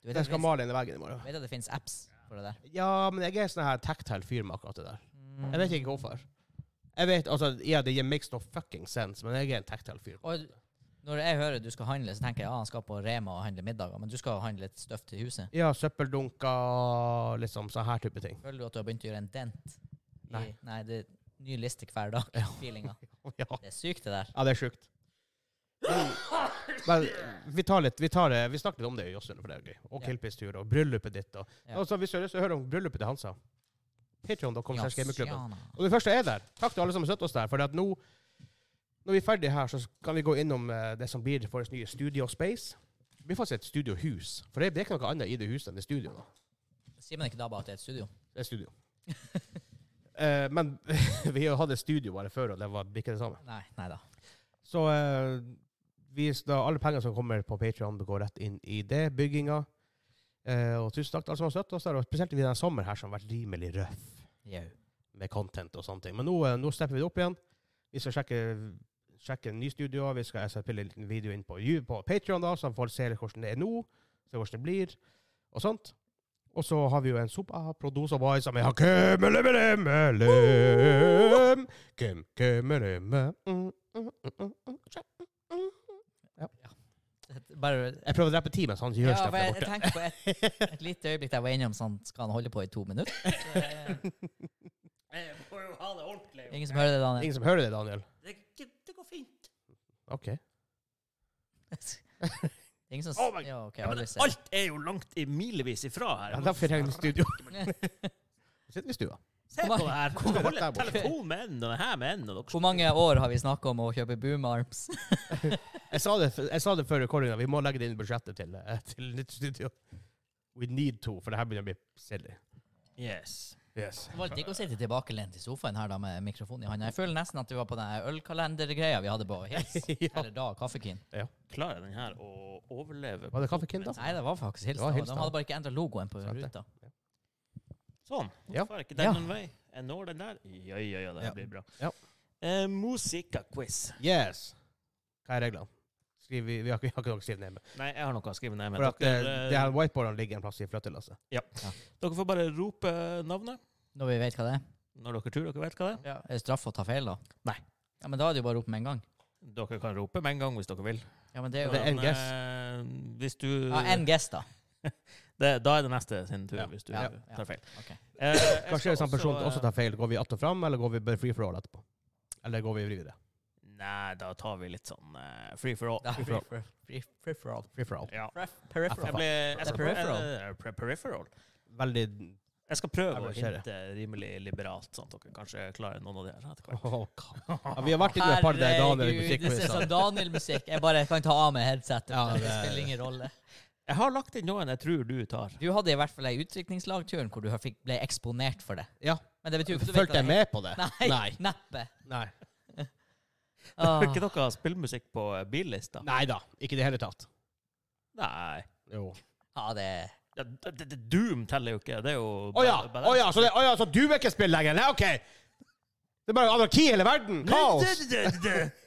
Speaker 3: Du vet,
Speaker 1: Jeg
Speaker 3: at
Speaker 1: skal
Speaker 3: det finnes-
Speaker 1: male inn i veggen i morgen.
Speaker 3: du vet at det finnes apps for det der?
Speaker 1: Ja, men jeg er sånn her tactile fyr med akkurat det der. Jeg vet ikke hvorfor. Jeg vet, altså, ja, Det makes no fucking sense, men jeg er en tactile fyr.
Speaker 3: Og når jeg hører du skal handle, så tenker jeg ja, han skal på Rema og handle middager, men du skal handle litt støff til huset.
Speaker 1: Ja, søppeldunker, liksom sånn her type ting.
Speaker 3: Føler du at du har begynt å gjøre en dent? I, nei.
Speaker 1: Nei.
Speaker 3: det er ny liste hver dag. Feelinga.
Speaker 1: Ja,
Speaker 3: Det er sykt, det der.
Speaker 1: ja det er sjukt. Men, men vi tar litt, vi tar det, vi snakket litt om det i Jåssund, for det er gøy. Og
Speaker 3: Ja.
Speaker 1: Killpiss-tur, og bryllupet ditt, og
Speaker 3: Ja.
Speaker 1: Og så Hvis du har lyst til å høre om bryllupet til Hansa, patreon.com. slash gamingklubben.
Speaker 3: Jasiana.
Speaker 1: Og det første er der. Takk til alle som har støttet oss der. For at nå, når vi er ferdige her, så kan vi gå innom eh, det som blir vårt nye studio space. Det blir faktisk et studiohus. For det det er ikke noe annet i det huset enn det er studio nå.
Speaker 3: Sier man ikke da bare at det er et studio?
Speaker 1: Det er studio. Eh, men vi hadde studio bare før, og det var ikke det samme.
Speaker 3: Nei, nei da.
Speaker 1: Så eh, hvis da alle penger som kommer på Patreon går rett inn i det, bygginga. Eh, og tusen takk til alle som har støttet oss der, og spesielt i denne sommer her som har vært rimelig røff
Speaker 3: Jau.
Speaker 1: med content og sånne ting. Men nå, eh, nå stepper vi det opp igjen. Vi skal sjekke, sjekke nye studioer. Vi skal jeg skal spille en liten video inn på, Ju- på Patreon da, så folk ser hvordan det er nå, se hvordan det blir, og sånt. Og så har vi jo en sopa produsa boy som er hakemelemelem. Kem, kemeleme. Mm, mm, mm, mm, mm.
Speaker 3: Bare
Speaker 1: Jeg prøver å drepe ti mens han gjør
Speaker 3: ja,
Speaker 1: stuff
Speaker 3: for jeg, jeg
Speaker 1: der borte.
Speaker 3: tenker på et, et lite øyeblikk der jeg var enig om sånn Skal han holde på i to minutter? Så,
Speaker 2: Jeg må jo ha det ordentlig.
Speaker 3: eh, ingen som hører det, Daniel?
Speaker 1: Ingen som hører det, Daniel?
Speaker 2: Det, det går fint.
Speaker 1: OK.
Speaker 3: Ingen som
Speaker 1: Oh my-
Speaker 3: s- ja, ok,
Speaker 2: Ja, men
Speaker 3: alle ser.
Speaker 2: alt er jo langt i milevis ifra her.
Speaker 1: Ja, derfor trenger vi studio. Sitter vi i stua.
Speaker 2: Se på det her.
Speaker 1: Hvor-
Speaker 2: Jeg holder
Speaker 1: Hvor-
Speaker 2: telefon med en, og det her med en. Og dere-
Speaker 3: Hvor mange år har vi snakka om å kjøpe boom arms?
Speaker 1: Jeg sa det, jeg sa det før recordinga. Vi må legge det inn i budsjettet til, eh, til nytt studio. We need to, for det her begynner å bli silly.
Speaker 2: Yes.
Speaker 1: Yes.
Speaker 3: Det var litt digg å sitte tilbakelent i sofaen her da med mikrofonen i handa. Jeg føler nesten at vi var på den ølkalendergreia vi hadde på Hils.
Speaker 1: Ja.
Speaker 3: Eller da Kaffekin.
Speaker 2: Klarer den her å overleve?
Speaker 1: Var det kaffekinn, da?
Speaker 3: Nei, det var faktisk Hils.
Speaker 1: Det var
Speaker 3: da.
Speaker 1: Hils,
Speaker 3: De
Speaker 1: da.
Speaker 3: hadde bare ikke endra logoen på
Speaker 1: Sant det.
Speaker 3: ruta.
Speaker 2: Sånn.
Speaker 1: Ja.
Speaker 2: Hvorfor er ikke
Speaker 3: Ja.
Speaker 2: den noen vei? Jeg når den der. Ja, ja, ja, det her
Speaker 1: Ja.
Speaker 2: blir bra.
Speaker 1: Ja.
Speaker 2: Eh, Musika-quiz.
Speaker 1: Yes. Hva er reglene? Skriv, vi, vi, har, ikke- vi har ikke noe å skrive ned. med.
Speaker 2: Nei, jeg har noe å skrive ned. Men
Speaker 1: For at eh,
Speaker 2: dere, eh,
Speaker 1: det her whiteboardene ligger en plass i altså. flyttelasset.
Speaker 2: dere får bare rope navnet
Speaker 3: Når vi vet hva det er.
Speaker 2: når dere tror dere vet hva det er.
Speaker 3: Er det straff å ta feil, da?
Speaker 2: Nei.
Speaker 3: Ja, Men da er det jo bare opp med en gang.
Speaker 2: Dere kan rope med en gang hvis dere vil.
Speaker 3: Ja, men det er
Speaker 1: Det
Speaker 3: jo...
Speaker 1: er en
Speaker 2: Men,
Speaker 1: guess.
Speaker 2: eh, Hvis du
Speaker 3: Ja, en gest, da.
Speaker 2: det, Da er det neste sin tur,
Speaker 1: Ja.
Speaker 2: hvis du
Speaker 3: Ja.
Speaker 2: tar feil.
Speaker 3: Ok.
Speaker 2: Eh, jeg
Speaker 1: Kanskje
Speaker 2: skal
Speaker 1: hvis en person
Speaker 2: eh,
Speaker 1: også tar feil, går vi att og fram, eller går vi bare free for all etterpå? Eller går vi videre?
Speaker 2: Nei, da tar vi litt sånn eh, free for all.
Speaker 3: Da-
Speaker 1: Free for all.
Speaker 3: Free- free for all.
Speaker 1: Free for all.
Speaker 2: Ja.
Speaker 3: Pref-
Speaker 2: Jeg
Speaker 3: Peripheral.
Speaker 2: ble, jeg skal,
Speaker 3: Peripheral.
Speaker 2: eh, pre- peripheral.
Speaker 1: Veldig
Speaker 2: Jeg skal prøve
Speaker 1: Jeg
Speaker 2: å
Speaker 1: markerer.
Speaker 2: hinte rimelig liberalt, sånn at dere kanskje klarer noen av de her etter hvert.
Speaker 1: Åh, ja, Vi har vært inne i et par der Daniel i
Speaker 3: det ser
Speaker 1: musikkquizen.
Speaker 3: sånn Daniel-musikk. Jeg bare kan ta av meg headsetet.
Speaker 1: Ja,
Speaker 3: det
Speaker 1: det-
Speaker 3: spiller ingen rolle.
Speaker 2: Jeg har lagt inn noen jeg tror du tar.
Speaker 3: Du hadde i hvert fall ei utdrikningslagturen hvor du har fikk, ble eksponert for det.
Speaker 1: Ja.
Speaker 3: Men det betyr jo ikke at du vet
Speaker 1: Fulgte jeg
Speaker 3: hva det
Speaker 1: med på det?
Speaker 3: er. Nei,
Speaker 1: Nei.
Speaker 3: neppe.
Speaker 1: Nei.
Speaker 2: Har ikke
Speaker 3: Åh.
Speaker 2: dere spillmusikk på eh, billista?
Speaker 1: Ah. Nei da. Ikke i det hele tatt.
Speaker 2: Nei.
Speaker 1: Jo.
Speaker 3: Ja, det
Speaker 2: Ja, d- d- d- Doom teller jo ikke. Det er jo
Speaker 1: Å ja.
Speaker 2: ba-
Speaker 1: Å ja, så, det, å ja, så du vil ikke spille lenger? Nei, OK. Det er bare anarki i hele verden. Kaos.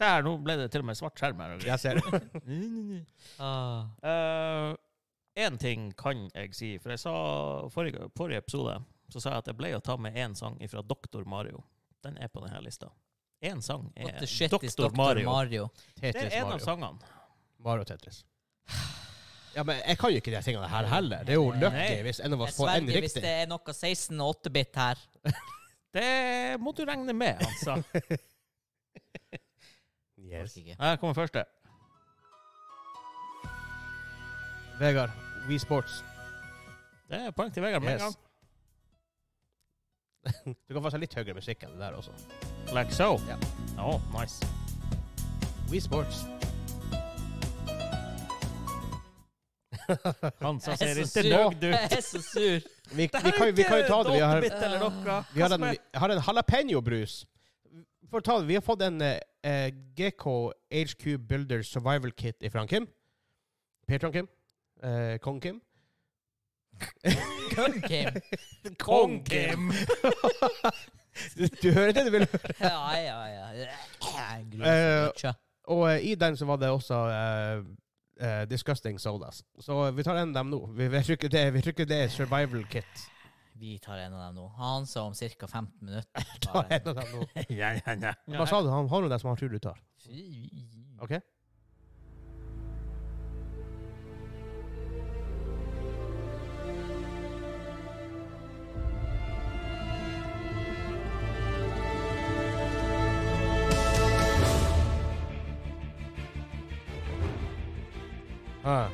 Speaker 2: Se her, nå ble det til og med svart skjerm her. og greier.
Speaker 1: Jeg ser det.
Speaker 3: Åh.
Speaker 2: Én Eh, ting kan jeg si, for jeg sa forrige, forrige episode så sa jeg at jeg ble å ta med én sang fra Doktor Mario. Den er på denne lista. Én sang er
Speaker 3: What the shit
Speaker 2: Doktor
Speaker 3: is Dr. Mario.
Speaker 2: Mario. Det
Speaker 1: Tetris
Speaker 2: er en av
Speaker 1: Mario.
Speaker 2: sangene.
Speaker 1: Mario Tetris. Ja, men jeg kan jo ikke de tingene her heller. Det er jo lucky
Speaker 2: Nei.
Speaker 1: hvis en av
Speaker 3: Jeg
Speaker 1: oss får en
Speaker 3: sverger hvis
Speaker 1: riktig.
Speaker 3: det er noe 16 og 8-bit her.
Speaker 2: Det må du regne med, altså.
Speaker 1: Yes.
Speaker 3: Orker ikke.
Speaker 2: Her kommer første.
Speaker 1: Vegard, We Sports.
Speaker 2: Det er poeng til Vegard med en
Speaker 1: Yes.
Speaker 2: gang.
Speaker 1: Du kan få seg litt høyere musikk enn det der også.
Speaker 2: Like so.
Speaker 1: Ja.
Speaker 2: Oh, nice.
Speaker 1: We Sports.
Speaker 2: Hansa
Speaker 3: Jeg
Speaker 2: ser
Speaker 3: er så
Speaker 2: ikke
Speaker 3: sur.
Speaker 2: nøyd ut.
Speaker 3: Jeg er så sur.
Speaker 1: Vi, vi, kan, vi kan jo ta det. Vi har,
Speaker 2: Eller noe.
Speaker 1: vi har en, vi har en jalapeño-brus. For å ta det, Vi har fått en eh, GK HQ Builder Survival Kit ifra han Kim. Patron Kim. Eh, Kong Kim.
Speaker 3: Gun game.
Speaker 1: Kong Kim! du, du hører det du vil høre.
Speaker 3: Ja, ja, ja. Jeg
Speaker 1: Eh,
Speaker 3: gruer meg så mye.
Speaker 1: Og eh, i den så var det også eh, eh, Disgusting Sodas. Så eh, vi tar en av dem nå. Vi, vi, tror ikke det, vi tror ikke det er survival kit.
Speaker 3: Vi tar en av dem nå. Han sa om ca. 15 minutter.
Speaker 1: Ta
Speaker 3: Bare.
Speaker 1: en av dem nå.
Speaker 2: Ja, ja, ja.
Speaker 1: Hva sa du? Han har jo den som han tror du tar.
Speaker 3: Fy.
Speaker 1: OK? Ah.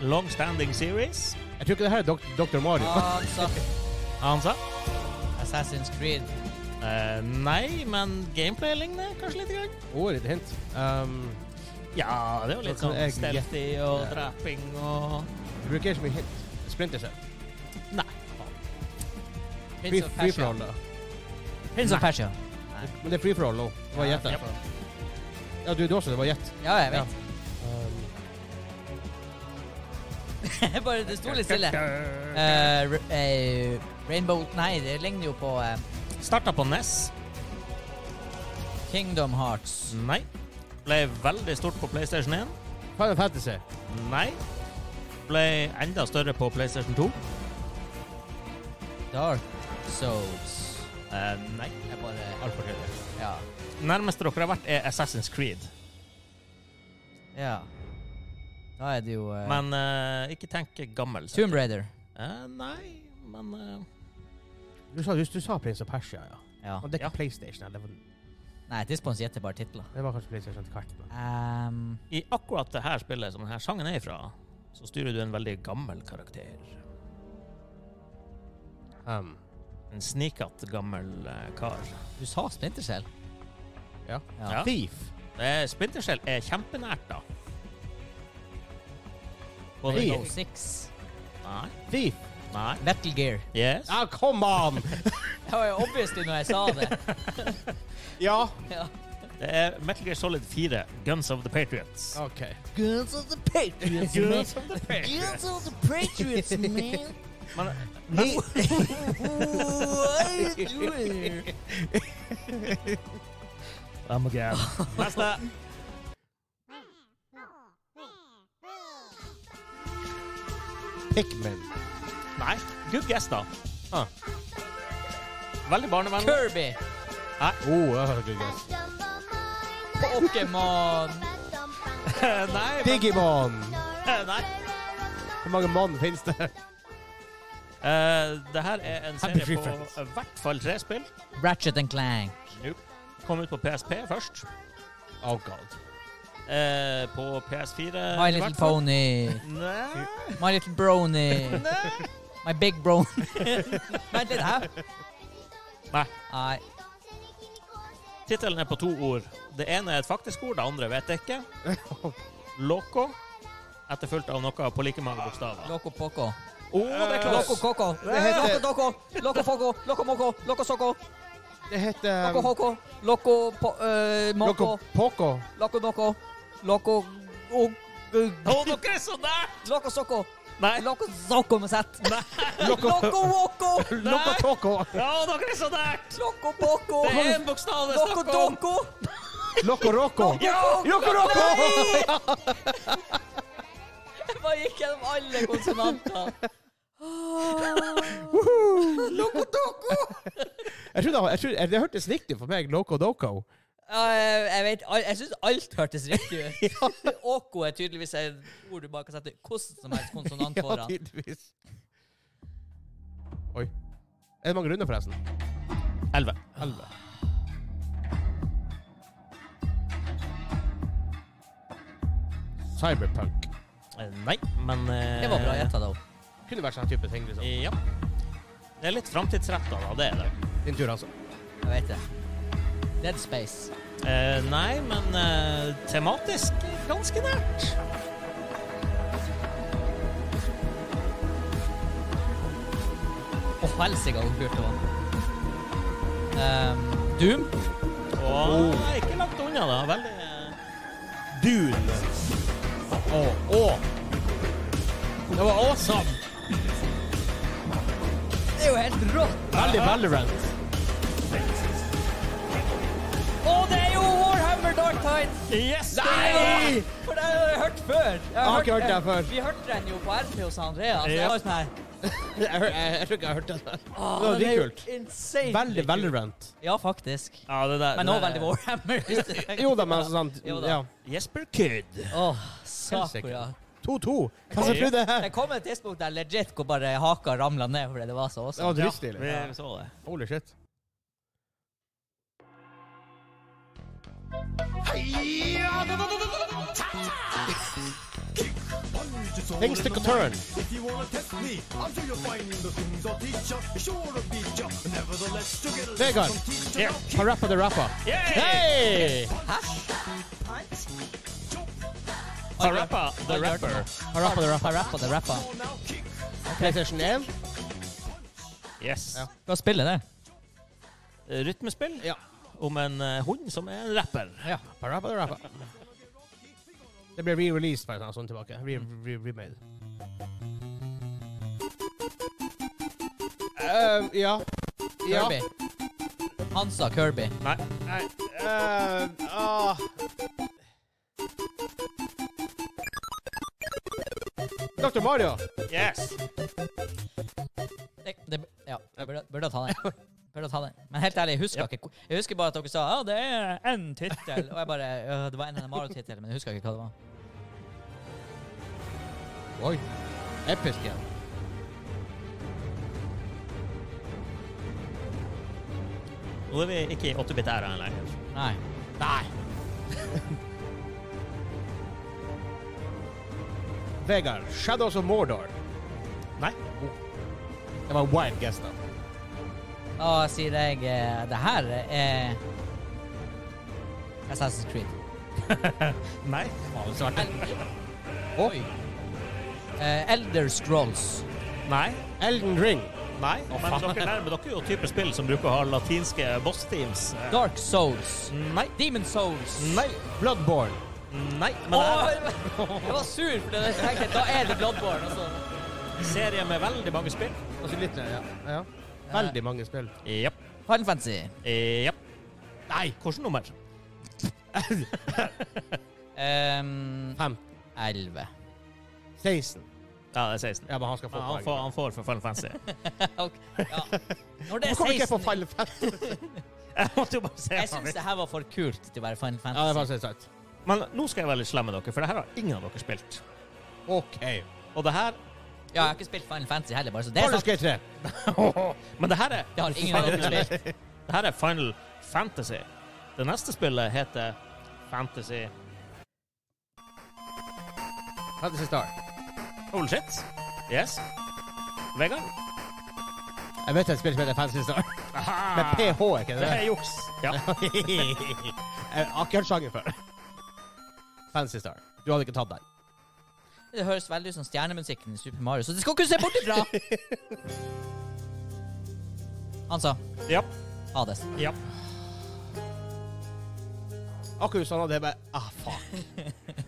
Speaker 2: Long Standing Series.
Speaker 1: Jeg tror ikke det her er Dok Dr. Mario.
Speaker 3: Han sa
Speaker 2: Hansa.
Speaker 3: Altså, Assassin's Creed.
Speaker 2: Eh, nei, men gameplay ligner kanskje litt. Grann.
Speaker 1: Å, et hint. Um,
Speaker 2: Ja, det er jo litt
Speaker 1: Så kan
Speaker 2: sånn
Speaker 1: jeg
Speaker 2: stealthy og
Speaker 1: Ja.
Speaker 2: draping og
Speaker 1: jeg bruker ikke så mye hint. Splinter Cell.
Speaker 2: Nei.
Speaker 3: Prince
Speaker 1: Free, free
Speaker 3: of
Speaker 1: for
Speaker 3: Persia.
Speaker 1: all, da.
Speaker 3: Prince of Persia. Nei.
Speaker 1: Men det er free for all nå. Det var
Speaker 3: Ja,
Speaker 1: gjett.
Speaker 2: ja.
Speaker 1: derfor. Ja, du, du også. Det var gjett.
Speaker 3: Ja, jeg vet.
Speaker 1: Um,
Speaker 3: Bare det sto litt stille. Eh, r- eh, Rainbow Nei, det ligner jo på eh,
Speaker 2: Starta på E NES.
Speaker 3: Kingdom Hearts.
Speaker 2: Nei. Ble veldig stort på PlayStation 1.
Speaker 1: Final Fantasy.
Speaker 2: Nei. Ble enda større på PlayStation 2.
Speaker 3: Dark Souls.
Speaker 2: Eh, nei.
Speaker 3: Jeg bare
Speaker 2: Altfor tydelig.
Speaker 3: Ja.
Speaker 2: Nærmeste dere har vært, er Assassin's Creed.
Speaker 3: ja. Da er det jo eh,
Speaker 2: Men eh, ikke tenk gammel.
Speaker 3: Tomb Raider.
Speaker 2: Eh, nei, men eh,
Speaker 1: Du sa, du, du sa Prince of Persia, ja.
Speaker 3: Ja.
Speaker 1: Og det er ikke
Speaker 2: Ja.
Speaker 1: PlayStation. ja. Det var,
Speaker 3: Nei, til spons gjetter bare titler.
Speaker 1: det var kanskje PlayStation til hvert. men-
Speaker 3: Um,
Speaker 2: I akkurat det her spillet som denne sangen er ifra, så styrer du en veldig gammel karakter.
Speaker 1: Um,
Speaker 2: En snikete gammel eh, kar.
Speaker 3: du sa Splinter Cell.
Speaker 1: Ja.
Speaker 3: ja.
Speaker 1: Thief.
Speaker 2: Eh, Splinterskjell er kjempenært, da. På
Speaker 1: Hey.
Speaker 2: det
Speaker 3: Rainbow Six.
Speaker 2: Nei.
Speaker 1: Thief.
Speaker 2: Nei.
Speaker 3: Metal Gear.
Speaker 2: Yes.
Speaker 1: Ja, come on!
Speaker 3: Det var jo Oh, obviously når jeg sa det.
Speaker 1: ja.
Speaker 3: ja.
Speaker 2: Det er Metal Gear Solid 4, Guns of the Patriots.
Speaker 1: OK.
Speaker 3: Guns of the Patriots,
Speaker 2: Guns of the Patriots.
Speaker 3: Guns of the Patriots, man.
Speaker 2: Men,
Speaker 3: What are you doing here?
Speaker 2: I'm again. Neste.
Speaker 1: Pikmin.
Speaker 2: Nei. Good guess, da.
Speaker 1: Ah.
Speaker 2: Veldig barnevennlig.
Speaker 3: Kirby.
Speaker 1: Oh, det var good guess.
Speaker 3: Pokémon.
Speaker 2: Nei, men,
Speaker 1: Digimon.
Speaker 2: eh, nei.
Speaker 1: Hvor mange mann finnes det?
Speaker 2: Eh, det her er en
Speaker 1: Happy
Speaker 2: serie
Speaker 1: Tree
Speaker 2: på
Speaker 1: Friends.
Speaker 2: i hvert fall tre spill.
Speaker 3: Ratchet and Clank.
Speaker 2: Nope. Kom ut på PSP først.
Speaker 1: Oh god.
Speaker 2: Eh, på PS4
Speaker 3: My
Speaker 2: i
Speaker 3: Little
Speaker 2: hvert fall.
Speaker 3: Pony.
Speaker 2: Nei.
Speaker 3: My Little Brony. My Big Brony. Vent litt, hæ?
Speaker 2: Nei.
Speaker 3: Nei.
Speaker 2: Tittelen er på to ord. Det ene er et faktisk ord, det andre vet jeg ikke. Loco. Etterfulgt av noe på like mange bokstaver.
Speaker 3: Loco Poco.
Speaker 2: Å, det er klart!
Speaker 3: Loco Coco.
Speaker 1: heter-
Speaker 3: Loco Doco. Loco Foco. Loco Moco. Loco Soco.
Speaker 1: Det heter um,
Speaker 3: Loco Hoco. Loco po, eh, Moco.
Speaker 1: Loco Poco.
Speaker 3: Loco Doco. Loco og-
Speaker 2: Å, dere er så nær!
Speaker 3: Loco Soco.
Speaker 2: Nei.
Speaker 3: Loco Soco med Z.
Speaker 1: Loco
Speaker 3: Loco Woco.
Speaker 1: Loco Toco.
Speaker 2: Ja, dere er så nært!
Speaker 3: Loco Poco.
Speaker 2: Det er en bokstav det er
Speaker 3: Loco
Speaker 2: snakk om!
Speaker 3: Doco.
Speaker 1: Loco Roco. Loco Roco!
Speaker 3: Nei! Jeg bare gikk gjennom alle konsonanter. Loco doco!
Speaker 1: Jeg trodde, jeg trodde, det hørtes riktig for meg. Loco Doco.
Speaker 3: Ja, jeg, jeg vet, al- jeg syns alt hørtes riktig ut. Åko er tydeligvis et ord du bare kan sette hvordan som helst konsonant
Speaker 1: Ja,
Speaker 3: foran.
Speaker 1: tydeligvis. Oi. Er det mange runder, forresten?
Speaker 2: Elleve.
Speaker 1: Elleve. Cyberpunk.
Speaker 2: Eh, Nei, men eh,
Speaker 3: Det var bra gjetta, da.
Speaker 1: Kunne vært sånn type ting. liksom.
Speaker 2: Ja. Det er litt framtidsretta, da. Det er det.
Speaker 1: Din tur, altså.
Speaker 3: Jeg vet det. Dead Space.
Speaker 2: Eh, nei, men eh, tematisk ganske nært.
Speaker 3: Å, helsike, hvor kult det var. Ehm, Doom.
Speaker 2: Og
Speaker 3: Oh.
Speaker 2: ikke langt unna, da. Veldig eh,
Speaker 1: Dune. Å, å! Det var awesome!
Speaker 3: Det er jo helt rått.
Speaker 1: Veldig Valorant.
Speaker 3: Å, det er jo Warhammer Dark Tides!
Speaker 2: Yes! det er det!
Speaker 1: Nei!
Speaker 3: For det har jeg hørt før. Jeg
Speaker 1: har ikke hørt det før.
Speaker 3: Vi hørte den jo på RP hos Andreas. Det
Speaker 2: Ja.
Speaker 3: var sånn her.
Speaker 1: Jeg, hør- jeg, jeg tror ikke jeg har hørt det.
Speaker 3: «Åh,
Speaker 1: Det var
Speaker 3: er jo
Speaker 1: dritkult.
Speaker 3: Insane.
Speaker 1: Veldig Valorant.
Speaker 3: Ja, faktisk.
Speaker 2: Ja, det der,
Speaker 3: Men
Speaker 2: det
Speaker 3: nå
Speaker 2: der-
Speaker 3: veldig Warhammer. hvis du tenker.
Speaker 1: Jo da, men altså sant.
Speaker 3: Jo da.
Speaker 1: Ja.
Speaker 2: Jesper Kyd.
Speaker 3: Åh,
Speaker 1: Helsike.
Speaker 3: sakura.
Speaker 1: 2-2. Hva som trodde her?
Speaker 3: Det kom et tidspunkt der legit hvor bare haka ramla ned fordi det var så
Speaker 1: Det var
Speaker 3: awesome.
Speaker 1: dritstilig.
Speaker 2: Vi så det.
Speaker 1: Holy shit. Things take a turn.
Speaker 4: If you wanna test me, I'm sure you'll find the things I'll teach ya. Sure to beat ya. Nevertheless, you'll get a
Speaker 1: Vegard.
Speaker 4: lesson from teacher.
Speaker 2: Here.
Speaker 1: Har rappa the rappa. Hey!
Speaker 2: Har rappa The
Speaker 3: Aldri hørt
Speaker 2: Rapper.
Speaker 1: Har rappa the rappa.
Speaker 3: rappa det rappa.
Speaker 1: PlayStation 1.
Speaker 2: Yes.
Speaker 1: Ja.
Speaker 3: Hva spiller det?
Speaker 2: Rytmespill?
Speaker 1: Ja.
Speaker 2: om en eh, hund som er en rapper.
Speaker 1: Ja. Parappa, parappa. Det ble re-released bare sånn, sånn tilbake. Re re remade. Eh, ja. Ja.
Speaker 3: Kirby. Han sa Kirby.
Speaker 2: Nei.
Speaker 1: Nei eh, ah. Dr. Mario.
Speaker 2: Yes!
Speaker 3: Det, det, ja, jeg burde, burde ta den. Burde ta den. Men helt ærlig, jeg husker ikke hvor- Jeg husker bare at dere sa ja, det er én tittel. Og jeg bare «Åh, Det var en av Mario-tittelen, men jeg husker ikke hva det var.
Speaker 1: Oi. Episk igjen.
Speaker 2: Nå er vi ikke i 8-bit-æraen lenger.
Speaker 3: Nei. Nei.
Speaker 1: Vegard. Shadows of Mordor.
Speaker 2: Nei.
Speaker 1: Det var en wild guess, da.
Speaker 3: Da sier jeg eh, det her er Assassin's Creed.
Speaker 2: Nei.
Speaker 1: Oi.
Speaker 3: Eh, Elder Scrolls.
Speaker 2: Nei.
Speaker 1: Elden Ring.
Speaker 2: Nei. Men dere nærmer dere jo type spill som bruker å ha latinske boss-teams. Eh,
Speaker 3: Dark Souls.
Speaker 2: Nei.
Speaker 3: Demon Souls.
Speaker 1: Nei. Bloodborne.
Speaker 2: Nei. Men det
Speaker 3: Åh,
Speaker 2: her
Speaker 3: jeg var sur, for jeg tenkte da er det Bloodborne. altså. Og så
Speaker 2: er en serie med veldig mange spill.
Speaker 1: Altså litt, ja. ja. Veldig mange spill.
Speaker 2: Japp.
Speaker 3: Final Fantasy.
Speaker 2: Japp. Nei, hvilket nummer?
Speaker 3: Um,
Speaker 1: Fem.
Speaker 3: 11.
Speaker 1: 16.
Speaker 2: Ja, det er 16.
Speaker 1: Ja, men han skal få
Speaker 2: Ja, han,
Speaker 1: poeng.
Speaker 2: får, han får for Final Fantasy.
Speaker 3: Ok, Ja. Når det er
Speaker 1: Hvorfor kom ikke jeg på
Speaker 3: 16
Speaker 1: Final Fantasy?
Speaker 2: Jeg måtte jo bare se
Speaker 3: Jeg syns det her var for kult til å være Final
Speaker 1: Ja, det er
Speaker 3: Fantasy.
Speaker 1: faktisk sant.
Speaker 2: Men nå skal jeg være litt slem med dere, for det her har ingen av dere spilt.
Speaker 1: OK.
Speaker 2: Og det her
Speaker 3: Ja, jeg har ikke spilt Final Fantasy heller, bare så det er
Speaker 1: Baldur's
Speaker 3: sagt.
Speaker 1: Gate 3.
Speaker 2: Men det her er
Speaker 3: Det har ingen av dere spilt.
Speaker 2: Det her er Final Fantasy. Det neste spillet heter Fantasy
Speaker 1: Fantasy Star.
Speaker 2: Holy shit. Yes. Vegard?
Speaker 1: Jeg vet et spill som heter Fantasy Star. Med PH, er ikke
Speaker 2: Det
Speaker 1: det?
Speaker 2: er juks. Ja.
Speaker 1: Jeg har ikke hørt sangen før. Fantasy Star. Du hadde ikke tatt den.
Speaker 3: Det høres veldig ut som stjernemusikken i Super Mario, så det skal ikke du se bort ifra! Han sa
Speaker 2: Ja.
Speaker 3: Hades.
Speaker 2: ja.
Speaker 1: Akkurat sånn hadde jeg bare Ah, fuck.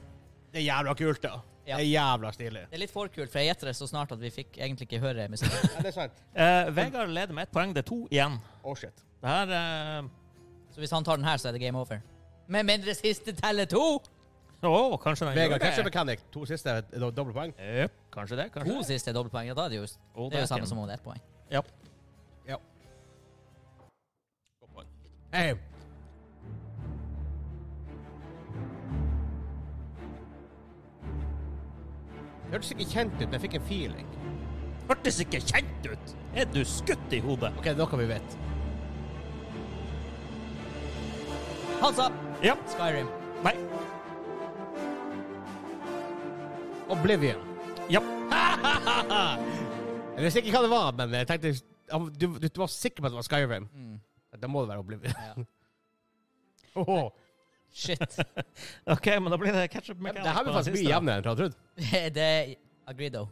Speaker 1: Det er jævla kult, da. Det er jævla stilig.
Speaker 3: Det er litt for kult, for jeg gjetter det så snart at vi fikk egentlig ikke høre musikken.
Speaker 1: Ja, det er sant.
Speaker 2: Eh, Vegard leder med ett poeng. Det er to igjen.
Speaker 1: Oh, shit.
Speaker 2: Det her eh,
Speaker 3: Så hvis han tar den her, så er det game over. Med mindre siste teller to!
Speaker 2: Å, kanskje den
Speaker 1: Vegard,
Speaker 2: gjør
Speaker 1: Catcher
Speaker 2: det.
Speaker 1: Mechanic. To siste er do- doble poeng.
Speaker 2: Jep, kanskje det. Kanskje
Speaker 3: To
Speaker 2: det.
Speaker 3: siste dobbeltpoeng. Ja, da er det jo,
Speaker 2: Oh,
Speaker 3: det er jo
Speaker 2: dæken.
Speaker 3: samme som om det er ett poeng.
Speaker 2: Ja.
Speaker 1: Ja. Hey. Det hørtes ikke kjent ut, men jeg fikk en feeling.
Speaker 2: Hørtes ikke kjent ut! Er du skutt i hodet?
Speaker 1: OK, noe vi vet.
Speaker 3: Han sa
Speaker 2: Ja.
Speaker 3: Skyrim.
Speaker 2: Nei.
Speaker 1: Oblivion.
Speaker 2: Ja.
Speaker 1: Jeg visste ikke hva det var, men jeg tenkte du, du, du var sikker på at det var Skyrim.
Speaker 3: Mm.
Speaker 1: Da må det være Oblivion.
Speaker 3: Ja.
Speaker 1: Åhå.
Speaker 3: Shit.
Speaker 2: OK, men da blir det ketchup
Speaker 1: Det
Speaker 2: mechanic.
Speaker 1: her
Speaker 2: på
Speaker 1: blir
Speaker 2: den
Speaker 1: faktisk mye
Speaker 2: siste.
Speaker 1: jevnere enn jeg hadde trodd.
Speaker 3: det er Agrido.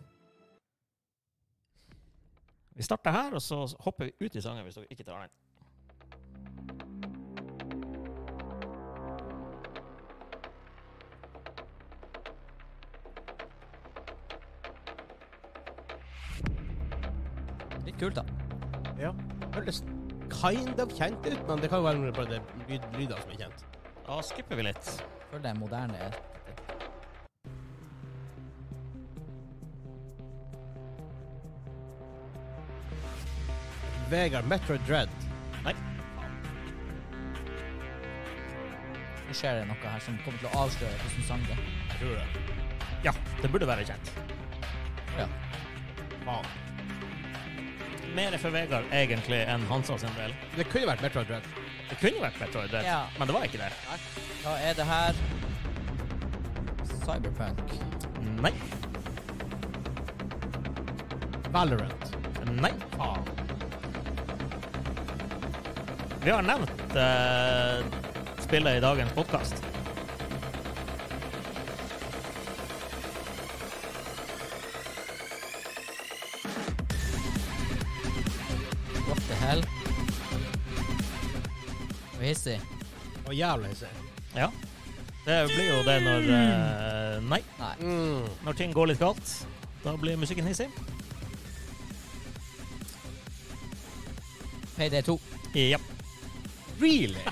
Speaker 2: Vi starter her, og så hopper vi ut i sangen hvis dere ikke tar den.
Speaker 3: Litt kult, da.
Speaker 1: Ja. Høres kind of kjent ut, men det kan jo være bare det lyd, lyder som er kjent.
Speaker 2: Da skipper vi litt.
Speaker 3: Føler det er moderne.
Speaker 1: Vegard, Metro Dread.
Speaker 2: Nei.
Speaker 3: Nå skjer det noe her som kommer til å avsløre hvordan sang det er.
Speaker 1: Jeg tror det.
Speaker 2: Ja, det burde være kjent.
Speaker 3: Ja.
Speaker 1: Faen.
Speaker 2: Mer for Vegard egentlig enn Hansa sin del.
Speaker 1: Det kunne vært Metro Dread.
Speaker 2: Det kunne vært Metroid Dread,
Speaker 3: Ja.
Speaker 2: men det var ikke det.
Speaker 3: Da er det her Cyberpunk.
Speaker 2: Nei.
Speaker 1: Valorant.
Speaker 2: Nei.
Speaker 1: Faen.
Speaker 2: Vi har nevnt eh, spillet i dagens podkast.
Speaker 3: What the hell? Du er hissig.
Speaker 1: Og jævla hissig.
Speaker 2: Ja. Det blir jo det når eh, Nei.
Speaker 3: Nei.
Speaker 1: Mm.
Speaker 2: Når ting går litt galt, da blir musikken hissig.
Speaker 3: Payday 2.
Speaker 2: Ja.
Speaker 1: Really?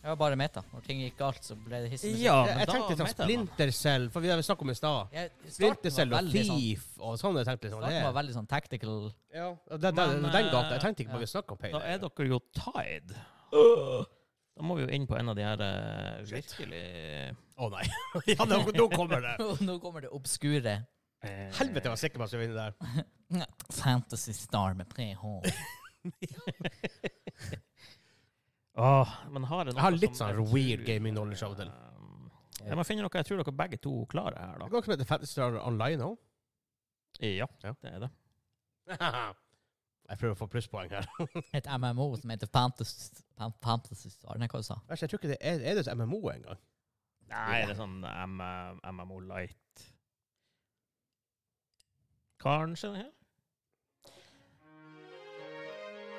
Speaker 3: Det var bare meta. Når ting gikk galt, så ble det hissig.
Speaker 2: Ja,
Speaker 1: jeg,
Speaker 2: men
Speaker 1: jeg
Speaker 2: da
Speaker 1: tenkte sånn
Speaker 2: vet jeg det.
Speaker 1: Splinter Cell, for vi har snakket om i stad.
Speaker 3: Jeg-
Speaker 1: Splinter
Speaker 3: Starten
Speaker 1: Cell
Speaker 3: var
Speaker 1: og
Speaker 3: veldig sånn
Speaker 1: Thief og sånn. Jeg tenkte sånn
Speaker 3: Starten var
Speaker 1: det.
Speaker 3: veldig sånn tactical.
Speaker 1: Ja, og den, den,
Speaker 2: Men,
Speaker 1: den
Speaker 2: eh,
Speaker 1: gata. Jeg tenkte ikke på
Speaker 3: ja.
Speaker 1: vi snakket om
Speaker 2: Da
Speaker 1: Payday.
Speaker 2: er dere jo tied. Da må vi jo inn på en av de her eh,
Speaker 1: Shit.
Speaker 2: virkelig
Speaker 1: Å nei. ja, nå, nå kommer det.
Speaker 3: Nå kommer det obskure
Speaker 2: eh,
Speaker 1: Helvete, jeg var sikker på at jeg skulle vinne der.
Speaker 3: Fantasy Star med 3H.
Speaker 2: Åh, men har jeg, noe
Speaker 1: Jeg har litt
Speaker 2: som
Speaker 1: sånn
Speaker 2: jeg
Speaker 1: weird
Speaker 2: tror-
Speaker 1: gaming knowledge av og til.
Speaker 2: Um, Jeg må finne noe jeg tror dere begge to klarer her, da.
Speaker 1: Det går ikke som heter Fantasy Star Online òg.
Speaker 2: Ja,
Speaker 1: Ja.
Speaker 2: det er det.
Speaker 1: jeg prøver å få plusspoeng her.
Speaker 3: Et MMO som heter Fantasy, Fan- Fantasy Star. Nei, hva du sa
Speaker 1: Vær så, Jeg tror ikke det er, er det et MMO engang.
Speaker 2: Nei, det er sånn M MMO Light. Kanskje det her?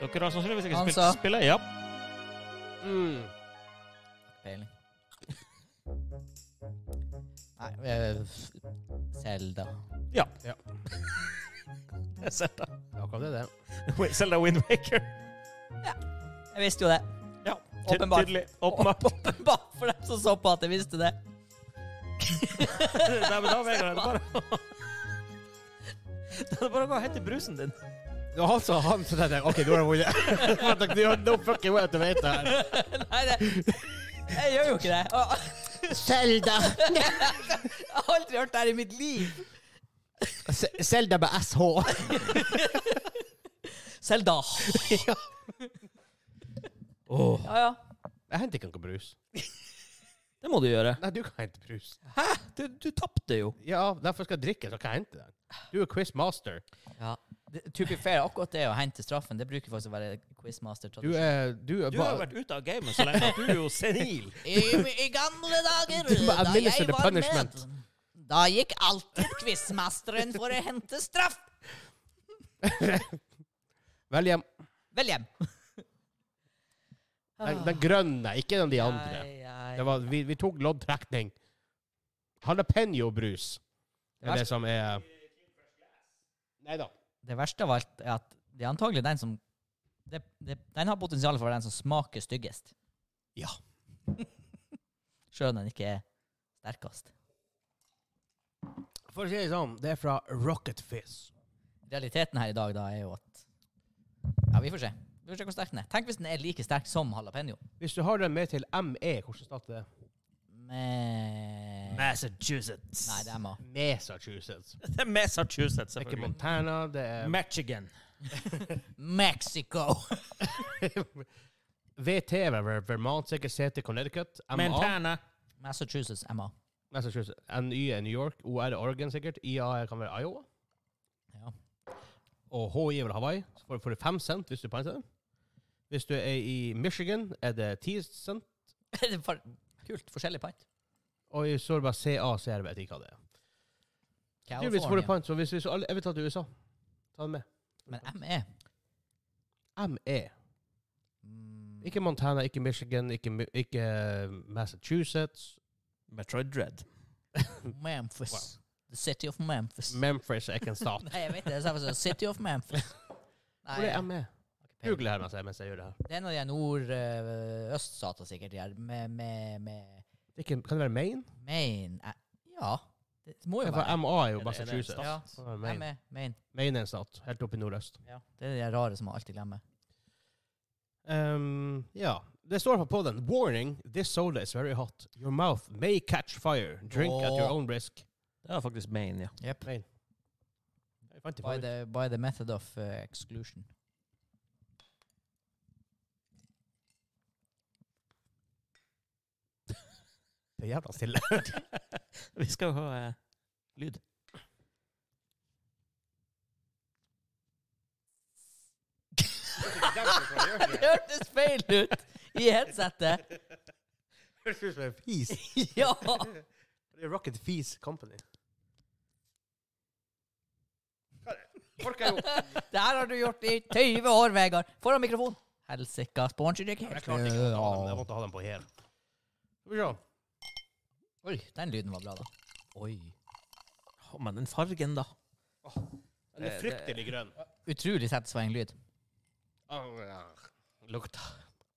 Speaker 2: Dere har sannsynligvis ikke
Speaker 3: Han
Speaker 2: spilt
Speaker 3: sa-
Speaker 2: spillet? Ja.
Speaker 1: Mm.
Speaker 3: Peiling. Nei eh, Zelda.
Speaker 2: Jeg ser det.
Speaker 1: Akkurat det, det.
Speaker 2: Wait, Zelda Windwaker.
Speaker 3: Jeg visste jo det.
Speaker 2: Ja, ty-
Speaker 3: Åpenbart.
Speaker 2: Tydelig. Åpenbart.
Speaker 3: Bare for dem som så på at jeg visste det.
Speaker 2: Nei, men da, Vegard, er det bare å Da er det bare å gå og hente brusen din.
Speaker 1: Det var han som altså, han som tenkte jeg, OK, nå har jeg vunnet. For at dere- No fucking way at du vet det her.
Speaker 3: Nei, det Jeg gjør jo ikke det. Og-
Speaker 1: Selda.
Speaker 3: Jeg har aldri hørt det her i mitt liv.
Speaker 1: Selda med SH.
Speaker 3: Selda.
Speaker 2: Åh.
Speaker 3: Ja, ja.
Speaker 1: Jeg henter ikke noe brus.
Speaker 2: Det må du gjøre.
Speaker 1: Nei, du kan hente brus.
Speaker 2: Du, du tapte jo.
Speaker 1: Ja, derfor skal jeg drikke, så kan jeg hente den. Du er quizmaster.
Speaker 3: ja. Det- To be fair, akkurat det å hente straffen, det bruker faktisk å være quizmaster.
Speaker 1: Du er Du er
Speaker 2: Du har jo
Speaker 1: bare
Speaker 2: vært ute av gamet så lenge at du er jo senil.
Speaker 3: I, I gamle dager,
Speaker 1: Du må
Speaker 3: da
Speaker 1: administer
Speaker 3: jeg
Speaker 1: the
Speaker 3: var
Speaker 1: punishment.
Speaker 3: med Da gikk alltid quizmasteren for å hente straff.
Speaker 1: Vel hjem.
Speaker 3: Vel hjem.
Speaker 1: Den,
Speaker 2: Ah.
Speaker 1: den grønne, ikke den de andre.
Speaker 3: Ai, ai.
Speaker 1: Det var, vi, vi tok loddtrekning. Jalapeño-brus er det som er Nei da.
Speaker 3: Det verste av alt er at det er antagelig den som det, det, Den har potensial for å være den som smaker styggest.
Speaker 1: Ja.
Speaker 3: Sjøl om den ikke er sterkest.
Speaker 1: For å si det sånn, det er fra Rocket Fizz.
Speaker 3: Realiteten her i dag da er jo at Ja, vi får se. Vi får se hvor sterk den er. Tenk hvis den er like sterk som jalapeño.
Speaker 1: Hvis du har den med til ME, hvordan starter det?
Speaker 3: Men Nei,
Speaker 2: Massachusetts.
Speaker 3: det er ma.
Speaker 1: Massachusetts. Det
Speaker 2: det er Massachusetts,
Speaker 1: er ikke
Speaker 2: selvfølgelig.
Speaker 1: Montana, det er
Speaker 2: Michigan.
Speaker 3: Mexico!
Speaker 1: VT, Ver- Vermont, sikkert CT, Connecticut. MA,
Speaker 2: Montana.
Speaker 3: Massachusetts, MA.
Speaker 1: Massachusetts. NY er New York. OR er Oregon, sikkert. IA kan være Iowa.
Speaker 3: Ja.
Speaker 1: og HI er vel Hawaii. Så får, får du fem cent hvis du pointer det. Hvis du er i Michigan, er det ti cent.
Speaker 3: Det er for- Kult. Forskjellig pant.
Speaker 1: Og i Sorba CA så er det vet ikke hva det er. Tydeligvis får du
Speaker 3: California.
Speaker 1: point, så hvis, hvis alle, jeg vil ta til USA. Ta den med.
Speaker 3: Men ME
Speaker 1: ME.
Speaker 3: Mm,
Speaker 1: Ikke Montana, ikke Michigan, ikke, Mi- ikke eh, Massachusetts.
Speaker 2: Metroid Dread.
Speaker 3: Memphis. The city of Memphis.
Speaker 1: Memphis er ikke en stat.
Speaker 3: Nei, jeg vet det. Det er sånn City of Memphis. Nei,
Speaker 1: Hvor er ME?
Speaker 3: ok,
Speaker 1: Google her mens jeg, mens jeg gjør det her.
Speaker 3: Det er en av de nordøststatene eh, sikkert, de her, med, med, med
Speaker 1: Det er Ikke, kan det være Maine?
Speaker 3: Maine eh, Ja, det må jo
Speaker 1: Ja,
Speaker 3: være
Speaker 1: For MA er
Speaker 2: Er det- er
Speaker 1: jo
Speaker 2: det en
Speaker 1: Massachusetts.
Speaker 2: stat?
Speaker 3: Ja,
Speaker 1: Kan være
Speaker 3: jeg er
Speaker 1: Maine.
Speaker 3: med Maine.
Speaker 1: Maine er en stat, helt oppe i nordøst.
Speaker 3: Ja. Det er de her rare som man alltid glemmer.
Speaker 1: Um, ja. Det står på den. Warning, this soda is very hot. Your mouth may catch fire. Drink at your
Speaker 3: Åh.
Speaker 1: own risk.
Speaker 2: Det var faktisk Maine, ja.
Speaker 3: Yep.
Speaker 1: Jeg fant det
Speaker 3: By,
Speaker 1: forut.
Speaker 3: the, by the method of eh, exclusion.
Speaker 1: Det er jævla stille.
Speaker 2: Vi skal jo ha eh, lyd.
Speaker 3: det hørtes feil ut i headsetet!
Speaker 1: Høres ut som en fis.
Speaker 3: ja!
Speaker 1: Det er Rocket Fis Company. orker jeg jo.
Speaker 3: Det her har du gjort i 20 år, Vegard. Foran mikrofon. Helsika, sponser dere
Speaker 1: Jeg
Speaker 3: helt?
Speaker 1: klarte ikke å ta dem. Jeg måtte ha dem på her. Skal vi se.
Speaker 3: Oi, den lyden var bra, da. Oi.
Speaker 2: Å, men den fargen, da.
Speaker 1: Den er
Speaker 2: Eh, det-
Speaker 1: fryktelig grønn.
Speaker 3: Utrolig satisfying lyd.
Speaker 1: Lukta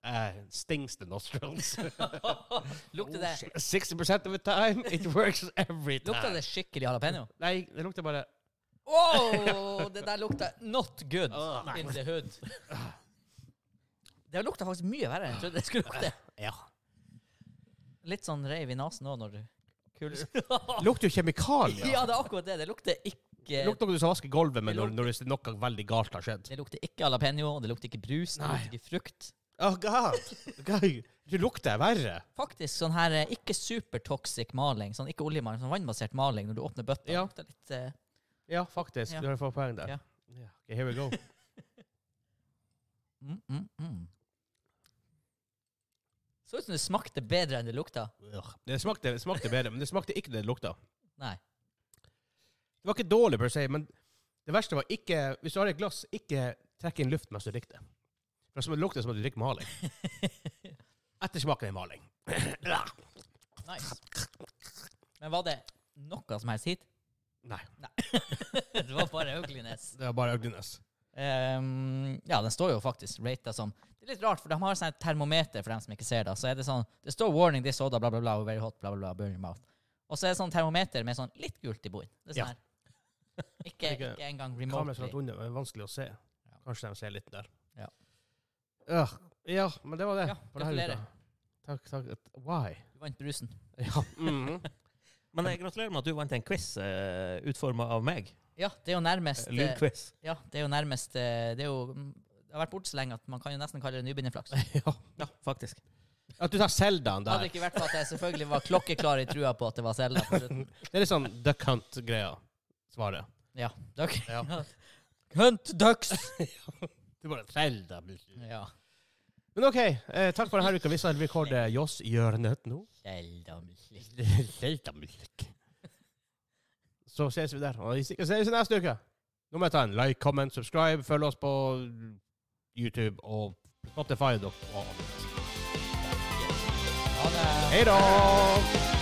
Speaker 1: eh, Stings the nostrils. Oh,
Speaker 3: Lukter det,
Speaker 1: 60 of the time, it works every time.
Speaker 3: lukter det skikkelig jalapeño?
Speaker 1: Nei, det lukter bare
Speaker 3: Wow, det der lukter not good
Speaker 1: Åh, nei.
Speaker 3: in the hood. Det lukter faktisk mye verre enn jeg trodde det skulle lukte.
Speaker 1: Ja.
Speaker 3: Litt sånn reiv i nesen òg når du kuler.
Speaker 1: Lukter altså. jo kjemikalier.
Speaker 3: Ja, det er akkurat det. Det lukter ikke
Speaker 1: Det lukter noe du skal vaske gulvet med
Speaker 3: Det
Speaker 1: når, når det- noe veldig galt har skjedd.
Speaker 3: Det lukter ikke jalapeño, det lukter ikke brus, det
Speaker 1: Nei.
Speaker 3: lukter ikke frukt.
Speaker 1: Oh god. God. Du lukter verre.
Speaker 3: Faktisk sånn her eh, ikke supertoxic maling, sånn ikke oljemaling, sånn vannbasert maling når du åpner bøtta.
Speaker 1: Ja.
Speaker 3: Lukter litt eh,
Speaker 1: Ja, faktisk.
Speaker 3: Ja.
Speaker 1: Du har fått poeng der.
Speaker 3: Ja.
Speaker 1: Ja. Okay, here we go.
Speaker 3: mm, mm, mm. Så ut som det smakte bedre enn det lukta.
Speaker 1: Ugh. Det smakte, det smakte bedre, men det smakte ikke det det lukta.
Speaker 3: Nei.
Speaker 1: Det var ikke dårlig per se, men det verste var ikke Hvis du har et glass, ikke trekk inn luft mens du drikker det. For det sm- lukter som at du drikker maling. Ettersmaken er maling.
Speaker 3: Nice. Men var det noe som helst hit?
Speaker 1: Nei,
Speaker 3: det var bare ugliness.
Speaker 1: det var bare ugliness.
Speaker 3: Ehm, ja, den står jo faktisk rata som Det er litt rart, for de har sånn et termometer for dem som ikke ser det. Så er det sånn Det står 'warning this soda', bla, bla, bla, very hot, bla, bla, bla, burn your mouth. Og så er det sånn termometer med sånn litt gult i bunnen. Det er
Speaker 1: Ja.
Speaker 3: sånn her. Ikke,
Speaker 1: Ikke-
Speaker 3: ikke engang
Speaker 1: Kameraet satt
Speaker 3: remotely.
Speaker 1: under, men vanskelig å se. Kanskje de ser litt der.
Speaker 3: Ja.
Speaker 1: Ja, ja men det var det.
Speaker 3: Ja,
Speaker 1: for denne
Speaker 3: gratulerer.
Speaker 1: uka. Takk, takk. Why?
Speaker 3: Du vant brusen.
Speaker 1: Ja.
Speaker 3: Mhm.
Speaker 2: Men jeg gratulerer med at du vant en quiz uh, utforma av meg.
Speaker 3: Ja, det er jo nærmest eh,
Speaker 2: Lydquiz.
Speaker 3: Ja, det er jo nærmest eh, Det er jo mm, Det har vært borte så lenge at man kan jo nesten kalle det nybegynnerflaks.
Speaker 1: ja.
Speaker 2: Ja, faktisk.
Speaker 1: At du tar Seldaen
Speaker 3: Hadde
Speaker 1: der.
Speaker 3: det ikke vært for at jeg selvfølgelig var klokkeklar i trua på at det var Selda på slutten.
Speaker 1: Det er litt sånn Duck Hunt-greia. Svaret.
Speaker 3: Ja. Duck.
Speaker 1: Ja.
Speaker 3: Hunt ducks!
Speaker 1: Du bare Selda. Men
Speaker 3: ja.
Speaker 1: OK, eh, takk for denne uka. Vi skal rekorde Joss Hjørnet nå.
Speaker 3: Kjeldamlik.
Speaker 1: Selda-musikk. Så ses vi der. Og vi ses neste uke. Nå må jeg ta en like, comment, subscribe. Følg oss på YouTube og Spotify. og- og alt.
Speaker 3: Ha det.
Speaker 1: Hei da!